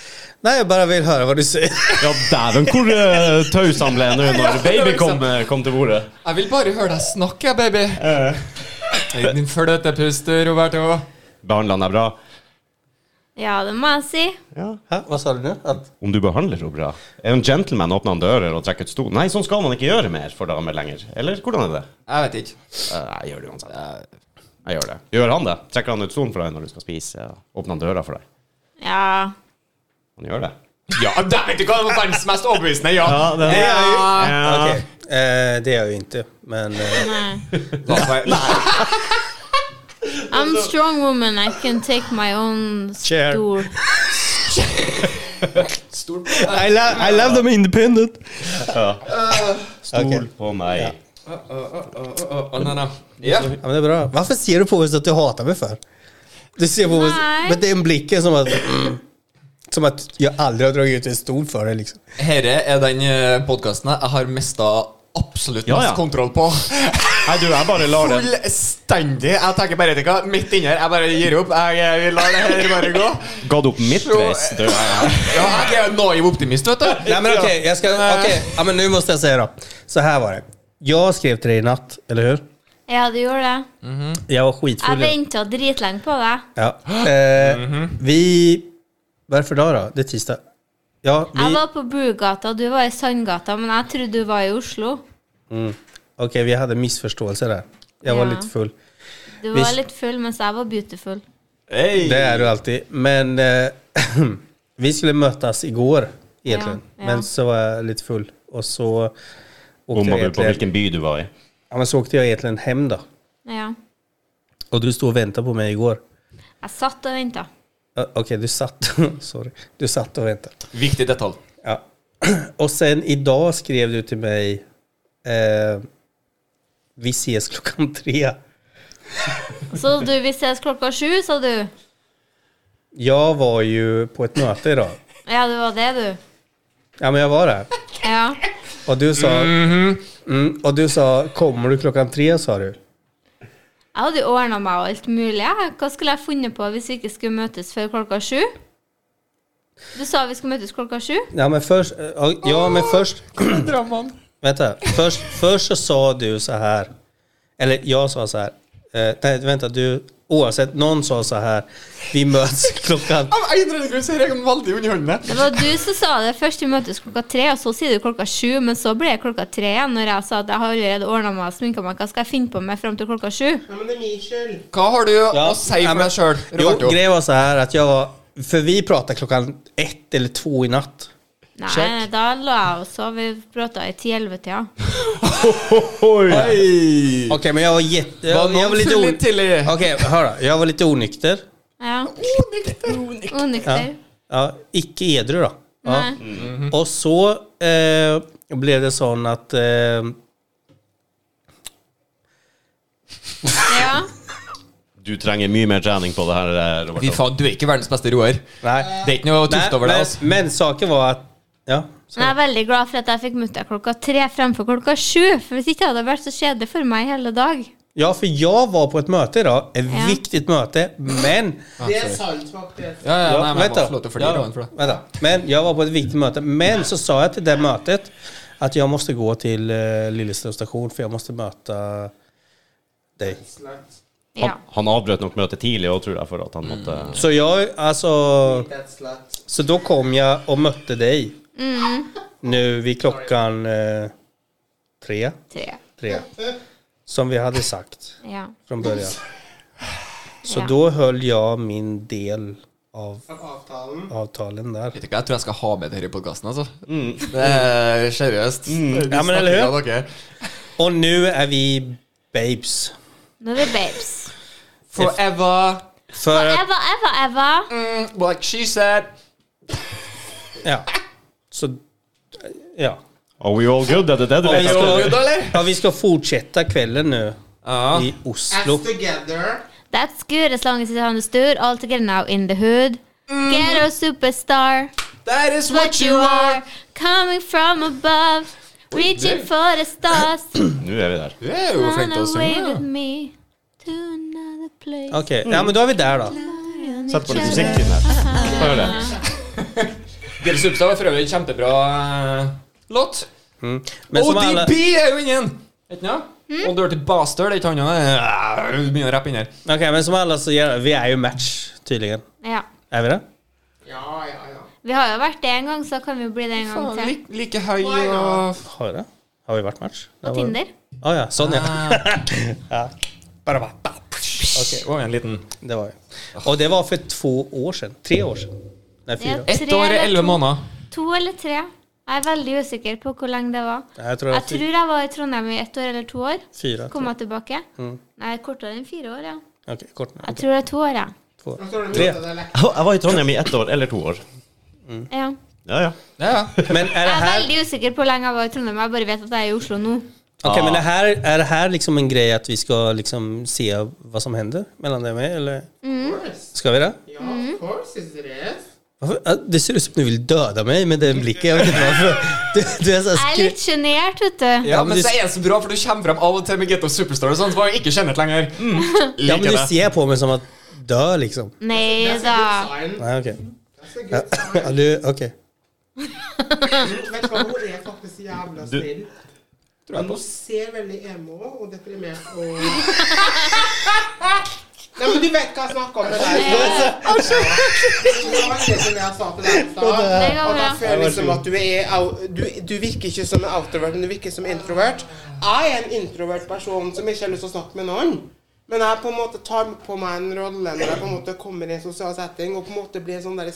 Speaker 3: Nei, jeg bare vil høre hva du sier.
Speaker 1: Ja, dæven hvor eh, taus han ble nå når baby kom, eh, kom til bordet.
Speaker 2: Jeg vil bare høre deg snakke, baby. Din fløte pust, Roberto.
Speaker 1: Behandler han deg bra?
Speaker 5: Ja, det må jeg si.
Speaker 3: Hæ? Hva sa du nå? At-
Speaker 1: Om du behandler henne bra? Er en gentleman åpner han dører og trekker ut stol? Nei, sånn skal man ikke gjøre mer for damer lenger. Eller hvordan er det?
Speaker 2: Jeg vet ikke.
Speaker 1: Eh, Jeg gjør det uansett. Jeg gjør det. Gjør han det? Trekker han ut stolen for deg når du skal spise? og Åpner han døra for deg?
Speaker 5: Ja.
Speaker 1: Han gjør det.
Speaker 2: Ja, der vet du hva det var verdens mest overbevisende, ja.
Speaker 1: Ja, det-
Speaker 2: ja.
Speaker 1: Ja.
Speaker 3: Okej. Eh, det gör jag ju inte, men... Eh,
Speaker 5: Nei.
Speaker 2: Nei.
Speaker 5: I'm a strong woman. I can take my own
Speaker 3: Chair.
Speaker 5: stool.
Speaker 2: Stol.
Speaker 3: I, love, I love them independent.
Speaker 1: Stol
Speaker 3: Ok.
Speaker 1: på meg.
Speaker 2: Ja.
Speaker 3: Ja, men det är bra. Varför ser du på oss att du hatar mig för? Du ser på oss...
Speaker 5: Nej.
Speaker 3: Men den blicken som att... Som att jag aldrig har dragit ut en stol för dig liksom.
Speaker 2: Herre er den podkasten jeg har mista absolutt mest
Speaker 1: Ja, ja.
Speaker 2: kontroll på.
Speaker 1: Nei, du, jeg bare lar det
Speaker 2: Fullstendig. Jeg tenker bare vet du hva, midt inni her. Jeg bare gir opp. Jeg, jeg lar det her bare gå.
Speaker 1: Ga du opp midtveis? Du,
Speaker 2: Ja, jeg er naiv optimist, vet du.
Speaker 3: Nej men okej, jag ska... Okej, ja, men nu måste jag säga då. Så här var det. Jag skrev till dig i natt, eller hur?
Speaker 5: Ja, du gjorde det.
Speaker 3: Jag var
Speaker 5: Jeg
Speaker 3: skitfull.
Speaker 5: venta dritlenge på deg.
Speaker 3: Ja. Eh, Vi... Varför då då? Det är tisdag. Ja, vi...
Speaker 5: Jeg var på Brugata, du var i Sandgata, men jeg trodde du var i Oslo.
Speaker 3: Okej, vi hade missförståelser där. Jag var
Speaker 5: Ja.
Speaker 3: lite full.
Speaker 5: Du
Speaker 3: Hvis-
Speaker 5: var litt full, mens jeg var beautiful.
Speaker 2: Hey.
Speaker 3: Det är du alltid. Men eh, vi skulle mötas igår egentligen.
Speaker 5: Ja, ja.
Speaker 3: Men så var jag lite full. Och så åkte,
Speaker 1: Bomma
Speaker 3: jag
Speaker 1: du på
Speaker 3: egentligen,
Speaker 1: hvilken by du var i?
Speaker 3: ja, men så åkte jag egentligen hem då.
Speaker 5: Ja.
Speaker 3: Och du stod och väntade på mig igår.
Speaker 5: Jeg satt og venta.
Speaker 3: Ja, Okej, du satt. sorry. Du satt och väntade.
Speaker 2: Viktig detalj.
Speaker 3: Ja. och sen idag skrev du till mig. Eh, vi ses klockan tre.
Speaker 5: Så du, vi ses klokka sju, sa du.
Speaker 3: Jag var ju på ett möte idag.
Speaker 5: Ja, det var det, du.
Speaker 3: Ja, men jag var där.
Speaker 5: Ja.
Speaker 3: Och du sa, mm, och du sa, kommer du klockan tre sa du?
Speaker 5: Jeg hadde jo ordna meg og alt mulig. jeg. Hva skulle jeg funnet på hvis vi ikke skulle møtes før klokka sju? Du sa vi skulle møtes klokka sju.
Speaker 3: Ja men först, ja, ja men först,
Speaker 2: Drømmen.
Speaker 3: vänta, först, först så sa du så här, eller jag sa så här, eh, nej vänta du, oavsett, någon sa så här, vi möts klockan,
Speaker 2: Av en eller annen grunn så er jeg veldig underholdende.
Speaker 5: Det var du som sa det. Først vi møtes klokka tre, og så sier du klokka sju. Men så ble det klokka tre igjen når jeg sa at jeg har allerede ordna meg og sminka meg. Hva skal jeg finne på meg fram til klokka sju?
Speaker 4: Ja, men det er min skyld.
Speaker 2: Hva har du
Speaker 3: Ja,
Speaker 2: å si
Speaker 3: ja,
Speaker 2: for
Speaker 3: men-
Speaker 2: deg sjøl,
Speaker 3: jo
Speaker 2: Roberto?
Speaker 3: grejen var så här att jag var, för vi pratade klockan ett eller två i natt.
Speaker 5: Nei,
Speaker 3: Check.
Speaker 5: da lå jeg og sov. Vi prata i ti-elleve-tida.
Speaker 2: Oi.
Speaker 3: Okej men jag var jätte,
Speaker 2: Var
Speaker 3: jag,
Speaker 2: någon
Speaker 3: jag Mm. var lite
Speaker 2: full
Speaker 3: on-
Speaker 2: litt til i-
Speaker 3: Okej, hör då, jag var lite onykter,
Speaker 5: Ja.
Speaker 3: ja,
Speaker 5: Onykter.
Speaker 3: ja icke edru då. Ja.
Speaker 5: Nei.
Speaker 3: Og så eh, ble det sånn at eh,
Speaker 5: Ja.
Speaker 1: Du trenger mye mer trening på det her, eh,
Speaker 2: Fy
Speaker 1: Roberto.
Speaker 2: faen, du er ikke verdens beste roer.
Speaker 3: Nei.
Speaker 2: Det er ikke noe
Speaker 3: Nei,
Speaker 2: tufft over deg.
Speaker 3: men,
Speaker 2: Altså.
Speaker 3: men saken var at Ja.
Speaker 5: Men jeg er veldig glad for at jeg fikk mutta klokka tre fremfor klokka sju. For hvis ikke hadde det vært så kjedelig for meg hele dag.
Speaker 3: ja, for jeg var på et møte i dag. Et
Speaker 5: Ja.
Speaker 3: viktig møte. Men
Speaker 1: Ah,
Speaker 4: Det er sant, faktisk.
Speaker 2: Ja, ja,
Speaker 3: Ja,
Speaker 2: nei, men jeg
Speaker 3: vent
Speaker 2: må
Speaker 3: da.
Speaker 2: få lov til å
Speaker 3: Ja,
Speaker 2: flire av den for det.
Speaker 3: vent da. Men jeg var på et viktig møte. Men så sa jeg til det møtet at jeg måtte gå til uh, Lillestrøm stasjon, for jeg måtte møte deg.
Speaker 5: Ja.
Speaker 1: Han, han avbrøt nok møtet tidlig òg, tror jeg, for at han måtte
Speaker 3: Så jeg altså
Speaker 4: Slutt.
Speaker 3: Så da kom jeg og møtte deg. Nå ved klokken eh, tre.
Speaker 5: Tre.
Speaker 3: tre. Som vi hade sagt
Speaker 5: Ja.
Speaker 3: från början. Så
Speaker 5: Ja.
Speaker 3: då höll jag min del av
Speaker 4: Avtalen.
Speaker 3: avtalen där.
Speaker 2: Vet du hva, Jeg tror jeg skal ha med det her i podkasten. Altså. Det er seriøst. Vi
Speaker 3: Ja, men eller
Speaker 2: snakker
Speaker 3: hur?
Speaker 2: av dere.
Speaker 3: Och nu är vi babes.
Speaker 5: Nå er vi babes.
Speaker 2: Forever
Speaker 3: För att,
Speaker 5: Eva, Eva, Eva.
Speaker 2: mm, like she said.
Speaker 3: ja. Så, ja.
Speaker 1: Are we all good? Er det det du
Speaker 3: Are we all
Speaker 1: vet?
Speaker 3: good?
Speaker 2: eller?
Speaker 3: ja. Vi ska fortsätta kvällen nu
Speaker 2: Ja.
Speaker 3: i Oslo.
Speaker 4: together.
Speaker 5: That's good as long as it's on the stood. All together now in the hood. Get a superstar.
Speaker 2: That is
Speaker 5: Mm-hmm. What you are. Coming from above. Reaching for the stars.
Speaker 1: Nå er vi der.
Speaker 2: Du er jo flink
Speaker 5: Run
Speaker 2: til å
Speaker 5: away
Speaker 2: synge.
Speaker 5: with me to another place.
Speaker 3: Okej, ja men då är vi där då.
Speaker 1: Sett på litt musikk inn her. Få høre det.
Speaker 2: Girls Upstad var for øvrig en kjempebra eh, låt.
Speaker 3: Mm. Men som
Speaker 2: ODB
Speaker 3: alle,
Speaker 2: er jo ingen! Vet du noe? Og Dirty Bastard er ikke han òg. Begynner å rappe inn her.
Speaker 3: Ok, men som alle så gjør Vi er jo match, tydeligvis.
Speaker 5: Ja.
Speaker 3: Er vi det?
Speaker 4: Ja, ja, ja.
Speaker 5: Vi har jo vært det en gang, så kan vi jo bli det en gang
Speaker 2: Faen,
Speaker 5: til.
Speaker 2: like, like høy
Speaker 4: Why not?
Speaker 2: og
Speaker 3: Har vi det? Har vi vært match? Det
Speaker 5: På
Speaker 3: var-
Speaker 5: Tinder.
Speaker 3: Å ja. Sånn, ja.
Speaker 2: Bare bare- bare- Ok, og en liten
Speaker 3: Det var jeg. Og det var for to år siden. Tre år siden. Nei, fire.
Speaker 5: Ja.
Speaker 2: Ett
Speaker 5: Tre
Speaker 2: år og
Speaker 5: eller
Speaker 2: elleve
Speaker 5: to?
Speaker 2: måneder.
Speaker 5: To eller tre. Jeg er veldig usikker på hvor lenge det var.
Speaker 3: Jeg tror det
Speaker 5: Jeg
Speaker 3: var
Speaker 5: tror jeg var i Trondheim i ett år eller to år.
Speaker 3: fire.
Speaker 5: Kom jeg tilbake? Nei, kortere enn fire år, ja.
Speaker 3: Mm. Ok, kort. nå.
Speaker 5: Jeg tror det er to år, ja.
Speaker 3: To.
Speaker 4: Jeg tror du
Speaker 3: Tre.
Speaker 4: møtte det lett.
Speaker 1: Jeg var i Trondheim i ett år eller to år.
Speaker 5: ja.
Speaker 1: Ja, ja.
Speaker 2: Ja, ja.
Speaker 3: Men Mm. er
Speaker 5: Jeg
Speaker 3: det
Speaker 5: er
Speaker 3: her
Speaker 5: veldig usikker på hvor lenge jeg var i Trondheim. Jeg bare vet at jeg er i Oslo nå.
Speaker 3: Ok, men det här, är det här liksom en grej att vi ska liksom se vad som händer mellan dig och mig? Eller?
Speaker 4: Of course.
Speaker 3: Ska vi det?
Speaker 4: Ja, of course is it is.
Speaker 3: Varför? Ah, Det ser ut som att du vill döda mig med den blicken. Jag vet inte varför. Du, du är så här
Speaker 5: Jeg er
Speaker 3: skri...
Speaker 5: litt sjenert, vet du.
Speaker 2: Ja,
Speaker 3: men
Speaker 2: men
Speaker 3: du-
Speaker 2: det er så bra, for du kommer frem av og til med Getto Superstar og sånt, så var jeg ikke kjennet lenger.
Speaker 3: Ja, men du ser på mig som att dö liksom.
Speaker 5: Nei
Speaker 4: That's a good
Speaker 5: da.
Speaker 4: sign.
Speaker 3: Nej, okej.
Speaker 4: That's a good sign.
Speaker 3: Ja, du- Okej.
Speaker 4: Vet du hva, hun er faktisk jævla snill. Men hun ser veldig emo og deprimert og Nei, men du vet hva jeg snakker om. Det der. Det var det som jeg sa til deg i stad.
Speaker 5: Det går
Speaker 4: At
Speaker 5: bra.
Speaker 4: jeg føler liksom at du er au- du, du virker ikke som en outrovert, men du virker som introvert. Jeg er en introvert person som ikke har lyst til å snakke med noen. Men jeg på en måte tar på meg en rolle når jeg på en måte kommer i en sosial setting og på en måte blir, sånn der,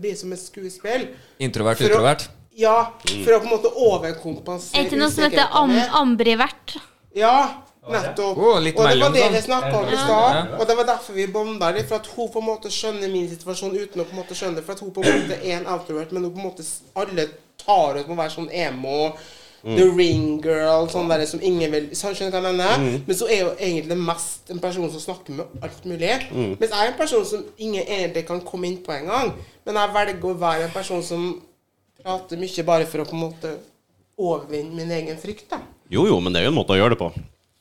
Speaker 4: blir som et skuespill.
Speaker 2: Introvert,
Speaker 4: For å-
Speaker 2: introvert.
Speaker 4: Ja, for å på en måte overkompensere
Speaker 5: Er ikke noe som heter
Speaker 4: usikkerheten
Speaker 5: am
Speaker 4: min.
Speaker 5: ambrivert?
Speaker 4: Ja, nettopp.
Speaker 2: Å, litt
Speaker 4: og det var
Speaker 2: mellom,
Speaker 4: det
Speaker 2: sånn.
Speaker 4: vi snakka om i
Speaker 5: Ja.
Speaker 4: stad. Og det var derfor vi bonda litt, for at hun på en måte skjønner min situasjon uten å på en måte skjønne det. For at hun på en måte er en outrovert, men hun på en måte s- alle tar ut med å være sånn emo.
Speaker 2: Mm.
Speaker 4: The ring girl, sånn der som ingen vil sånn Skjønner du hva jeg mener?
Speaker 2: Mm.
Speaker 4: Men så er jo egentlig mest en person som snakker med alt mulig.
Speaker 2: Mm.
Speaker 4: Mens jeg er en person som ingen egentlig kan komme inn på engang. Men jeg velger å være en person som prater mye bare for å på en måte overvinne min egen frykt, da.
Speaker 1: Jo, jo, men det er jo en måte å gjøre det på.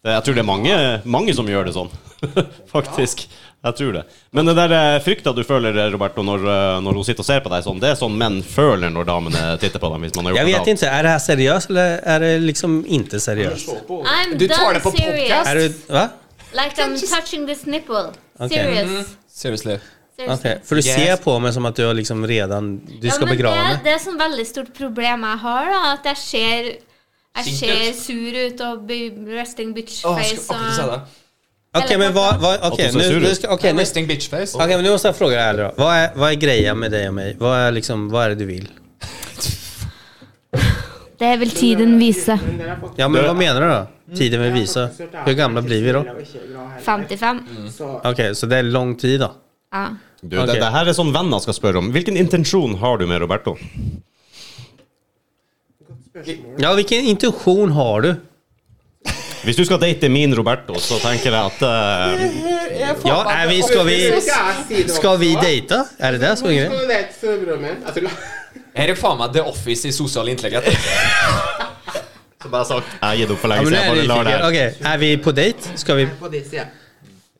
Speaker 1: Det- Jeg tror det er mange, mange som gjør det sånn, faktisk. Jeg tror det. Men den der eh, frykta du føler, Roberto, når, eh, når hun sitter og ser på deg sånn, det er sånn menn føler når damene titter på dem, hvis man har
Speaker 3: Jag
Speaker 1: gjort
Speaker 3: vet
Speaker 1: det.
Speaker 3: inte, är det här seriöst eller är det liksom inte seriöst?
Speaker 5: I'm
Speaker 2: Du tar
Speaker 5: done
Speaker 2: det på
Speaker 5: serious.
Speaker 3: Är du... Va?
Speaker 5: Like I'm touching this nipple.
Speaker 3: Mm.
Speaker 5: Serious.
Speaker 2: Seriously.
Speaker 5: Seriously.
Speaker 3: Okej, för du
Speaker 2: Yes.
Speaker 3: ser på mig som att du har liksom redan... Du ska
Speaker 5: men
Speaker 3: begrava
Speaker 5: det,
Speaker 3: mig.
Speaker 5: det er et sånn veldig stort problem jeg har, da. At jeg ser jeg ser sur ut og be- resting bitch
Speaker 2: Åh, jeg
Speaker 5: face.
Speaker 2: skulle akkurat si
Speaker 5: og-
Speaker 2: det.
Speaker 3: Okej, men vad... vad- Okej,
Speaker 1: Att du ser
Speaker 3: nu,
Speaker 1: sur
Speaker 3: nu
Speaker 1: ut.
Speaker 3: ska... Okej, nu...
Speaker 2: Resting bitch face.
Speaker 3: Okej, men nu måste jag fråga dig ärligt då. Vad är, vad är grejen med dig och mig? Vad är, liksom, vad är det du vill?
Speaker 5: det vil tiden vise.
Speaker 4: Men dere har fått
Speaker 3: Ja, men vad menar du
Speaker 5: Mm.
Speaker 3: då? Tiden vill visa. Hur gamla blir vi då?
Speaker 4: Mm.
Speaker 5: 55.
Speaker 2: Mm.
Speaker 4: Så
Speaker 3: Okej, så det är lång tid då?
Speaker 5: Ja.
Speaker 1: Du,
Speaker 3: Ok.
Speaker 1: det, det her er sånn venner skal spørre om. Hvilken intensjon har du med Roberto?
Speaker 3: Ja, vilken intention har du?
Speaker 1: Hvis du skal date min Roberto, så tenker jeg at eh,
Speaker 3: Ja, är vi, ska vi, ska vi dejta? Är det det som är grejen?
Speaker 4: Skal du date søbroren min? Jeg tuller.
Speaker 2: Her er faen meg The Office i sosial intelligens.
Speaker 1: Som jeg har sagt, jeg har gitt opp for
Speaker 3: Ja,
Speaker 1: lenge siden.
Speaker 3: men nu är jag
Speaker 1: Jeg bare lar det
Speaker 3: nyfiken.
Speaker 1: her.
Speaker 3: Okej, är vi på dejt? Ska vi,
Speaker 4: Jeg er på din side.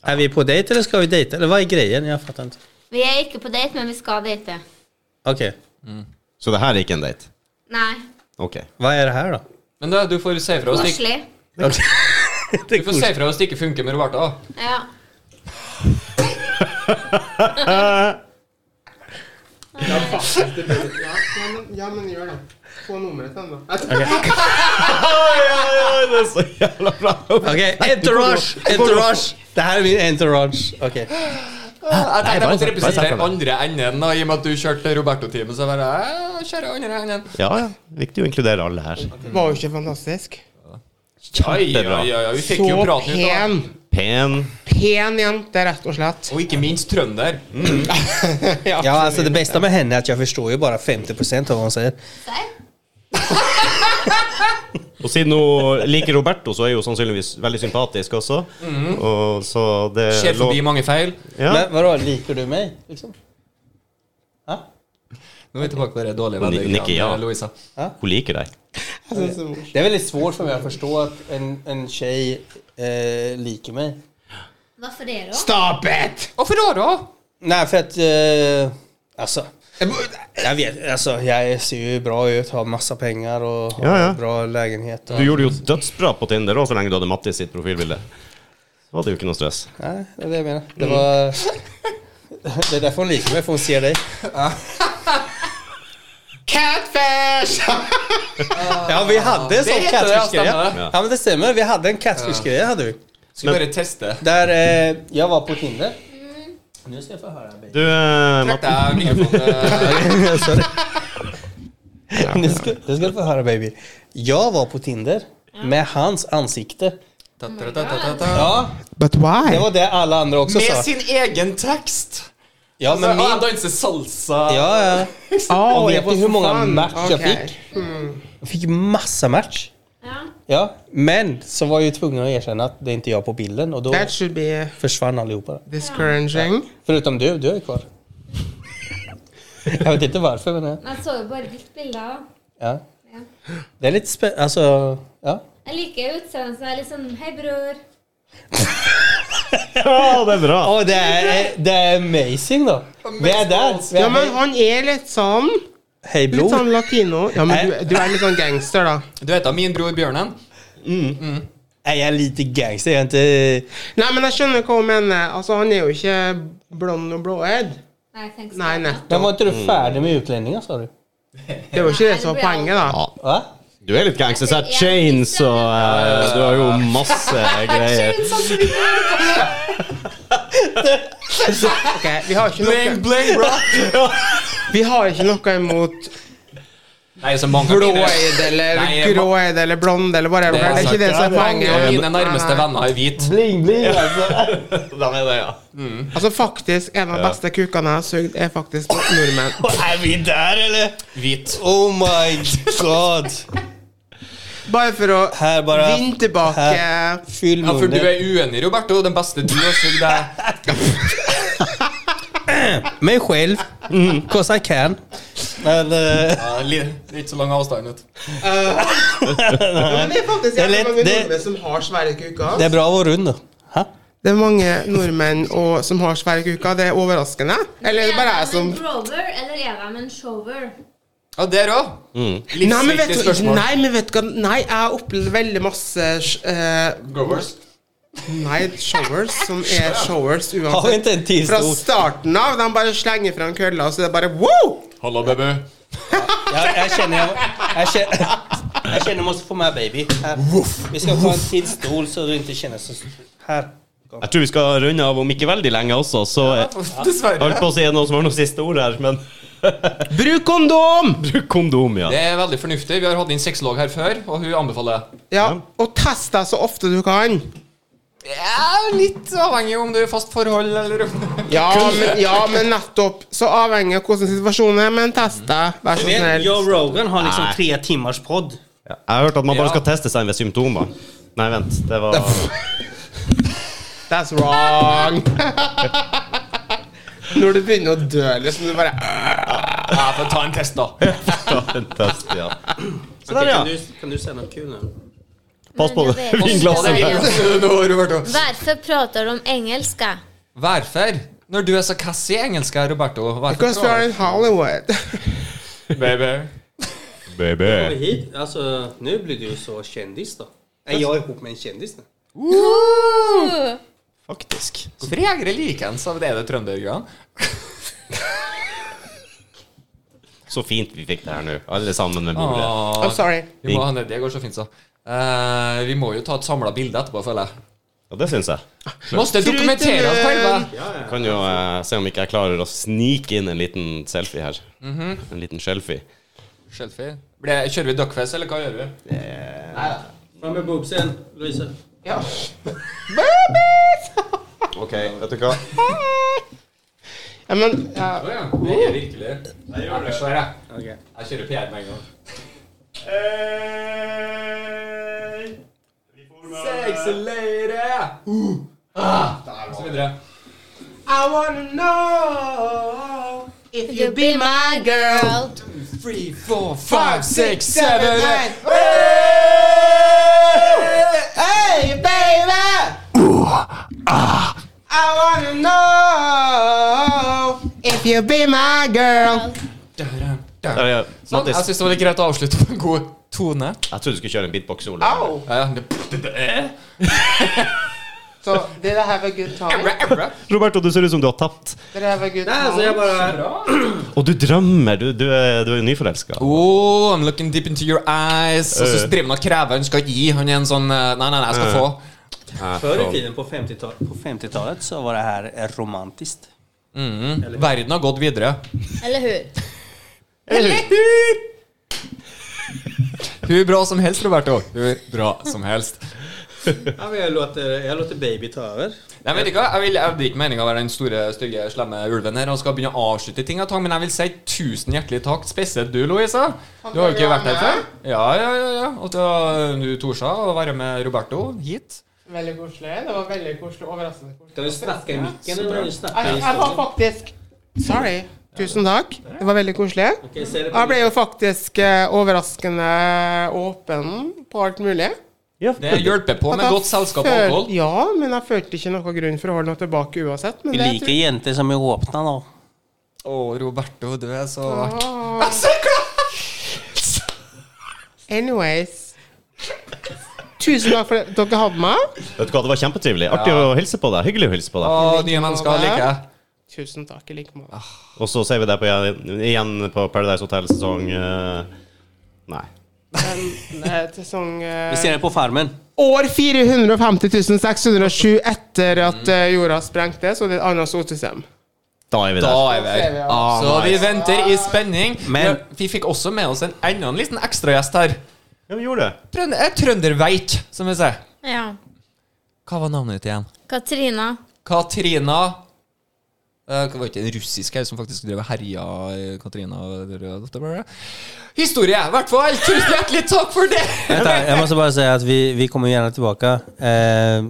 Speaker 3: är vi på dejt eller ska vi dejta? Eller vad är grejen? Jag fattar inte.
Speaker 5: Vi er ikke på date, men vi skal date.
Speaker 3: Okej,
Speaker 1: Så det her er ikke en date?
Speaker 5: Nei.
Speaker 1: Ok.
Speaker 3: vad är det här då?
Speaker 2: Men du, du får si fra hvis det ikke-
Speaker 5: Koselig.
Speaker 3: Okej. Det
Speaker 2: du
Speaker 3: är
Speaker 2: får
Speaker 3: coolt.
Speaker 2: si fra hvis det ikke funker med Roberta. da.
Speaker 5: Ja.
Speaker 4: Ja, faktisk, det blir- ja, ja, men- ja, men gjør det. Få nummeret til henne, da. Jeg tuller.
Speaker 1: det er så jævla bra.
Speaker 3: Okej, entourage! Entourage! Det här är min entourage. Okej.
Speaker 2: Jeg tenkte jeg
Speaker 1: bare
Speaker 2: måtte
Speaker 1: se- bare se
Speaker 2: representere
Speaker 1: fra
Speaker 2: andre enden, da, i og med at du kjørte Roberto-teamet. Så bare jeg kjører andre enden.
Speaker 1: Ja, ja. Viktig å inkludere alle her.
Speaker 4: Var jo ikke fantastisk.
Speaker 2: Oi,
Speaker 1: Kjempebra.
Speaker 2: oi, oi, oi, vi fikk jo praten
Speaker 4: Så
Speaker 2: ut av det.
Speaker 4: pen.
Speaker 1: Pen.
Speaker 4: Pen jente, rett og slett.
Speaker 2: Og ikke minst trønder.
Speaker 3: Ja, alltså det bästa med henne är att jag förstår ju bara 50% av vad hon säger.
Speaker 5: Serr?
Speaker 1: Og siden hun liker Roberto, så er hun sannsynligvis veldig sympatisk også. Mhm. Og så det
Speaker 2: Ser
Speaker 1: Eh, lå-
Speaker 2: forbi mange feil.
Speaker 1: Ja.
Speaker 3: Men vadå, liker du mig? Liksom? Ja?
Speaker 2: Nå er vi tilbake på det dårlige
Speaker 1: Ni-
Speaker 2: venner.
Speaker 1: nikker ja.
Speaker 2: eh, Louisa.
Speaker 1: Hun liker deg.
Speaker 4: Jeg synes det er morsomt.
Speaker 3: Det är väldigt svårt för mig att förstå att en, en tjej eh, liker mig.
Speaker 5: Hva for det, da?
Speaker 4: Stop it!
Speaker 2: Hvorfor da, da?
Speaker 3: Nej, för att... Eh, alltså, jag vet, alltså, jag ser ju bra ut, har massa pengar och har
Speaker 1: Ja, ja.
Speaker 3: bra lägenhet. Och,
Speaker 1: Du gjorde jo dødsbra på Tinder òg, så lenge du hadde Mattis sitt profilbilde. Så var det jo ikke noe stress.
Speaker 3: Nej, det är det jag menar. Det var... Det är därför hon liker mig, för hon ser dig.
Speaker 4: Catfish!
Speaker 3: Ja, vi hade en sån
Speaker 2: Det heter det,
Speaker 3: catfish-grej.
Speaker 2: stämmer
Speaker 1: det?
Speaker 3: Ja, men det stämmer. Vi hade en catfish-grej, hade vi.
Speaker 2: Skal
Speaker 1: Men-
Speaker 2: bare teste.
Speaker 3: Där eh, jag var på Tinder. Nu ska jag få höra.
Speaker 1: Du, eh,
Speaker 2: Trekk
Speaker 1: Mattis
Speaker 2: deg mikrofonen. eh,
Speaker 3: Sorry. Nu ska, nu ska du få höra baby. Jag var på Tinder med hans ansikte.
Speaker 2: Ta-ta-ta-ta-ta.
Speaker 3: Ja,
Speaker 4: But
Speaker 3: det
Speaker 4: why?
Speaker 3: var det alla andra också sa.
Speaker 2: Med sin egen tekst!
Speaker 3: Ja,
Speaker 2: Altså,
Speaker 3: men
Speaker 2: han
Speaker 3: min...
Speaker 2: danser salsa.
Speaker 3: Ja, ja.
Speaker 4: Oh,
Speaker 3: Och vet du hur många match jag
Speaker 4: Okej.
Speaker 3: fick? Jag fick massa match.
Speaker 5: Ja.
Speaker 3: Ja, men så var jag ju tvungen att erkänna att det är inte jag på bilden och då
Speaker 4: That should be
Speaker 3: försvann allihopa.
Speaker 4: discouraging.
Speaker 3: Förutom du, du är kvar. Jag vet inte varför men ja.
Speaker 5: Jeg så jo bare ditt bilde. da.
Speaker 3: ja.
Speaker 5: Ja.
Speaker 3: Det är lite spännande, alltså altså, ja.
Speaker 5: Jeg liker utseendet som er litt sånn Hei, bror.
Speaker 1: Ja, det er bra!
Speaker 3: Åh, det, är, det är amazing då. Vi är där. Vi
Speaker 4: Ja,
Speaker 3: är
Speaker 4: men
Speaker 3: där.
Speaker 4: han er litt sånn
Speaker 3: Hej
Speaker 4: Litt
Speaker 3: bror.
Speaker 4: sånn latino. Ja, men du, du er litt sånn gangster, da.
Speaker 2: Du vet da, min bror Bjørnen.
Speaker 3: Nej, jag är lite gangster. Jag är inte...
Speaker 4: Nei, men jeg skjønner hva hun mener. Altså, han er jo ikke blond og blåøyd.
Speaker 5: Nei, thanks.
Speaker 4: Nei, nettopp.
Speaker 3: Men var inte du färdig med utlänningar sa du?
Speaker 4: Det var ikke det som var poenget, da.
Speaker 1: Ja,
Speaker 3: Va?
Speaker 1: du er litt gangster. Så er chains og eh, Du har jo masse greier.
Speaker 4: Ok, vi har ikke
Speaker 2: Bling,
Speaker 4: noe,
Speaker 2: bling, bro!
Speaker 4: vi har ikke noe imot
Speaker 2: Nei, så mange av mine-
Speaker 4: blåøyd eller
Speaker 2: Nei, jeg-
Speaker 4: gråøyd eller blond eller whatever.
Speaker 2: Det er
Speaker 4: Det er ikke det som er
Speaker 2: Mange av
Speaker 4: poenget.
Speaker 2: mine nærmeste
Speaker 4: Nei, nei.
Speaker 2: venner er hvit
Speaker 3: Bling bling alltså.
Speaker 4: Altså, faktisk, en av de beste kukene jeg har sugd, er faktisk nordmenn.
Speaker 3: är vi där eller?
Speaker 2: Hvit.
Speaker 3: Oh my god.
Speaker 4: Bare for å
Speaker 3: Här bara...
Speaker 4: vinne tilbake
Speaker 3: Her. Fyll
Speaker 2: Ja,
Speaker 3: munnen.
Speaker 2: for du er uenig, Roberto. Den beste du har sugd, er
Speaker 3: Mig själv. Mm. Cause I can. Men... eh,
Speaker 2: ja, li- Det er ikke så lang avstand. Vet. du.
Speaker 4: Ja, men det er
Speaker 3: Det
Speaker 4: faktisk
Speaker 3: er
Speaker 4: jævlig
Speaker 3: lett-
Speaker 4: mange
Speaker 3: det-
Speaker 4: nordmenn som har svære kuker.
Speaker 3: det är bra att vara rund då. Ha?
Speaker 4: Det er mange nordmenn og, som har svære kuker. Det er overraskende. Eller er det bare jeg som
Speaker 5: Er de en grower, eller er de en shower?
Speaker 2: Ja, der òg.
Speaker 4: Nei, men vet
Speaker 2: Livsviktig
Speaker 4: du
Speaker 2: spørsmål.
Speaker 4: Nei, men vet du hva Nei, jeg har opplevd veldig masse eh,
Speaker 2: Growers.
Speaker 4: Nei, showers som er showers
Speaker 3: Har vi
Speaker 4: uansett.
Speaker 3: inte en till
Speaker 4: Fra
Speaker 3: stor?
Speaker 4: starten av. De bare slenger fram kølla, og så er det bare wow!
Speaker 2: Hallo, baby.
Speaker 3: Jag, jag känner jag... Jag känner... Jag känner jag måste få med baby. Här. Vi ska ta en till stol så du inte känner så... Här.
Speaker 1: Jeg tror vi skal runde av om ikke veldig lenge også, så jeg
Speaker 2: Dessverre.
Speaker 1: holdt på å si noe som var noe siste ord her, men
Speaker 4: Bruk kondom!
Speaker 1: bruk kondom, ja.
Speaker 2: Det er veldig fornuftig. Vi har hatt inn sexolog her før, og hun anbefaler det.
Speaker 4: Ja, og test deg så ofte du kan.
Speaker 2: Ja, litt avhengig om du er i fast forhold eller
Speaker 4: Ja, men, ja, men nettopp. Så avhengig av hvordan situasjonen er, men test deg. Vær så
Speaker 3: Du vet,
Speaker 4: snill.
Speaker 3: Joe Rogan har liksom
Speaker 1: Nej.
Speaker 3: tre timmars podd.
Speaker 1: Jeg har hørt at man bare
Speaker 2: Ja.
Speaker 1: skal teste seg ved symptomer. Nei, vent. Det var
Speaker 4: That's wrong. Når du begynner å dø, liksom, du bare
Speaker 2: Ja, får ta en test, da.
Speaker 1: en test, ja. Så der, ja.
Speaker 3: Kan, du, kan du säga något kul nu?
Speaker 1: Pass på det. vinglasset.
Speaker 5: Vinglasset.
Speaker 2: Nå, Roberto.
Speaker 5: Hvorfor prater de engelsk? jeg?
Speaker 2: Hvorfor? Når du er så kass i engelsk, her, Roberto
Speaker 4: Because we are in Hollywood.
Speaker 2: Baby.
Speaker 1: Baby.
Speaker 3: Hit, alltså, nu blir du så kändis då. Är jag ihop med en kändis nu?
Speaker 1: Faktisk.
Speaker 2: Hvorfor er jegere likens av det er det trøndergreiene?
Speaker 1: Så fint vi fikk det her nå, alle sammen med bordet.
Speaker 4: Oh,
Speaker 2: Ah,
Speaker 4: sorry.
Speaker 2: vi må ha ned, det går så fint, så. Eh, vi må jo ta et samla bilde etterpå, føler jeg.
Speaker 1: Ja, det syns jeg.
Speaker 2: Måste dokumentere oss sjølve.
Speaker 1: Jeg kan jo eh, se om ikke jeg klarer å snike inn en liten selfie her. En liten selfie.
Speaker 2: Selfie. Blir- Kjører vi duckface, eller hva gjør vi?
Speaker 3: Fram med boobsen, Louise.
Speaker 1: OK, vet du hva?
Speaker 4: Ja, men ja.
Speaker 2: Å ja, det er virkelig. Jeg gjør det. Jeg,
Speaker 3: Okej.
Speaker 2: jeg kjører PR med en gang. Sexy lady! Uh. Ah, så videre.
Speaker 4: I wanna know if you be my girl.
Speaker 2: Three, four, five, six, seven, eight.
Speaker 4: Hey, baby! I wanna know if you be my girl.
Speaker 1: Der, ja.
Speaker 2: Sånn, jeg
Speaker 1: Mattis,
Speaker 2: syns det var litt greit å avslutte på en god tone.
Speaker 1: jeg trodde du skulle kjøre en beatbox-solo.
Speaker 4: Au!
Speaker 2: Ja, ja. det-
Speaker 4: Så did I have a good time?
Speaker 1: Roberto, du ser ut som du har tapt.
Speaker 4: Did I have a good
Speaker 3: Nei, altså,
Speaker 4: time?
Speaker 3: jeg bare
Speaker 1: Og du drømmer. Du, du er, du er nyforelska.
Speaker 2: Oh, I'm looking deep into your eyes. Og så driver han og krever han skal gi. Han er en sånn eh, Nei, nei, nei, jeg skal få.
Speaker 3: Før i tiden, på 50-tallet, Ah, på 50-tallet, så var det her romantisk.
Speaker 2: Mm. Verden har gått videre.
Speaker 6: Eller hur?
Speaker 2: Hun er bra som helst, Roberto. Hun er bra som helst.
Speaker 3: Ja, men jeg låter, jeg låter baby ta over.
Speaker 2: Nei, vet du hva? Jeg, vil, jeg hadde ikke meninga å være den store, stygge, slemme ulven her og skal begynne å avslutte ting, og tang, men jeg vil si tusen hjertelig takk, spesielt du, Louisa. Du har jo ikke vært her før. Ja, ja, ja. ja. Og til du, Torsa, å være med Roberto hit.
Speaker 4: Veldig koselig. Det var veldig koselig. Overraskende koselig.
Speaker 3: Skal du snakke i mikken,
Speaker 2: eller
Speaker 3: eller
Speaker 4: Jeg, jeg var faktisk Sorry. Tusen takk. Det var veldig koselig. Og Jeg ble jo faktisk eh, overraskende åpen på alt mulig.
Speaker 1: Ja.
Speaker 2: Det hjelper på med
Speaker 4: At jeg
Speaker 2: godt selskap og
Speaker 4: føl-
Speaker 2: alkohol.
Speaker 4: Ja, men jeg følte ikke noe grunn for å holde noe tilbake uansett. Men
Speaker 3: Vi
Speaker 4: det
Speaker 3: liker jenter som er åpne nå.
Speaker 2: Å, Roberto, du er så artig.
Speaker 4: Ah. Anyways. Tusen takk for at dere hadde meg.
Speaker 1: Vet du hva, det var kjempetrivelig. Artig å hilse på deg. Hyggelig å hilse på deg.
Speaker 2: Å, nye mennesker liker jeg.
Speaker 4: Tusen takk i like
Speaker 3: Ah.
Speaker 4: måte.
Speaker 1: Og så ser vi deg på, igjen på Paradise Hotel sesong eh, Nei.
Speaker 4: Men, eh, til sånn, eh,
Speaker 3: Vi ser det på Farmen.
Speaker 4: År 450 607 etter at eh, jorda sprengte, så det er et annet solsystem.
Speaker 1: Da er vi
Speaker 2: Da
Speaker 1: der.
Speaker 2: er vi her.
Speaker 4: Ja.
Speaker 2: Så vi venter i spenning.
Speaker 3: Men-
Speaker 2: Men vi fikk også med oss en annen liten ekstragjest her.
Speaker 1: Ja, vi gjorde det.
Speaker 2: Trønder, eh, Trønderveit, som vi sier.
Speaker 5: Ja.
Speaker 2: Hva var navnet ditt igjen?
Speaker 5: Katrina.
Speaker 2: Katrina Eh, Det var ikke en russisk her som faktisk drev og herja eh, Katrina Rød det var det. Historie, i hvert fall! Tusen hjertelig takk for det!
Speaker 3: Jeg må bare si at vi, vi kommer gjerne tilbake. Eh,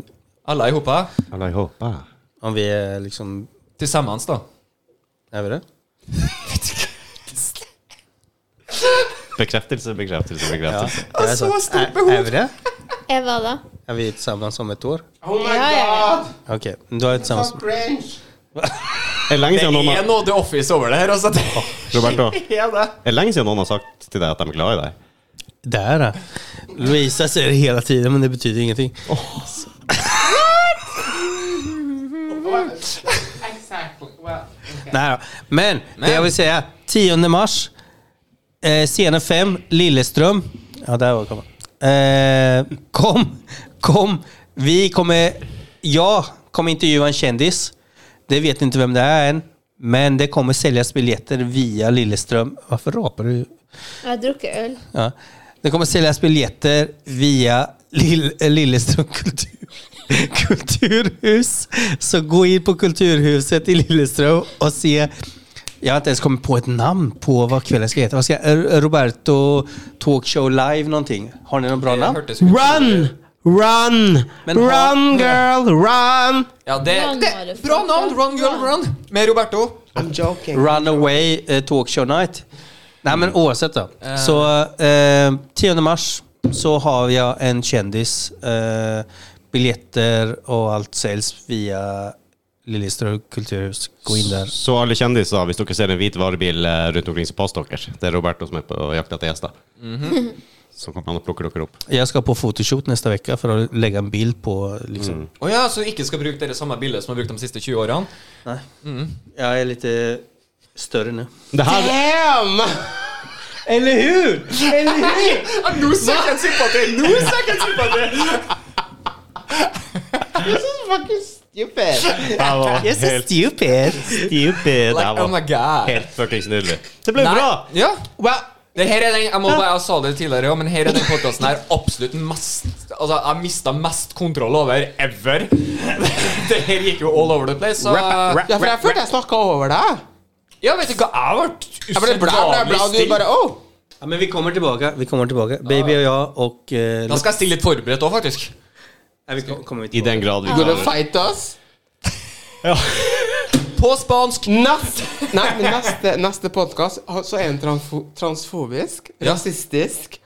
Speaker 2: Alle i hopa.
Speaker 1: Eller jeg håper.
Speaker 3: om vi er liksom
Speaker 2: Til sammen, da.
Speaker 3: Er vi det?
Speaker 1: Bekreftelse, bekreftelse, bekreftelse.
Speaker 3: Det er
Speaker 2: så stort behov.
Speaker 3: Er, er vi det?
Speaker 5: Jeg var da.
Speaker 3: Er vi sammen om et år?
Speaker 4: Oh my
Speaker 5: Ja, ja, ja.
Speaker 4: god!
Speaker 3: Ok, da er vi sammen.
Speaker 4: Så cringe!
Speaker 1: Er lenge
Speaker 2: Det
Speaker 1: siden noen
Speaker 2: er
Speaker 1: har,
Speaker 2: noe The Office over det her. Altså. Det
Speaker 1: Roberto,
Speaker 2: er det.
Speaker 1: er lenge siden noen har sagt til deg at de er glad i deg.
Speaker 3: Det er det. Louisa sier det hele tiden, men det betyr ingenting.
Speaker 4: Exactly. Well, okay.
Speaker 3: Nei da. Men, det jeg vil si, er 10. mars, eh, scene 5, Lillestrøm Ja, der var kameraet. Eh, kom, kom. Vi kommer Jeg kommer intervjue en kjendis. Det vet ikke hvem det er än. Men det kommer selges billetter via Lillestrøm. Hvorfor raper du?
Speaker 5: Jeg har drukket øl.
Speaker 3: Ja. Det kommer säljas biljetter via Lill- Lilleström kultur, kulturhus. Så gå in på Kulturhuset i Lilleström och se. Jag har inte ens kommit på ett namn på vad kvällen ska heta. Vad ska, R- Roberto Talkshow Live någonting. Har ni någon bra namn?
Speaker 2: hørtes ut.
Speaker 4: Run! Run!
Speaker 3: Men ha-
Speaker 4: run, girl! Run!
Speaker 2: Ja, det,
Speaker 5: Run,
Speaker 2: det.
Speaker 5: bare for
Speaker 2: Bra
Speaker 5: det.
Speaker 2: navn! Run Girl Run. Med Roberto.
Speaker 4: I'm joking.
Speaker 3: Runaway eh, Talkshow Night. Nej
Speaker 1: Mm.
Speaker 3: men oavsett då. Så eh, 10 mars så har jag en kändis. Eh, biljetter och allt säljs via Lillestrøm kulturhus. Gå in där.
Speaker 1: Så alle kjendiser, hvis dere ser en hvit varebil eh, rundt omkring, så pass dere. Det er Roberto som er på jakt etter gjester. Mhm. Så kommer han og plukker dere opp.
Speaker 3: Jag ska på photoshoot nästa vecka för att lägga en bild på liksom.
Speaker 1: Mm.
Speaker 2: Å ja, så du ikke skal bruke det samme bildet som du har brukt de siste 20 årene?
Speaker 3: Nej. Jag är lite större nu.
Speaker 1: Det her,
Speaker 4: Damn!
Speaker 3: Eller hur?
Speaker 2: Nå søker jeg sympati! Nå søker jeg sympati!
Speaker 4: This is fucking stupid.
Speaker 1: det her var
Speaker 3: You're so
Speaker 1: helt
Speaker 3: stupid.
Speaker 1: stupid. Det her
Speaker 2: Like, oh my
Speaker 1: var
Speaker 2: god.
Speaker 1: helt fuckings nydelig. Det ble
Speaker 2: Nei,
Speaker 1: bra!
Speaker 2: Ja. Det her er den, jeg må bare, jeg sa det tidligere også, men her er den podcasten her absolutt mest Altså, jeg mistet mest kontroll over ever. Det her gikk jo all over the place. Så,
Speaker 4: Ja, for jeg følte jeg snakka over deg.
Speaker 2: ja, vet du hva, jeg
Speaker 4: Jeg
Speaker 2: ble
Speaker 4: ble bla, bla, bla, og du
Speaker 2: usedvanlig
Speaker 4: bare
Speaker 2: stille.
Speaker 4: oh.
Speaker 3: Ja, men vi kommer tillbaka. Vi kommer tillbaka. Baby och jag och... Eh,
Speaker 2: Da skal jeg stille litt forberedt òg, faktisk.
Speaker 3: Nej, vi kom- kommer
Speaker 1: I den
Speaker 3: tillbaka.
Speaker 1: grad vi
Speaker 4: You gonna
Speaker 1: klarer det.
Speaker 4: fight us?
Speaker 2: På spansk.
Speaker 4: Neste, nei, men neste, neste podkast så er den transfo transfobisk,
Speaker 2: Ja.
Speaker 4: rasistisk,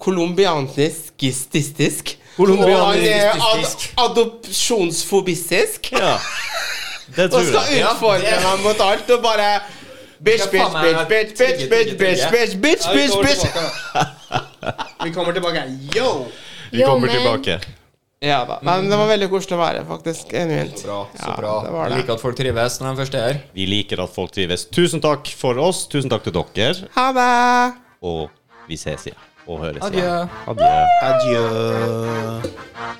Speaker 4: colombianisk, gististisk.
Speaker 1: Colombianisk,
Speaker 4: Og han er ad
Speaker 2: gistisk.
Speaker 4: adopsjonsfobistisk.
Speaker 1: Ja. Det
Speaker 4: Og
Speaker 1: tror
Speaker 4: skal
Speaker 1: jeg.
Speaker 4: utfordre meg mot alt og bare Bitch, bitch, bitch, bitch, bitch, bitch, bitch, bitch, bitch, bitch, bitch.
Speaker 3: Vi kommer tilbake. Yo!
Speaker 1: Vi
Speaker 5: Jo,
Speaker 1: kommer
Speaker 5: men-
Speaker 1: tilbake.
Speaker 4: Ja da. Men det var veldig koselig å være faktisk. Genuint.
Speaker 2: Bra, så
Speaker 4: Ja,
Speaker 2: bra.
Speaker 4: det var
Speaker 2: Jeg
Speaker 4: det.
Speaker 2: liker at folk trives når de først er her.
Speaker 1: Vi liker at folk trives. Tusen takk for oss. Tusen takk til dere.
Speaker 4: Ha det.
Speaker 1: Og vi ses igjen. Og høres
Speaker 2: Adjø.
Speaker 1: igjen. Adjø.
Speaker 3: Adjø.